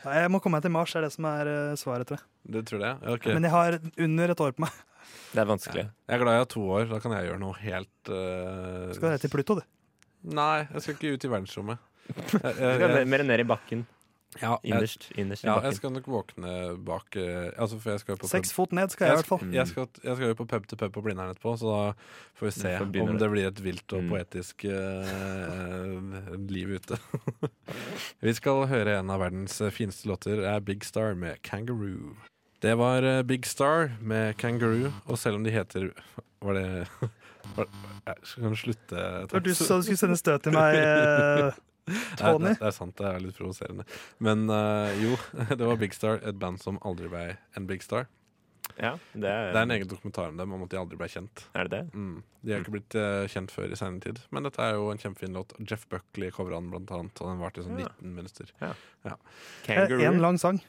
Speaker 5: Nei, Jeg må komme meg til Mars, er det som er eh, svaret, tror jeg.
Speaker 4: Du tror det? Ok.
Speaker 5: Men jeg har under et år på meg.
Speaker 6: Det er vanskelig.
Speaker 4: Jeg er glad jeg har to år. Da kan jeg gjøre noe helt eh,
Speaker 5: Skal dere til Pluto, du?
Speaker 4: Nei, jeg skal ikke ut i verdensrommet. Jeg- jeg-
Speaker 6: Du skal mer- mer ned i bakken.
Speaker 4: Ja, jeg-
Speaker 6: Innerst, innerst i
Speaker 4: ja,
Speaker 6: bakken.
Speaker 4: Jeg skal nok våkne bak eh, altså for jeg skal jo på
Speaker 5: Seks
Speaker 4: pub.
Speaker 5: fot ned skal jeg i hvert fall.
Speaker 4: Jeg skal, jeg skal jo på pub til pub på Blindern etterpå, så da får vi se
Speaker 6: får
Speaker 4: om
Speaker 6: begynne Mm,
Speaker 4: det.
Speaker 6: det.
Speaker 4: blir et vilt og
Speaker 6: Mm.
Speaker 4: poetisk eh, liv ute. vi skal høre en av verdens fineste låter, er Big Star med Kangaroo. Det var eh, Big Star med Kangaroo, og selv om de heter Var det var, jeg Skal kan slutte?
Speaker 5: Det var du som sa du skulle sende støt til meg, eh,
Speaker 4: Nei,
Speaker 5: Tony.
Speaker 4: det, det er sant, det er litt provoserende. Men eh, jo, det var Big Star, et band som aldri ble en Big Star.
Speaker 6: Ja, det er-
Speaker 4: en egen dokumentar om dem om at de aldri ble kjent.
Speaker 6: Er det det?
Speaker 4: Mm. De har ikke blitt eh, kjent før i senere tid, men dette er jo en kjempefin låt. Jeff Buckley covra den, blant annet, og den varte i sånn
Speaker 6: Ja.
Speaker 4: 19 minutter. Ja.
Speaker 5: Eh, En lang sang.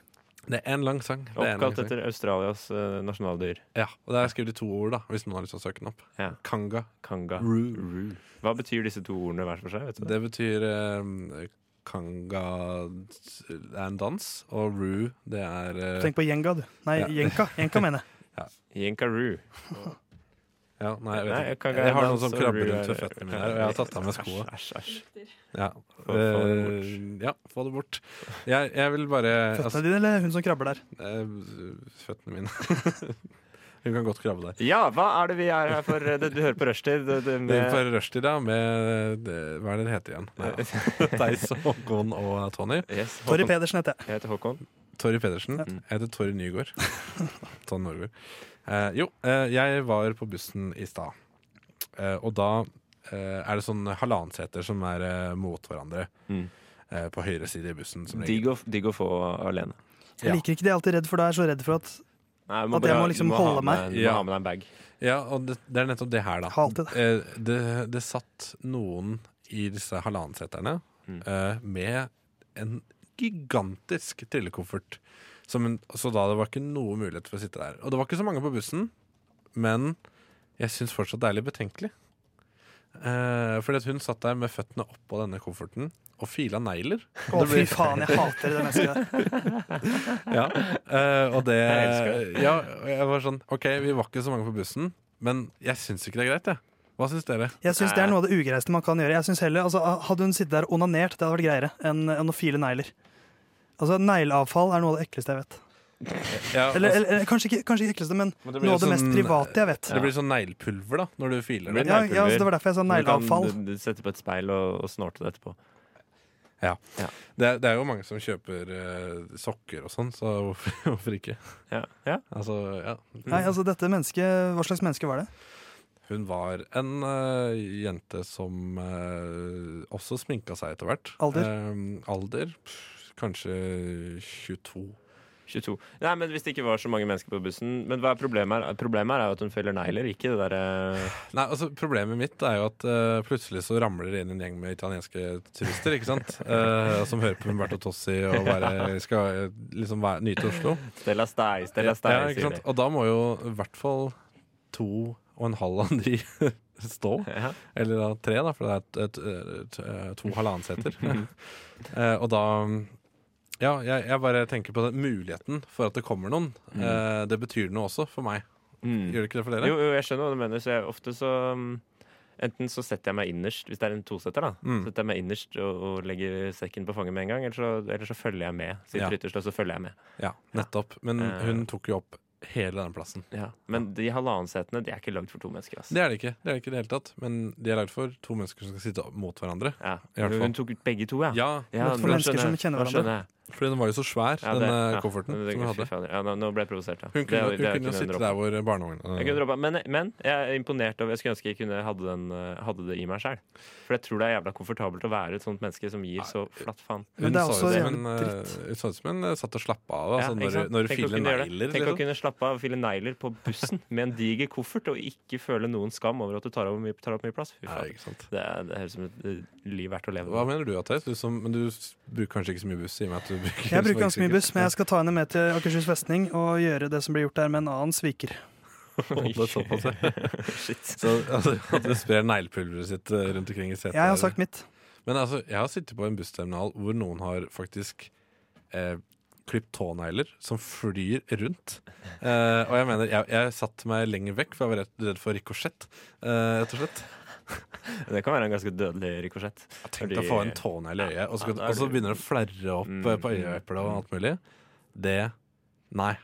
Speaker 4: Det er en lang sang. Det er en lang
Speaker 6: Oppkalt
Speaker 4: sang.
Speaker 6: etter Australias eh, nasjonaldyr.
Speaker 4: Ja, og det er skrevet i to ord, da, hvis noen har lyst til å søke den opp. Kanga.
Speaker 6: Kanga.
Speaker 4: Ru.
Speaker 6: Hva betyr disse to ordene hver for seg? Vet du?
Speaker 4: Det betyr eh, Kanga det er en dans, og Ru det er eh,
Speaker 5: Tenk på Jenga, du. Nei,
Speaker 4: Ja.
Speaker 5: Jenka. Jenka mener jeg.
Speaker 4: ja.
Speaker 6: Jenkaroo.
Speaker 4: Ja, nei, jeg vet
Speaker 6: Nei,
Speaker 4: ikke.
Speaker 6: Kanga
Speaker 4: jeg har
Speaker 6: er
Speaker 4: noen
Speaker 6: dans,
Speaker 4: som
Speaker 6: og
Speaker 4: krabber
Speaker 6: Ru
Speaker 4: rundt
Speaker 6: er-
Speaker 4: ved føttene mine, her, og jeg har tatt av meg
Speaker 6: Æsj,
Speaker 4: skoa.
Speaker 6: æsj, æsj.
Speaker 4: Ja.
Speaker 6: Få- få det bort.
Speaker 4: Eh, ja, få det bort. Jeg, jeg vil bare altså,
Speaker 5: Føttene dine eller hun som krabber der?
Speaker 4: eh, Føttene mine. Hun kan godt krabbe der.
Speaker 6: Ja, hva er det vi er her for? Det, du hører på rushtid. Det, det,
Speaker 4: Det er
Speaker 6: med,
Speaker 4: Par rushtid, ja, med eh, Hva er det det heter igjen? Nei. Theis, Håkon og Tony.
Speaker 5: Torry Pedersen heter jeg.
Speaker 6: jeg heter Håkon.
Speaker 4: Torry Pedersen. Jeg heter Torry Nygaard. Tony Norgård. Eh, jo, eh, jeg var på bussen i stad, eh, og da eh, er det sånn halvannenseter som er eh, mot hverandre. Eh, på høyre side i bussen. Som
Speaker 6: Digg å, digg å få alene.
Speaker 5: Jeg liker ikke det jeg er alltid redd for, da er jeg så redd for at
Speaker 6: Nei, du
Speaker 5: At jeg
Speaker 6: bare-
Speaker 5: må liksom
Speaker 6: du ha
Speaker 5: holde
Speaker 6: med- Du
Speaker 5: meg.
Speaker 6: må
Speaker 4: Ja.
Speaker 6: ha med deg en bag.
Speaker 4: Ja, og det, det er nettopp det her, da. Eh, Det, det satt noen i disse halvannenseterne
Speaker 5: Mm.
Speaker 4: eh, med en gigantisk trillekoffert. Som en, så da det var ikke noe mulighet for å sitte der. Og det var ikke så mange på bussen, men jeg syns fortsatt det er litt betenkelig. Eh, fordi at hun satt der med føttene oppå denne kofferten og fila negler.
Speaker 5: Å,
Speaker 4: Det
Speaker 5: fy
Speaker 4: ble-
Speaker 5: faen, jeg hater det mennesket der.
Speaker 4: ja, eh, og det
Speaker 5: Jeg elsker det.
Speaker 4: Ja, og jeg var sånn OK, vi var ikke så mange på bussen, men jeg syns ikke det er greit, jeg. Hva syns dere?
Speaker 5: Jeg syns det er noe av det ugreiste man kan gjøre. Jeg synes heller, altså, Hadde hun sittet der og onanert, det hadde vært greiere enn enn å file negler. Altså, Negleavfall er noe av det ekleste jeg vet.
Speaker 4: Ja,
Speaker 5: eller,
Speaker 4: altså-
Speaker 5: eller kanskje ikke, kanskje ikke ekleste, men,
Speaker 4: det blir
Speaker 5: noe
Speaker 4: jo
Speaker 5: av det mest
Speaker 4: sånn-
Speaker 5: private jeg vet.
Speaker 4: Det blir sånn neglepulver, da, når du filer
Speaker 6: Det blir
Speaker 4: det.
Speaker 5: Ja, ja, altså, det var derfor jeg sa
Speaker 6: neglepulver.
Speaker 5: negleavfall.
Speaker 6: Du
Speaker 4: Mm.
Speaker 6: kan d- d- sette på et speil og, og snorte det etterpå.
Speaker 4: Ja. Det, er- det er jo mange som kjøper eh, sokker og sånn, så hvorfor, hvorfor ikke? Altså, ja.
Speaker 5: Nei, altså, dette mennesket, Hva slags menneske var det?
Speaker 4: Hun var en eh, jente som eh, også sminka seg etter hvert.
Speaker 5: Alder?
Speaker 4: Eh, alder pff, kanskje 22.
Speaker 6: 22. Nei, men Hvis det ikke var så mange mennesker på bussen Men hva er problemet her? Problemet her er jo at hun feller negler, ikke det eh, derre
Speaker 4: Nei, altså Problemet mitt er jo at eh, plutselig så ramler det inn en gjeng med italienske turister ikke sant? Eh, som hører på Humberto Tossi og bare skal eh, liksom være, nyte Oslo.
Speaker 6: Stella Stei, Stella Stei,
Speaker 4: ja, ikke
Speaker 6: sier de.
Speaker 4: sant? Og da må jo i hvert fall to og en halv av de stå. Eller da tre, da, for det er et, et, et, to halvannenseter. Eh, og da Ja, jeg, jeg bare tenker på den muligheten for at det kommer noen.
Speaker 6: Mm.
Speaker 4: Eh, det betyr noe også for meg. Gjør det ikke det for dere?
Speaker 6: Jo, jo, jeg skjønner hva du mener. Så jeg, ofte så um, Enten så setter jeg meg innerst, hvis det er en tosetter, da.
Speaker 4: Mm.
Speaker 6: Setter jeg meg innerst og, og legger sekken på fanget med en gang. Eller så, eller så følger jeg med. Sitter
Speaker 4: Ja.
Speaker 6: ytterst, og så følger jeg med.
Speaker 4: Ja, nettopp. Men
Speaker 6: Eh.
Speaker 4: hun tok jo opp hele denne plassen.
Speaker 6: Ja. Men de halvannensetene, de er ikke lagd for to mennesker. altså. ass.
Speaker 4: Det er det ikke. Det er det ikke i det hele tatt. Men de er lagd for to mennesker som skal sitte opp mot hverandre.
Speaker 6: Ja.
Speaker 4: I hvert
Speaker 6: Men
Speaker 4: fall.
Speaker 6: hun tok ut begge to, ja.
Speaker 4: ja.
Speaker 6: Ja, For nå mennesker skjønner som jeg. kjenner Nå hverandre. skjønner
Speaker 4: Fordi den var jo så svær,
Speaker 6: Ja, det-
Speaker 4: denne
Speaker 6: ja.
Speaker 4: kofferten
Speaker 6: Det-
Speaker 4: som hun hadde.
Speaker 6: fy fader. Ja, nå, nå ble jeg provosert, ja.
Speaker 4: Hun
Speaker 6: Det er-
Speaker 4: kunne,
Speaker 6: det
Speaker 4: hun
Speaker 6: er
Speaker 4: kunne
Speaker 6: kunne
Speaker 4: sitte
Speaker 6: droppe.
Speaker 4: der hvor barnevogna
Speaker 6: Jeg kunne droppa, men, men jeg er imponert over Jeg skulle ønske jeg kunne hadde, den, eh, hadde det i meg sjøl. For jeg tror det er jævla komfortabelt å være et sånt menneske som gir så flatt faen.
Speaker 4: Hun så ut som en, eh, hun så ut som en eh, satt og slappa av.
Speaker 6: Ja,
Speaker 4: Altså,
Speaker 6: ikke
Speaker 4: når,
Speaker 6: sant?
Speaker 4: du- når
Speaker 6: Tenk
Speaker 4: du
Speaker 6: å
Speaker 4: filer
Speaker 6: kunne gjøre det.
Speaker 4: negler.
Speaker 6: Tenk å
Speaker 4: liksom.
Speaker 6: kunne slappe av og file negler på bussen med en diger koffert og ikke føle noen skam over at du tar, over mye, tar opp mye plass. Fy faen. Det, er, det høres ut som et eh, liv verdt å leve.
Speaker 4: Hva mener du, Theis? Du, som- men du s- bruker kanskje ikke så mye buss? I og med at du bruker
Speaker 5: Jeg bruker ganske mye
Speaker 4: sikkert.
Speaker 5: buss, men jeg skal ta henne med til Akershus festning og gjøre det som blir gjort der med en annen sviker.
Speaker 4: Å, det er såpass, ja. Så altså, at du sprer neglepulveret sitt eh, rundt omkring i setet.
Speaker 5: Jeg har
Speaker 4: der.
Speaker 5: sagt mitt.
Speaker 4: Men altså, jeg har sittet på en bussterminal hvor noen har faktisk eh, klippet tånegler som flyr rundt. Eh, og jeg mener, jeg, jeg satte meg lenger vekk, for jeg var redd, redd for rikosjett, eh, rett og slett.
Speaker 6: Det kan være en ganske dødelig rikosjett.
Speaker 4: Tenk deg å få en tånegl i øyet, og så,
Speaker 6: Ja, da er Mm.
Speaker 4: og så
Speaker 6: du-
Speaker 4: begynner det å flerre opp eh, på øyeeplet og alt mulig. Det Nei.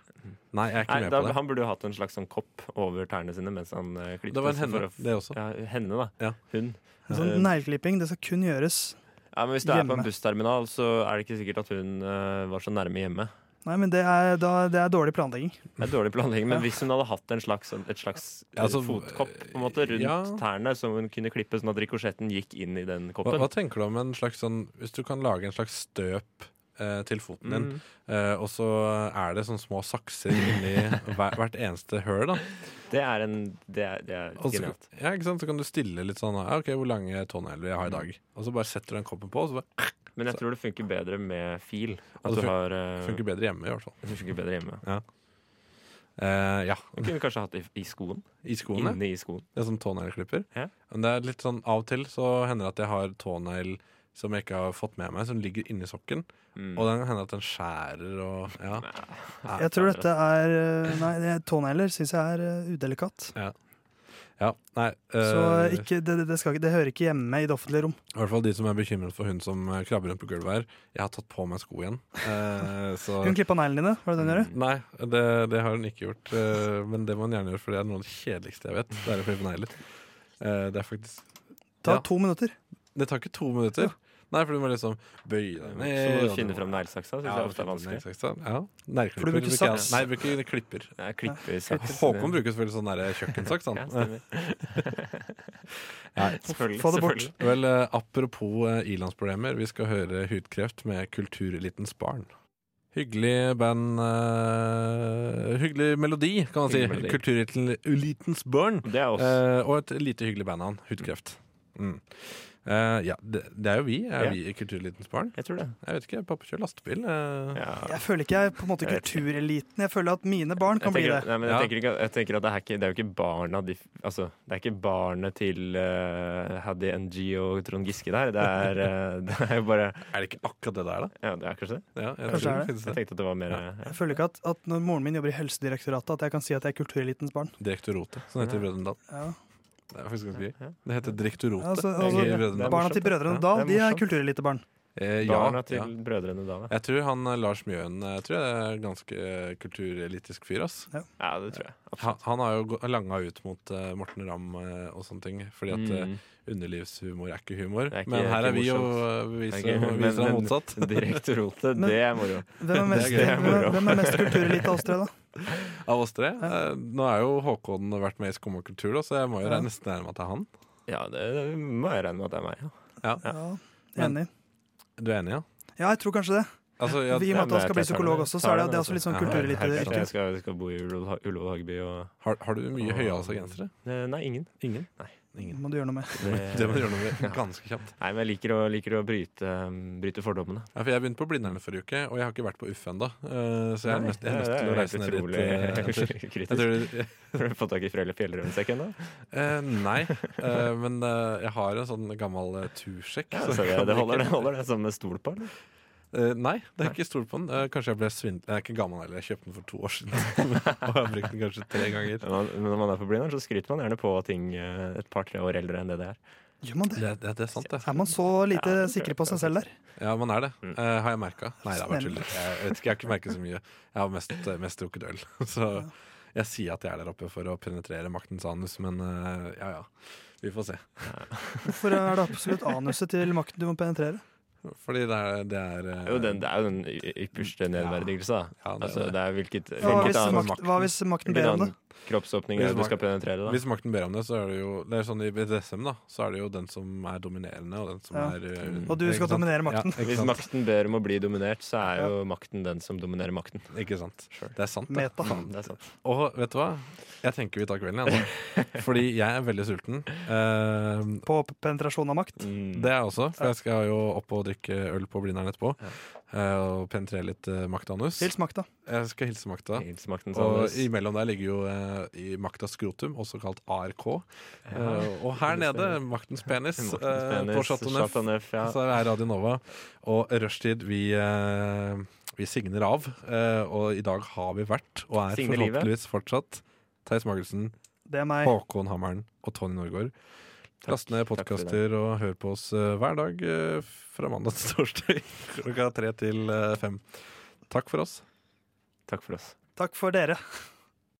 Speaker 4: Nei, jeg er ikke
Speaker 6: Nei,
Speaker 4: med
Speaker 6: da,
Speaker 4: på det.
Speaker 6: Han burde jo hatt en slags sånn kopp over tærne sine mens han uh, klippet.
Speaker 4: Det var en
Speaker 6: så for
Speaker 4: henne,
Speaker 6: å f-
Speaker 4: det også.
Speaker 6: Ja, henne, da. Hun.
Speaker 5: Sånn
Speaker 6: Eh,
Speaker 5: Negleklipping, det skal kun gjøres
Speaker 6: ja, men hvis du er på en bussterminal, så er det ikke sikkert at hun eh, var så nærme hjemme.
Speaker 5: Nei, men det er, da, det er dårlig planlegging.
Speaker 6: Det er dårlig planlegging, men
Speaker 5: Ja.
Speaker 6: hvis hun hadde hatt en slags, et slags eh,
Speaker 4: Ja, altså,
Speaker 6: fotkopp på en måte, rundt
Speaker 4: ja.
Speaker 6: tærne, som hun kunne klippe sånn at rikosjetten gikk inn i den
Speaker 4: Hva,
Speaker 6: koppen
Speaker 4: hva tenker du om en slags sånn Hvis du kan lage en slags støp eh, til foten din,
Speaker 6: Mm.
Speaker 4: eh, og så er det sånne små sakser inni hver, hvert eneste høl, da.
Speaker 6: Det er en Det er, det er
Speaker 4: Og så,
Speaker 6: genialt.
Speaker 4: Altså, ja, ikke sant? så kan du stille litt sånn ja, OK, hvor lange tånegler jeg har i dag? Og så bare setter du den koppen på, og så bare
Speaker 6: Men jeg tror det funker bedre med fil.
Speaker 4: Og
Speaker 6: At
Speaker 4: det
Speaker 6: du
Speaker 4: fun-
Speaker 6: har eh,
Speaker 4: funker bedre hjemme, i hvert fall.
Speaker 6: Det funker bedre hjemme.
Speaker 4: Ja. Eh, ja.
Speaker 6: Du kunne kanskje hatt det i, i skoen.
Speaker 4: I skoen, ja.
Speaker 6: Inne i skoen.
Speaker 4: Det er sånn tånegleklipper.
Speaker 6: Ja.
Speaker 4: Men det er litt sånn av og til så hender det at jeg har tånegl som jeg ikke har fått med meg, som ligger inni sokken.
Speaker 6: Mm.
Speaker 4: Og den hender at den skjærer og ja.
Speaker 5: Jeg tror dette er eh, Nei, det- tånegler syns jeg er eh, udelikat.
Speaker 4: Ja. ja nei
Speaker 5: Så
Speaker 4: eh,
Speaker 5: ikke, det, det, skal ikke, det hører ikke hjemme i det offentlige rom.
Speaker 4: I hvert fall de som er bekymret for hun som eh, krabber rundt på gulvet her. Jeg har tatt på meg sko igjen. Eh, så
Speaker 5: Hun klippa neglene dine, var det det hun gjorde?
Speaker 4: Nei, det, det har hun ikke gjort. eh, men det må hun gjerne gjøre, for det er noe av det kjedeligste jeg vet. Det er å klippe negler. Eh, det er faktisk
Speaker 5: Ta
Speaker 4: Ja.
Speaker 5: to minutter.
Speaker 4: Det tar ikke to minutter. Nei, for du må liksom bøye deg ned.
Speaker 6: Så må du
Speaker 4: og
Speaker 6: finne
Speaker 4: må-
Speaker 6: fram neglesaksa, synes
Speaker 4: Eh, Ja,
Speaker 6: jeg ofte er
Speaker 4: finne
Speaker 6: vanskelig.
Speaker 4: neglesaksa, Ja. Negleklipper.
Speaker 6: For du bruker
Speaker 4: bruker jeg-
Speaker 6: saks.
Speaker 4: Nei, jeg bruker klipper.
Speaker 6: Nei, klipper,
Speaker 4: Ja.
Speaker 6: saks.
Speaker 4: Håkon bruker selvfølgelig sånn der kjøkkensaks, han.
Speaker 6: Ja, stemmer.
Speaker 4: Nei.
Speaker 6: Selvfølgelig, Få det bort. selvfølgelig.
Speaker 4: Vel, eh, apropos eh, ilandsproblemer, vi skal høre Hudkreft med Kulturelitens barn. Hyggelig band eh, Hyggelig melodi, kan man si.
Speaker 6: Hyggelig melodi.
Speaker 4: Kulturelitens barn.
Speaker 6: Det er oss.
Speaker 4: Eh, og et lite hyggelig bandnavn. Hudkreft. Mm. Eh, ja, det, det er jo vi. Er
Speaker 5: Ja.
Speaker 4: vi i Kulturelitens barn?
Speaker 6: Jeg tror det.
Speaker 4: Jeg vet ikke. Pappa kjører lastebil. eh.
Speaker 5: Jeg føler ikke jeg er på en måte
Speaker 4: Jeg vet
Speaker 5: kultureliten. Jeg føler at mine barn kan
Speaker 6: Jeg
Speaker 5: bli
Speaker 6: tenker,
Speaker 5: det.
Speaker 6: at- nei, men jeg, tenker ikke, at- jeg tenker at det er, ikke, det er jo ikke barna de, altså, Det er ikke barnet til eh, Haddy NG og Trond Giske der. Det er, eh, det er jo bare
Speaker 4: Er det ikke akkurat det der, da?
Speaker 6: Ja, det er kanskje det.
Speaker 4: Ja,
Speaker 5: jeg Kanskje tror det det. finnes
Speaker 6: Jeg tenkte at det var mer eh,
Speaker 5: Jeg føler ikke at, at når moren min jobber i Helsedirektoratet, at jeg kan si at jeg er kulturelitens barn.
Speaker 4: Direktoratet, som heter i
Speaker 5: Ja.
Speaker 4: Brødrene Dal.
Speaker 5: Ja.
Speaker 4: Det er faktisk ganske gøy. Det heter Direktoratet.
Speaker 5: Altså,
Speaker 4: i
Speaker 5: altså,
Speaker 4: Brødrene Dal.
Speaker 5: barna til Brødrene Dal, de er kulturelitebarn.
Speaker 4: Eh,
Speaker 6: Barna til Brødrene Dal, ja.
Speaker 4: Jeg tror han eh, Lars Mjøen eh, tror jeg er en ganske eh, kulturelitisk fyr, ass.
Speaker 5: Ja.
Speaker 6: det tror jeg.
Speaker 4: Han, han har jo gå- langa ut mot eh, Morten Ramm eh, og sånne ting, fordi at eh,
Speaker 6: Mm.
Speaker 4: underlivshumor er ikke humor.
Speaker 6: Det er ikke-
Speaker 4: men her
Speaker 6: ikke
Speaker 4: er vi jo
Speaker 6: morsomt.
Speaker 4: eh, beviser,
Speaker 6: Det er ikke-
Speaker 4: beviser
Speaker 6: men-
Speaker 4: han motsatt.
Speaker 6: men Direktoratet,
Speaker 5: Men
Speaker 6: det er moro.
Speaker 5: Hvem er mest,
Speaker 4: Det er gøy.
Speaker 5: hvem er, hvem er mest kulturelite av oss tre, da?
Speaker 4: Av oss tre? Eh, Nå er jo Håkon vært med i Skum og kultur, da, så jeg må jo
Speaker 5: Ja.
Speaker 4: regne nesten regne med at det er han.
Speaker 6: Ja, det, det må jeg regne med at det er meg. Ja.
Speaker 4: Ja.
Speaker 5: Enig.
Speaker 4: Du er enig, ja?
Speaker 5: Ja, jeg tror kanskje det.
Speaker 4: Altså, ja,
Speaker 5: I og med at han skal bli psykolog også, så er det, det er også litt sånn kulturelite.
Speaker 6: Jeg skal, jeg skal bo i Ullevål Ullevål Hageby og
Speaker 4: Har, har du mye høyhalsa gensere?
Speaker 6: Eh, Nei, ingen.
Speaker 4: Ingen?
Speaker 6: Nei.
Speaker 5: Må du gjøre noe med.
Speaker 4: Det må du gjøre noe med ganske kjapt.
Speaker 6: Nei, men jeg liker å, liker å bryte, um, bryte fordommene.
Speaker 4: Ja, for jeg begynte på Blindern forrige uke, og jeg har ikke vært på UF ennå. Så jeg er
Speaker 6: Nei,
Speaker 4: nødt, jeg er nødt
Speaker 6: det er
Speaker 4: til å
Speaker 6: helt
Speaker 4: reise ned dit.
Speaker 6: utrolig
Speaker 4: eh, etter. Jeg
Speaker 6: kritisk.
Speaker 4: tror-
Speaker 6: Har du fått tak i Frøyla Fjellrønsekk ennå?
Speaker 4: Eh, nei, eh, men eh, jeg har en sånn gammel eh, tursjekk.
Speaker 6: Ja,
Speaker 4: så
Speaker 6: så det,
Speaker 4: kan
Speaker 6: det,
Speaker 4: jeg
Speaker 6: holder, det
Speaker 4: ikke-
Speaker 6: holder det som med stol på, eller?
Speaker 4: Eh, nei, det er ikke stol på den. Eh, kanskje jeg ble svindlet Jeg er ikke gammel heller, jeg kjøpte den for to år siden. og jeg har brukt den kanskje tre ganger.
Speaker 6: Men man- men når man er på Blindern, så skryter man gjerne på ting eh, et par-tre år eldre enn det det er.
Speaker 5: Gjør man det?
Speaker 4: Det, det, det er sant, det.
Speaker 5: Er man så lite sikre på seg selv der?
Speaker 4: Ja, man er det.
Speaker 6: Mm.
Speaker 4: Eh, har jeg merka? Nei, det er bare
Speaker 5: Snill.
Speaker 4: tull. Jeg, vet ikke, jeg har ikke merket så mye. Jeg har mest, eh, mest drukket øl. Så jeg sier at jeg er der oppe for å penetrere maktens anus, men eh, ja ja. Vi får se.
Speaker 5: Hvorfor er det absolutt anuset til makten du må penetrere?
Speaker 4: Fordi det er, det er eh,
Speaker 6: Det er jo den, det er jo den y- ypperste nedverdigelse, da.
Speaker 4: det er
Speaker 6: altså,
Speaker 4: det.
Speaker 6: det er hvilket,
Speaker 5: Hva hvis makt- hva hvis makten ber om
Speaker 6: hvilken
Speaker 5: det?
Speaker 6: annen kroppsåpning er det du
Speaker 4: mak-
Speaker 6: skal penetrere, da?
Speaker 4: Hvis makten ber om det, så er det jo Det er sånn i BDSM, da. Så er det jo den som er dominerende, og den som
Speaker 5: Ja.
Speaker 4: er eh,
Speaker 5: Og du
Speaker 4: ikke
Speaker 5: skal
Speaker 4: sant?
Speaker 5: dominere makten.
Speaker 4: Ja, ikke
Speaker 6: Hvis
Speaker 4: sant?
Speaker 6: makten ber om å bli dominert, så er jo makten den som dominerer makten. Mm.
Speaker 4: Ikke sant. Det er sant. det.
Speaker 5: Meta.
Speaker 4: Faen,
Speaker 6: Det er sant.
Speaker 4: Og vet du hva? Jeg tenker vi tar kvelden igjen, da. Fordi jeg er veldig sulten. Eh,
Speaker 5: På penetrasjon av makt?
Speaker 6: Mm.
Speaker 4: det er jeg også, for jeg skal jo opp og drikke øl på Blindern etterpå. eh, og penetrere litt uh, maktanus.
Speaker 5: Hils makta.
Speaker 4: Jeg skal hilse makta.
Speaker 6: Hils maktens
Speaker 4: Og
Speaker 6: anus.
Speaker 4: imellom der ligger jo eh, i maktas skrotum, også kalt ARK. Eh,
Speaker 6: Ja.
Speaker 4: og her
Speaker 6: Maktens
Speaker 4: nede,
Speaker 6: penis.
Speaker 4: maktens penis,
Speaker 6: Maktens
Speaker 4: eh, på
Speaker 6: penis,
Speaker 4: Chateau Neuf.
Speaker 6: Chateau Neuf, ja.
Speaker 4: Så er Radio Nova. Og rushtid, vi, eh, vi signer av. Eh, og i dag har vi vært, og er
Speaker 6: Signer livet.
Speaker 4: forhåpentligvis fortsatt, Theis Magelsen,
Speaker 5: Det er meg.
Speaker 4: Håkon Hammeren og Tony Norgård. Last ned podkaster og hør på oss eh, hver dag eh, fra mandag til torsdag klokka tre til eh, fem. Takk for oss.
Speaker 6: Takk for oss.
Speaker 5: Takk for dere.